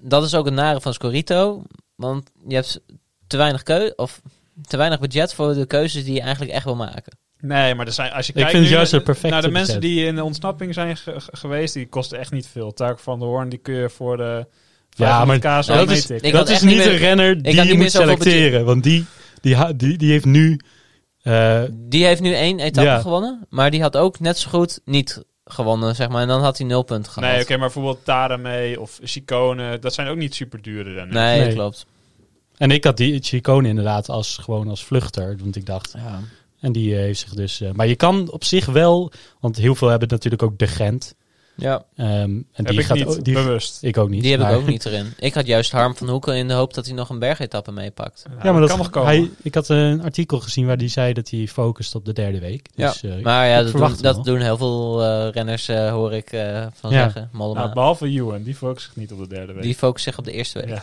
[SPEAKER 2] dat is ook het nare van Scorito. Want je hebt te weinig, keu of te weinig budget voor de keuzes die je eigenlijk echt wil maken.
[SPEAKER 1] Nee, maar er zijn, als je
[SPEAKER 3] Ik
[SPEAKER 1] kijkt
[SPEAKER 3] vind het
[SPEAKER 1] nu
[SPEAKER 3] juist
[SPEAKER 1] naar-
[SPEAKER 3] een perfecte
[SPEAKER 1] naar de mensen
[SPEAKER 3] bezet.
[SPEAKER 1] die in de ontsnapping zijn ge- ge- geweest, die kosten echt niet veel. Taak van de Hoorn, die kun je voor de
[SPEAKER 3] ja maar
[SPEAKER 1] 500k zo
[SPEAKER 2] dat is-
[SPEAKER 1] meetikken.
[SPEAKER 2] ik had
[SPEAKER 3] dat is
[SPEAKER 2] echt
[SPEAKER 3] niet
[SPEAKER 2] niet meer-
[SPEAKER 3] een renner die
[SPEAKER 2] had
[SPEAKER 3] je
[SPEAKER 2] niet meer
[SPEAKER 3] moet
[SPEAKER 2] zoveel
[SPEAKER 3] selecteren. Want die, die, ha- die, die heeft nu... eh,
[SPEAKER 2] Die heeft nu één etappe
[SPEAKER 3] Ja.
[SPEAKER 2] gewonnen. Maar die had ook net zo goed niet gewonnen, zeg maar. En dan had hij nul punten gehad.
[SPEAKER 1] Nee, oké, maar bijvoorbeeld Tarame of Chicone, dat zijn ook niet super dure renners.
[SPEAKER 2] Nee,
[SPEAKER 3] Nee.
[SPEAKER 2] klopt.
[SPEAKER 3] en ik had die Chicone inderdaad als, gewoon als vluchter. Want ik dacht...
[SPEAKER 2] Ja.
[SPEAKER 3] En die eh, heeft zich dus... eh, maar je kan op zich wel... Want heel veel hebben natuurlijk ook de Gent.
[SPEAKER 2] ja,
[SPEAKER 3] ehm, en
[SPEAKER 1] Heb
[SPEAKER 3] die
[SPEAKER 1] ik
[SPEAKER 3] gaat
[SPEAKER 1] niet,
[SPEAKER 3] ook- die,
[SPEAKER 1] bewust.
[SPEAKER 3] Ik ook niet.
[SPEAKER 2] die heb
[SPEAKER 3] maar-
[SPEAKER 2] ik ook niet erin. Ik had juist Harm van Hoeken in de hoop dat hij nog een bergetappe meepakt.
[SPEAKER 1] Nou,
[SPEAKER 3] Ja, maar dat,
[SPEAKER 1] kan nog komen.
[SPEAKER 3] Hij, ik had een artikel gezien waar die zei dat hij focust op de derde week. Dus,
[SPEAKER 2] ja.
[SPEAKER 3] eh,
[SPEAKER 2] maar
[SPEAKER 3] ik
[SPEAKER 2] ja, dat
[SPEAKER 3] verwacht
[SPEAKER 2] doen,
[SPEAKER 3] hem
[SPEAKER 2] dat
[SPEAKER 3] wel.
[SPEAKER 2] doen heel veel eh, renners, eh, hoor ik eh, van
[SPEAKER 3] Ja.
[SPEAKER 2] zeggen. Mollema.
[SPEAKER 1] Nou, behalve Ewan, die focust zich niet op de derde week.
[SPEAKER 2] die focust zich op de eerste week.
[SPEAKER 1] Ja.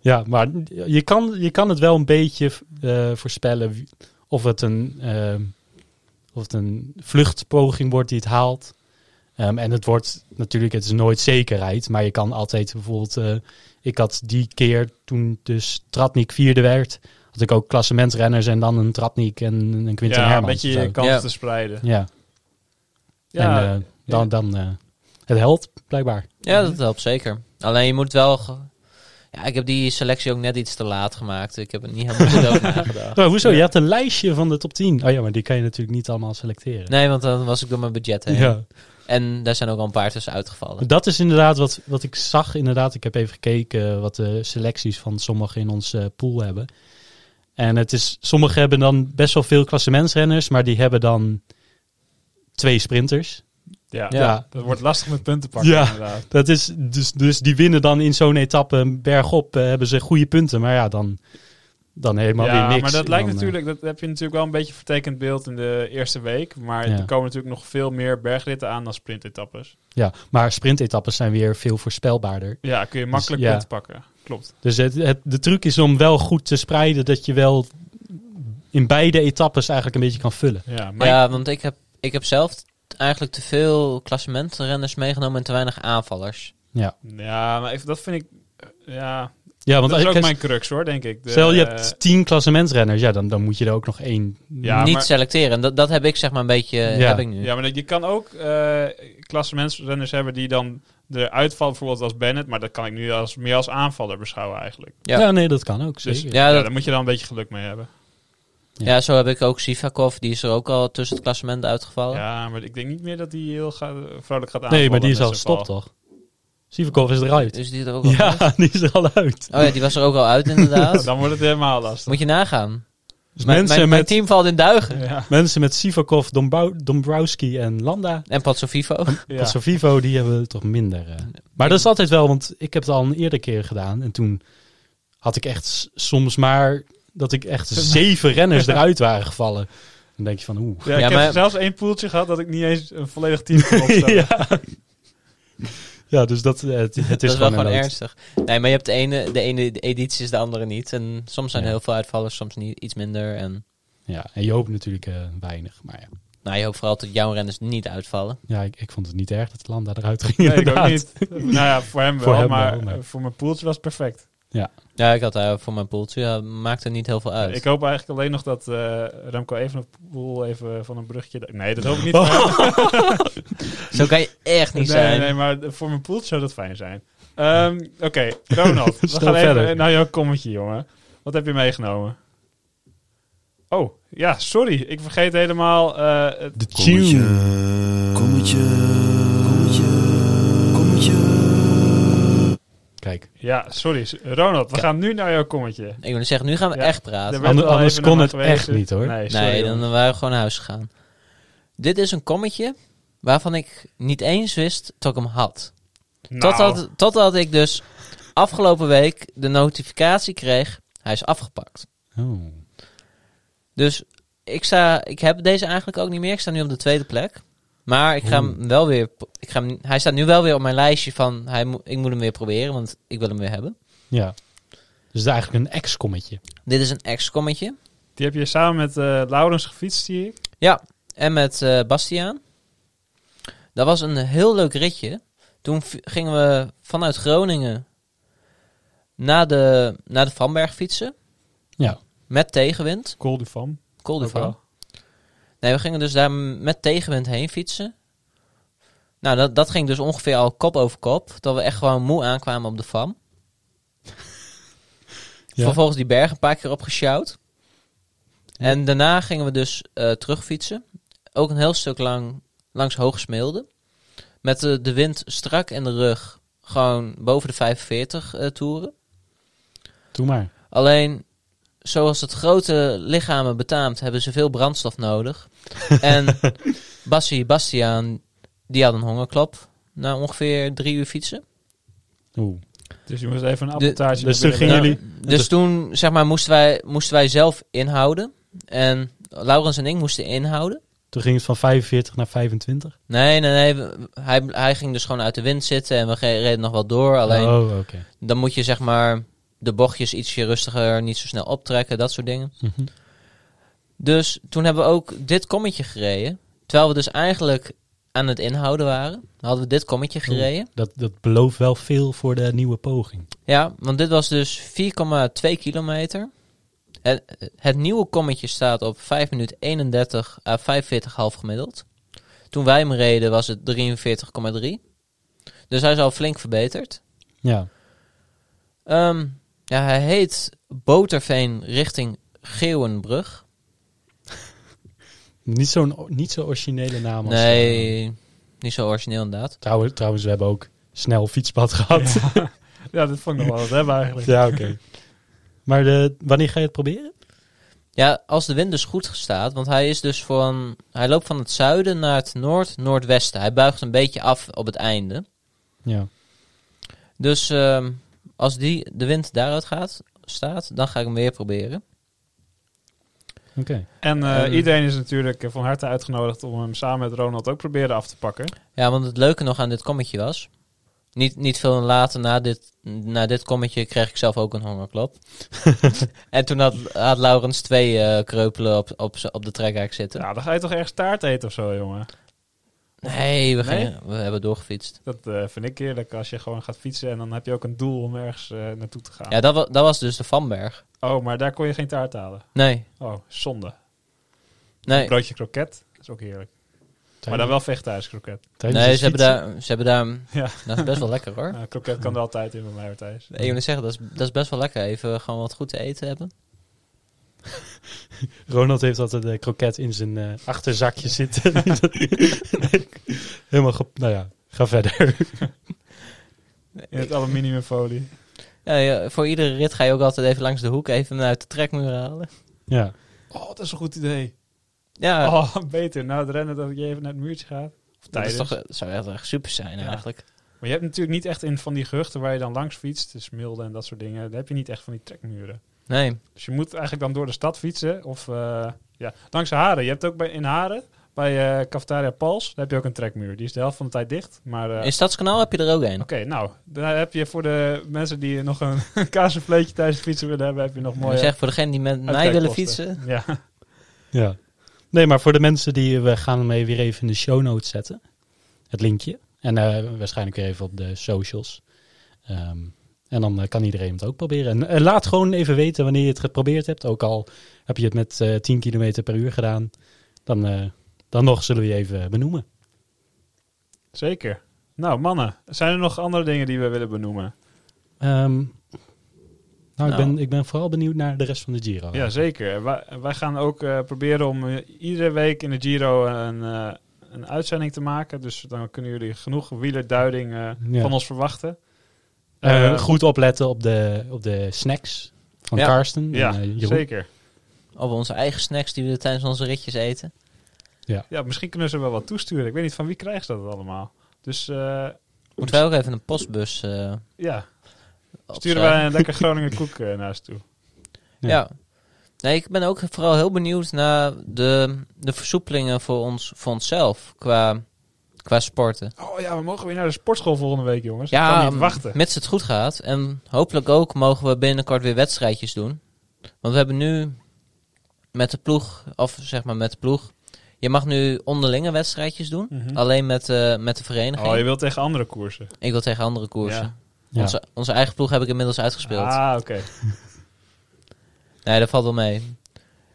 [SPEAKER 3] Ja, maar je kan, je kan het wel een beetje eh, voorspellen wie- of het, een, ehm, of het een vluchtpoging wordt die het haalt. Ehm, en het wordt natuurlijk, het is nooit zekerheid, maar je kan altijd bijvoorbeeld, eh, ik had die keer toen dus Tratnik vierde werd, had natuurlijk ook klassementsrenners en dan een Tratnik en een Quinten
[SPEAKER 1] ja, een
[SPEAKER 3] Hermans.
[SPEAKER 1] beetje
[SPEAKER 3] of zo.
[SPEAKER 1] je kansen
[SPEAKER 2] Ja.
[SPEAKER 1] te spreiden.
[SPEAKER 3] Ja,
[SPEAKER 1] Ja,
[SPEAKER 3] en eh, dan, dan eh, het helpt blijkbaar.
[SPEAKER 2] Ja, dat helpt zeker. Alleen je moet wel... ge- Ja, ik heb die selectie ook net iets te laat gemaakt. Ik heb er niet helemaal goed over nagedacht.
[SPEAKER 3] Oh, hoezo? Je had een lijstje van de top 10. Oh ja, maar die kan je natuurlijk niet allemaal selecteren.
[SPEAKER 2] Nee, want dan was ik door mijn budget heen.
[SPEAKER 3] Ja.
[SPEAKER 2] En daar zijn ook al een paar tussen uitgevallen.
[SPEAKER 3] Dat is inderdaad wat, wat ik zag. Inderdaad, ik heb even gekeken wat de selecties van sommigen in onze eh, pool hebben. En het is, sommigen hebben dan best wel veel klassementsrenners, maar die hebben dan twee sprinters.
[SPEAKER 1] Ja.
[SPEAKER 3] Ja.
[SPEAKER 1] dat wordt lastig met punten pakken
[SPEAKER 3] Ja.
[SPEAKER 1] inderdaad.
[SPEAKER 3] Dat is, dus, dus die winnen dan in zo'n etappe bergop, eh, hebben ze goede punten. Maar ja, dan, dan helemaal
[SPEAKER 1] ja,
[SPEAKER 3] weer niks.
[SPEAKER 1] maar dat
[SPEAKER 3] En
[SPEAKER 1] lijkt
[SPEAKER 3] dan, eh,
[SPEAKER 1] natuurlijk, dat heb je natuurlijk wel een beetje vertekend beeld in de eerste week. Maar
[SPEAKER 3] Ja.
[SPEAKER 1] er komen natuurlijk nog veel meer bergritten aan dan sprintetappes.
[SPEAKER 3] ja, maar sprintetappes zijn weer veel voorspelbaarder.
[SPEAKER 1] Ja, kun je makkelijk
[SPEAKER 3] Dus ja.
[SPEAKER 1] punten pakken. Klopt.
[SPEAKER 3] Dus het, het- de truc is om wel goed te spreiden dat je wel in beide etappes eigenlijk een beetje kan vullen.
[SPEAKER 1] Ja, maar
[SPEAKER 2] Ja, want ik heb, ik heb zelf t- eigenlijk te veel klassementrenners meegenomen en te weinig aanvallers.
[SPEAKER 3] Ja.
[SPEAKER 1] Ja, maar even, dat vind ik... eh, Ja,
[SPEAKER 3] Ja, want
[SPEAKER 1] dat
[SPEAKER 3] als
[SPEAKER 1] is ook
[SPEAKER 3] kijk,
[SPEAKER 1] mijn crux hoor, denk ik. De,
[SPEAKER 3] stel je
[SPEAKER 1] eh,
[SPEAKER 3] hebt tien klassementsrenners, ja, dan, dan moet je er ook nog één.
[SPEAKER 1] ja,
[SPEAKER 2] niet
[SPEAKER 1] maar,
[SPEAKER 2] selecteren. Dat, dat heb ik zeg maar een beetje...
[SPEAKER 3] Ja.
[SPEAKER 2] Heb ik nu.
[SPEAKER 1] ja, maar dat- je kan ook eh klassementsrenners hebben die dan eruit vallen, bijvoorbeeld als Bennett. Maar dat kan ik nu als, meer als aanvaller beschouwen eigenlijk.
[SPEAKER 3] Ja.
[SPEAKER 2] Ja.
[SPEAKER 3] nee, dat kan ook.
[SPEAKER 1] Dus
[SPEAKER 3] Zeker.
[SPEAKER 2] Ja,
[SPEAKER 1] ja,
[SPEAKER 2] dat-
[SPEAKER 1] daar moet je dan een beetje geluk mee hebben.
[SPEAKER 3] Ja.
[SPEAKER 2] Ja, zo heb ik ook Sivakov. Die is er ook al tussen het klassement uitgevallen.
[SPEAKER 1] Ja, maar ik denk niet meer dat hij heel ga, vrolijk gaat aanvallen.
[SPEAKER 3] nee, maar die is
[SPEAKER 1] met
[SPEAKER 3] al
[SPEAKER 1] zijn val.
[SPEAKER 3] gestopt, toch? Sivakov is eruit.
[SPEAKER 2] Dus die er ook al uit?
[SPEAKER 3] Ja, die is er al uit.
[SPEAKER 2] Oh ja, die was er ook al uit inderdaad.
[SPEAKER 1] Nou, Dan wordt het helemaal lastig.
[SPEAKER 2] Moet je nagaan.
[SPEAKER 3] Dus
[SPEAKER 2] Mijn,
[SPEAKER 3] mensen,
[SPEAKER 2] mijn, mijn
[SPEAKER 3] met,
[SPEAKER 2] team valt in duigen.
[SPEAKER 1] Ja,
[SPEAKER 3] mensen met Sivakov, Dombrou- Dombrowski en Landa.
[SPEAKER 2] En Patsovivo.
[SPEAKER 1] ja.
[SPEAKER 3] Want zo'n Vivo, die hebben we toch minder. eh. Maar dat is altijd wel, want ik heb het al een eerder keer gedaan. En toen had ik echt s- soms maar dat ik echt zeven renners eruit waren gevallen. Dan denk je van, oeh.
[SPEAKER 1] Ja, ik
[SPEAKER 2] Ja,
[SPEAKER 1] heb
[SPEAKER 2] maar-
[SPEAKER 1] zelfs één poeltje gehad dat ik niet eens een volledig team kon opstellen.
[SPEAKER 3] ja. ja, dus dat, eh, het, het
[SPEAKER 2] Dat
[SPEAKER 3] is
[SPEAKER 2] is wel gewoon
[SPEAKER 3] een nood.
[SPEAKER 2] ernstig. Nee, maar je hebt de ene, de ene editie is de andere niet. En soms zijn er
[SPEAKER 3] Ja.
[SPEAKER 2] heel veel uitvallers, soms niet, iets minder. En
[SPEAKER 3] Ja, en je hoopt natuurlijk eh, weinig. Maar ja,
[SPEAKER 2] nou, je hoopt vooral dat jouw renners niet uitvallen.
[SPEAKER 3] ja ik, ik vond het niet erg dat Landa eruit ging.
[SPEAKER 1] Nee, ik ook
[SPEAKER 3] inderdaad.
[SPEAKER 1] niet. Nou ja, voor hem
[SPEAKER 3] Voor
[SPEAKER 1] wel,
[SPEAKER 3] hem
[SPEAKER 1] maar
[SPEAKER 3] wel, maar-
[SPEAKER 1] eh, voor mijn poeltje was het perfect.
[SPEAKER 2] Ja, ik had daar voor mijn poeltje, ja, maakt er niet heel veel uit.
[SPEAKER 1] Ik hoop eigenlijk alleen nog dat eh Remco even een poel even van een brugje... Nee, dat hoop ik niet.
[SPEAKER 3] Oh,
[SPEAKER 2] Zo kan je echt
[SPEAKER 1] nee,
[SPEAKER 2] niet zijn.
[SPEAKER 1] nee, maar voor mijn poeltje zou dat fijn zijn. Ehm, Oké, Ronald. we
[SPEAKER 3] Snel
[SPEAKER 1] gaan
[SPEAKER 3] verder.
[SPEAKER 1] even naar jouw kommetje, jongen. Wat heb je meegenomen? Oh, ja, sorry. Ik vergeet helemaal eh, het
[SPEAKER 3] De tune.
[SPEAKER 6] Kommetje. Kommetje. Kommetje.
[SPEAKER 3] Kijk,
[SPEAKER 1] Ja, sorry. S- Ronald, we gaan nu naar jouw kommetje.
[SPEAKER 2] Ik wil zeggen, nu gaan we
[SPEAKER 1] Ja.
[SPEAKER 2] echt
[SPEAKER 1] Daar
[SPEAKER 2] praten.
[SPEAKER 1] werd
[SPEAKER 3] Ander-
[SPEAKER 1] al
[SPEAKER 3] anders
[SPEAKER 1] even
[SPEAKER 3] kon
[SPEAKER 1] naar
[SPEAKER 3] het
[SPEAKER 1] gewezen.
[SPEAKER 3] echt niet, hoor.
[SPEAKER 1] Nee, sorry,
[SPEAKER 2] Nee, dan
[SPEAKER 1] jongen.
[SPEAKER 2] waren we gewoon naar huis gegaan. Dit is een kommetje waarvan ik niet eens wist dat ik hem had.
[SPEAKER 1] Nou,
[SPEAKER 2] Totdat, totdat ik dus afgelopen week de notificatie kreeg, hij is afgepakt.
[SPEAKER 3] oh.
[SPEAKER 2] Dus ik, sta, ik heb deze eigenlijk ook niet meer. Ik sta nu op de tweede plek. Maar ik ga hem wel weer. pro- Ik ga hem, hij staat nu wel weer op mijn lijstje van. Hij moet- ik moet hem weer proberen, want ik wil hem weer hebben.
[SPEAKER 3] ja. Dus het is eigenlijk een ex-kommetje.
[SPEAKER 2] Dit is een ex-kommetje.
[SPEAKER 1] Die heb je samen met eh, Laurens gefietst, zie ik.
[SPEAKER 2] Ja, en met eh, Bastiaan. Dat was een heel leuk ritje. Toen v- gingen we vanuit Groningen naar de, naar de Vanberg fietsen.
[SPEAKER 3] Ja.
[SPEAKER 2] Met tegenwind.
[SPEAKER 1] Cool Duvam.
[SPEAKER 2] Cool
[SPEAKER 1] Ook
[SPEAKER 2] ervan.
[SPEAKER 1] wel.
[SPEAKER 2] Nee, we gingen dus daar m- met tegenwind heen fietsen. Nou, dat, dat ging dus ongeveer al kop over kop. Dat we echt gewoon moe aankwamen op de fam.
[SPEAKER 3] Ja.
[SPEAKER 2] Vervolgens die berg een paar keer opgesjouwd. En daarna gingen we dus eh terugfietsen. Ook een heel stuk lang langs Hoogsmeelde. Met de, de wind strak in de rug. Gewoon boven de 45 eh, toeren.
[SPEAKER 3] Doe maar.
[SPEAKER 2] Alleen, zoals het grote lichamen betaamt, hebben ze veel brandstof nodig. en Bassie, Bastiaan, die had een hongerklap na ongeveer drie uur fietsen.
[SPEAKER 3] Oeh.
[SPEAKER 1] Dus je moest even een
[SPEAKER 2] De-
[SPEAKER 1] apportage...
[SPEAKER 3] dus
[SPEAKER 1] naar
[SPEAKER 3] toen
[SPEAKER 1] binnen
[SPEAKER 3] gingen
[SPEAKER 1] brengen.
[SPEAKER 3] jullie...
[SPEAKER 2] Dus toen, zeg maar, moesten wij, moesten wij zelf inhouden. En Laurens en ik moesten inhouden.
[SPEAKER 3] Toen ging het van 45 naar 25.
[SPEAKER 2] Nee, nee, nee. we- Hij, hij ging dus gewoon uit de wind zitten en we ge- reden nog wel door. Alleen,
[SPEAKER 3] Oh, oké.
[SPEAKER 2] dan moet je, zeg maar, de bochtjes ietsje rustiger, niet zo snel optrekken, dat soort dingen.
[SPEAKER 3] Mhm.
[SPEAKER 2] Dus toen hebben we ook dit kommetje gereden. Terwijl we dus eigenlijk aan het inhouden waren, hadden we dit kommetje
[SPEAKER 3] Oh.
[SPEAKER 2] gereden.
[SPEAKER 3] Dat, dat belooft wel veel voor de nieuwe poging.
[SPEAKER 2] Ja, want dit was dus 4,2 kilometer. Het, het nieuwe kommetje staat op 5 minuten 31 à 45 half gemiddeld. Toen wij hem reden was het 43,3. Dus hij is al flink verbeterd.
[SPEAKER 3] Ja.
[SPEAKER 2] Ehm, ja, hij heet Boterveen richting Geeuwenbrug.
[SPEAKER 3] Niet zo'n niet zo originele naam als...
[SPEAKER 2] Nee, niet zo origineel inderdaad.
[SPEAKER 3] Trouwens, trouwens, we hebben ook snel fietspad gehad. Ja,
[SPEAKER 1] Ja, dat vond ik nog wel wat hebben eigenlijk.
[SPEAKER 3] oké. Maar de, wanneer ga je het proberen?
[SPEAKER 2] Ja, als de wind dus goed staat, want hij is dus van... Hij loopt van het zuiden naar het noord-noordwesten. Hij buigt een beetje af op het einde.
[SPEAKER 3] Ja.
[SPEAKER 2] Dus ehm, als die, de wind daaruit gaat, staat, dan ga ik hem weer proberen.
[SPEAKER 3] Oké.
[SPEAKER 1] En eh,
[SPEAKER 2] Ehm.
[SPEAKER 1] iedereen is natuurlijk eh, van harte uitgenodigd om hem samen met Ronald ook proberen af te pakken.
[SPEAKER 2] Ja, want het leuke nog aan dit kommetje was... Niet, niet veel later na dit, na dit kommetje kreeg ik zelf ook een hongerklop. en toen had, had Laurens twee eh, kreupelen op, op, z'n- op de trekhaak zitten.
[SPEAKER 1] Nou, dan ga je toch ergens taart eten of zo, jongen.
[SPEAKER 2] Nee, we,
[SPEAKER 1] Nee?
[SPEAKER 2] gingen, we hebben doorgefietst.
[SPEAKER 1] Dat eh, vind ik eerlijk als je gewoon gaat fietsen en dan heb je ook een doel om ergens eh, naartoe te gaan.
[SPEAKER 2] Ja, dat, wa- dat was dus de Vanberg.
[SPEAKER 1] Oh, maar daar kon je geen taart halen.
[SPEAKER 2] Nee,
[SPEAKER 1] Oh, zonde.
[SPEAKER 2] nee.
[SPEAKER 1] Broodje kroket, dat is ook heerlijk. Maar dan wel vechthuiskroket.
[SPEAKER 3] Tijdens
[SPEAKER 2] Nee,
[SPEAKER 3] het
[SPEAKER 2] ze hebben,
[SPEAKER 3] fietsen?
[SPEAKER 2] daar, ze hebben daar...
[SPEAKER 1] Ja.
[SPEAKER 2] Dat is best wel lekker hoor.
[SPEAKER 1] Nou, kroket kan er altijd in bij mij, Thijs.
[SPEAKER 2] Ik wil zeggen, dat is, dat is best wel lekker. Even gewoon wat goed te eten hebben.
[SPEAKER 3] Ronald heeft altijd de kroket in zijn eh, achterzakje zitten. Helemaal... ge- Nou ja, ga verder.
[SPEAKER 1] In het aluminiumfolie.
[SPEAKER 2] Ja, ja, voor iedere rit ga je ook altijd even langs de hoek even uit de trekmuur halen.
[SPEAKER 3] ja.
[SPEAKER 1] Oh, dat is een goed idee.
[SPEAKER 2] Ja,
[SPEAKER 1] Oh, beter. Nou, het rennen dat je even naar het muurtje gaat. Of
[SPEAKER 2] Eh. dat is
[SPEAKER 1] tijdens.
[SPEAKER 2] toch, eh, dat zou echt, echt super zijn
[SPEAKER 1] Ja.
[SPEAKER 2] eigenlijk.
[SPEAKER 1] Maar je hebt natuurlijk niet echt in van die gehuchten waar je dan langs fietst. Dus Milde en dat soort dingen. Daar heb je niet echt van die trekmuren.
[SPEAKER 2] Nee,
[SPEAKER 1] Dus je moet eigenlijk dan door de stad fietsen. Of eh, ja, langs Haren. Je hebt ook bij, in Haren, bij eh Cafetaria Pals, daar heb je ook een trekmuur. Die is de helft van de tijd dicht. Maar eh,
[SPEAKER 2] in Stadskanaal heb je er ook een.
[SPEAKER 1] Oké, nou, daar heb je voor de mensen die nog een, een kaasvleetje tijdens het fietsen willen hebben, heb je nog mooie...
[SPEAKER 2] ik zeg, voor degene die met mij willen
[SPEAKER 1] uitkijkposten.
[SPEAKER 2] fietsen.
[SPEAKER 1] Ja,
[SPEAKER 3] Ja. Nee, maar voor de mensen die we gaan hem weer even in de show notes zetten. Het linkje. En eh, waarschijnlijk weer even op de socials. Ehm, en dan eh, kan iedereen het ook proberen. En eh, laat gewoon even weten wanneer je het geprobeerd hebt. Ook al heb je het met eh 10 km per uur gedaan. Dan, eh, dan nog zullen we je even benoemen.
[SPEAKER 1] zeker. Nou, mannen, zijn er nog andere dingen die we willen benoemen?
[SPEAKER 3] Ehm, nou, Ik,
[SPEAKER 2] Nou.
[SPEAKER 3] ben, ik ben vooral benieuwd naar de rest van de Giro.
[SPEAKER 1] Oh, Ja, zeker. Wij, wij gaan ook eh, proberen om eh, iedere week in de Giro een, eh, een uitzending te maken. Dus dan kunnen jullie genoeg wielerduiding eh,
[SPEAKER 3] Ja.
[SPEAKER 1] van ons verwachten.
[SPEAKER 3] Eh,
[SPEAKER 1] Eh,
[SPEAKER 3] goed opletten op de, op de snacks van
[SPEAKER 2] Ja.
[SPEAKER 3] Karsten.
[SPEAKER 1] Ja,
[SPEAKER 3] en, eh, Jeroen.
[SPEAKER 1] zeker.
[SPEAKER 2] Of onze eigen snacks die we tijdens onze ritjes eten.
[SPEAKER 1] Ja, misschien kunnen ze wel wat toesturen. Ik weet niet van wie krijgen ze dat allemaal. Dus eh,
[SPEAKER 2] Moeten wij ook even een postbus eh
[SPEAKER 1] ja, sturen
[SPEAKER 2] opschrijven?
[SPEAKER 1] wij een lekker Groningen koek eh, naar ze toe.
[SPEAKER 3] Ja.
[SPEAKER 2] Ja. Nee, ik ben ook vooral heel benieuwd naar de, de versoepelingen voor, ons, voor onszelf qua, qua sporten.
[SPEAKER 1] Oh ja, we mogen weer naar de sportschool volgende week, jongens. Ja, ik
[SPEAKER 2] Ja,
[SPEAKER 1] kan niet wachten.
[SPEAKER 2] mits het goed gaat. En hopelijk ook mogen we binnenkort weer wedstrijdjes doen. Want we hebben nu met de ploeg, of zeg maar met de ploeg... Je mag nu onderlinge wedstrijdjes doen.
[SPEAKER 1] Mhm.
[SPEAKER 2] Alleen met, eh, met de vereniging.
[SPEAKER 1] Oh, je wilt tegen andere koersen.
[SPEAKER 2] Ik wil tegen andere koersen.
[SPEAKER 1] Ja.
[SPEAKER 3] Ja.
[SPEAKER 2] Onze, onze eigen ploeg heb ik inmiddels uitgespeeld.
[SPEAKER 1] Ah, oké.
[SPEAKER 2] Nee, dat valt wel mee.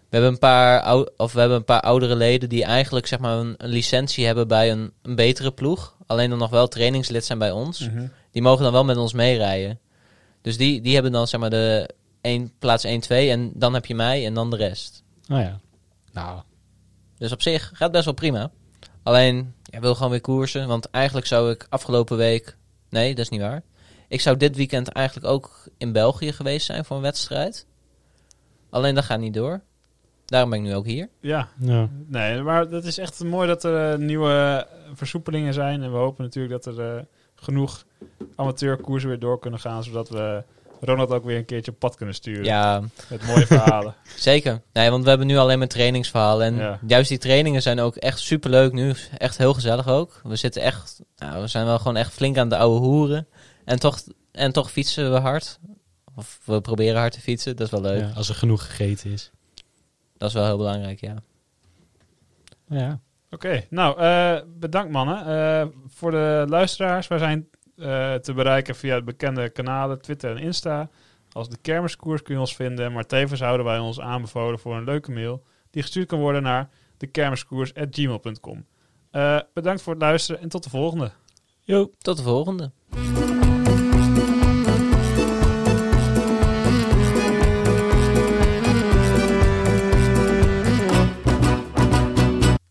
[SPEAKER 2] We hebben een paar, ou- of we hebben een paar oudere leden die eigenlijk zeg maar, een, een licentie hebben bij een, een betere ploeg. Alleen dan nog wel trainingslid zijn bij ons.
[SPEAKER 1] Hm. Mhm.
[SPEAKER 2] Die mogen dan wel met ons meerijden. Dus die, die hebben dan zeg maar, de één plaats 1-2 en dan heb je mij en dan de rest.
[SPEAKER 3] Oh ja. Nou,
[SPEAKER 2] Dus op zich gaat best wel prima. Alleen, ik wil gewoon weer koersen. Want eigenlijk zou ik afgelopen week... Nee, dat is niet waar. Ik zou dit weekend eigenlijk ook in België geweest zijn voor een wedstrijd. Alleen dat gaat niet door. Daarom ben ik nu ook hier.
[SPEAKER 1] Ja,
[SPEAKER 3] ja.
[SPEAKER 1] nee, maar dat is echt mooi dat er eh, nieuwe eh, versoepelingen zijn. En we hopen natuurlijk dat er eh, genoeg amateurkoersen weer door kunnen gaan. Zodat we Ronald ook weer een keertje op pad kunnen sturen.
[SPEAKER 2] Ja,
[SPEAKER 1] Met mooie verhalen.
[SPEAKER 2] zeker. Nee, want we hebben nu alleen maar trainingsverhalen. En
[SPEAKER 1] Ja.
[SPEAKER 2] juist die trainingen zijn ook echt superleuk nu. Echt heel gezellig ook. We zitten echt... Nou, we zijn wel gewoon echt flink aan de oude hoeren. En toch, en toch fietsen we hard. Of we proberen hard te fietsen. Dat is wel leuk.
[SPEAKER 3] Ja, als er genoeg gegeten is.
[SPEAKER 2] Dat is wel heel belangrijk, ja.
[SPEAKER 3] Ja.
[SPEAKER 1] Oké, nou, eh, bedankt mannen. Eh, voor de luisteraars, wij zijn eh, te bereiken via de bekende kanalen Twitter en Insta. Als de kermiskoers kun je ons vinden, maar tevens houden wij ons aanbevolen voor een leuke mail die gestuurd kan worden naar dekermiskoers.gmail.com. Eh bedankt voor het luisteren en tot de volgende.
[SPEAKER 3] Yo.
[SPEAKER 2] Tot de volgende.
[SPEAKER 5] Come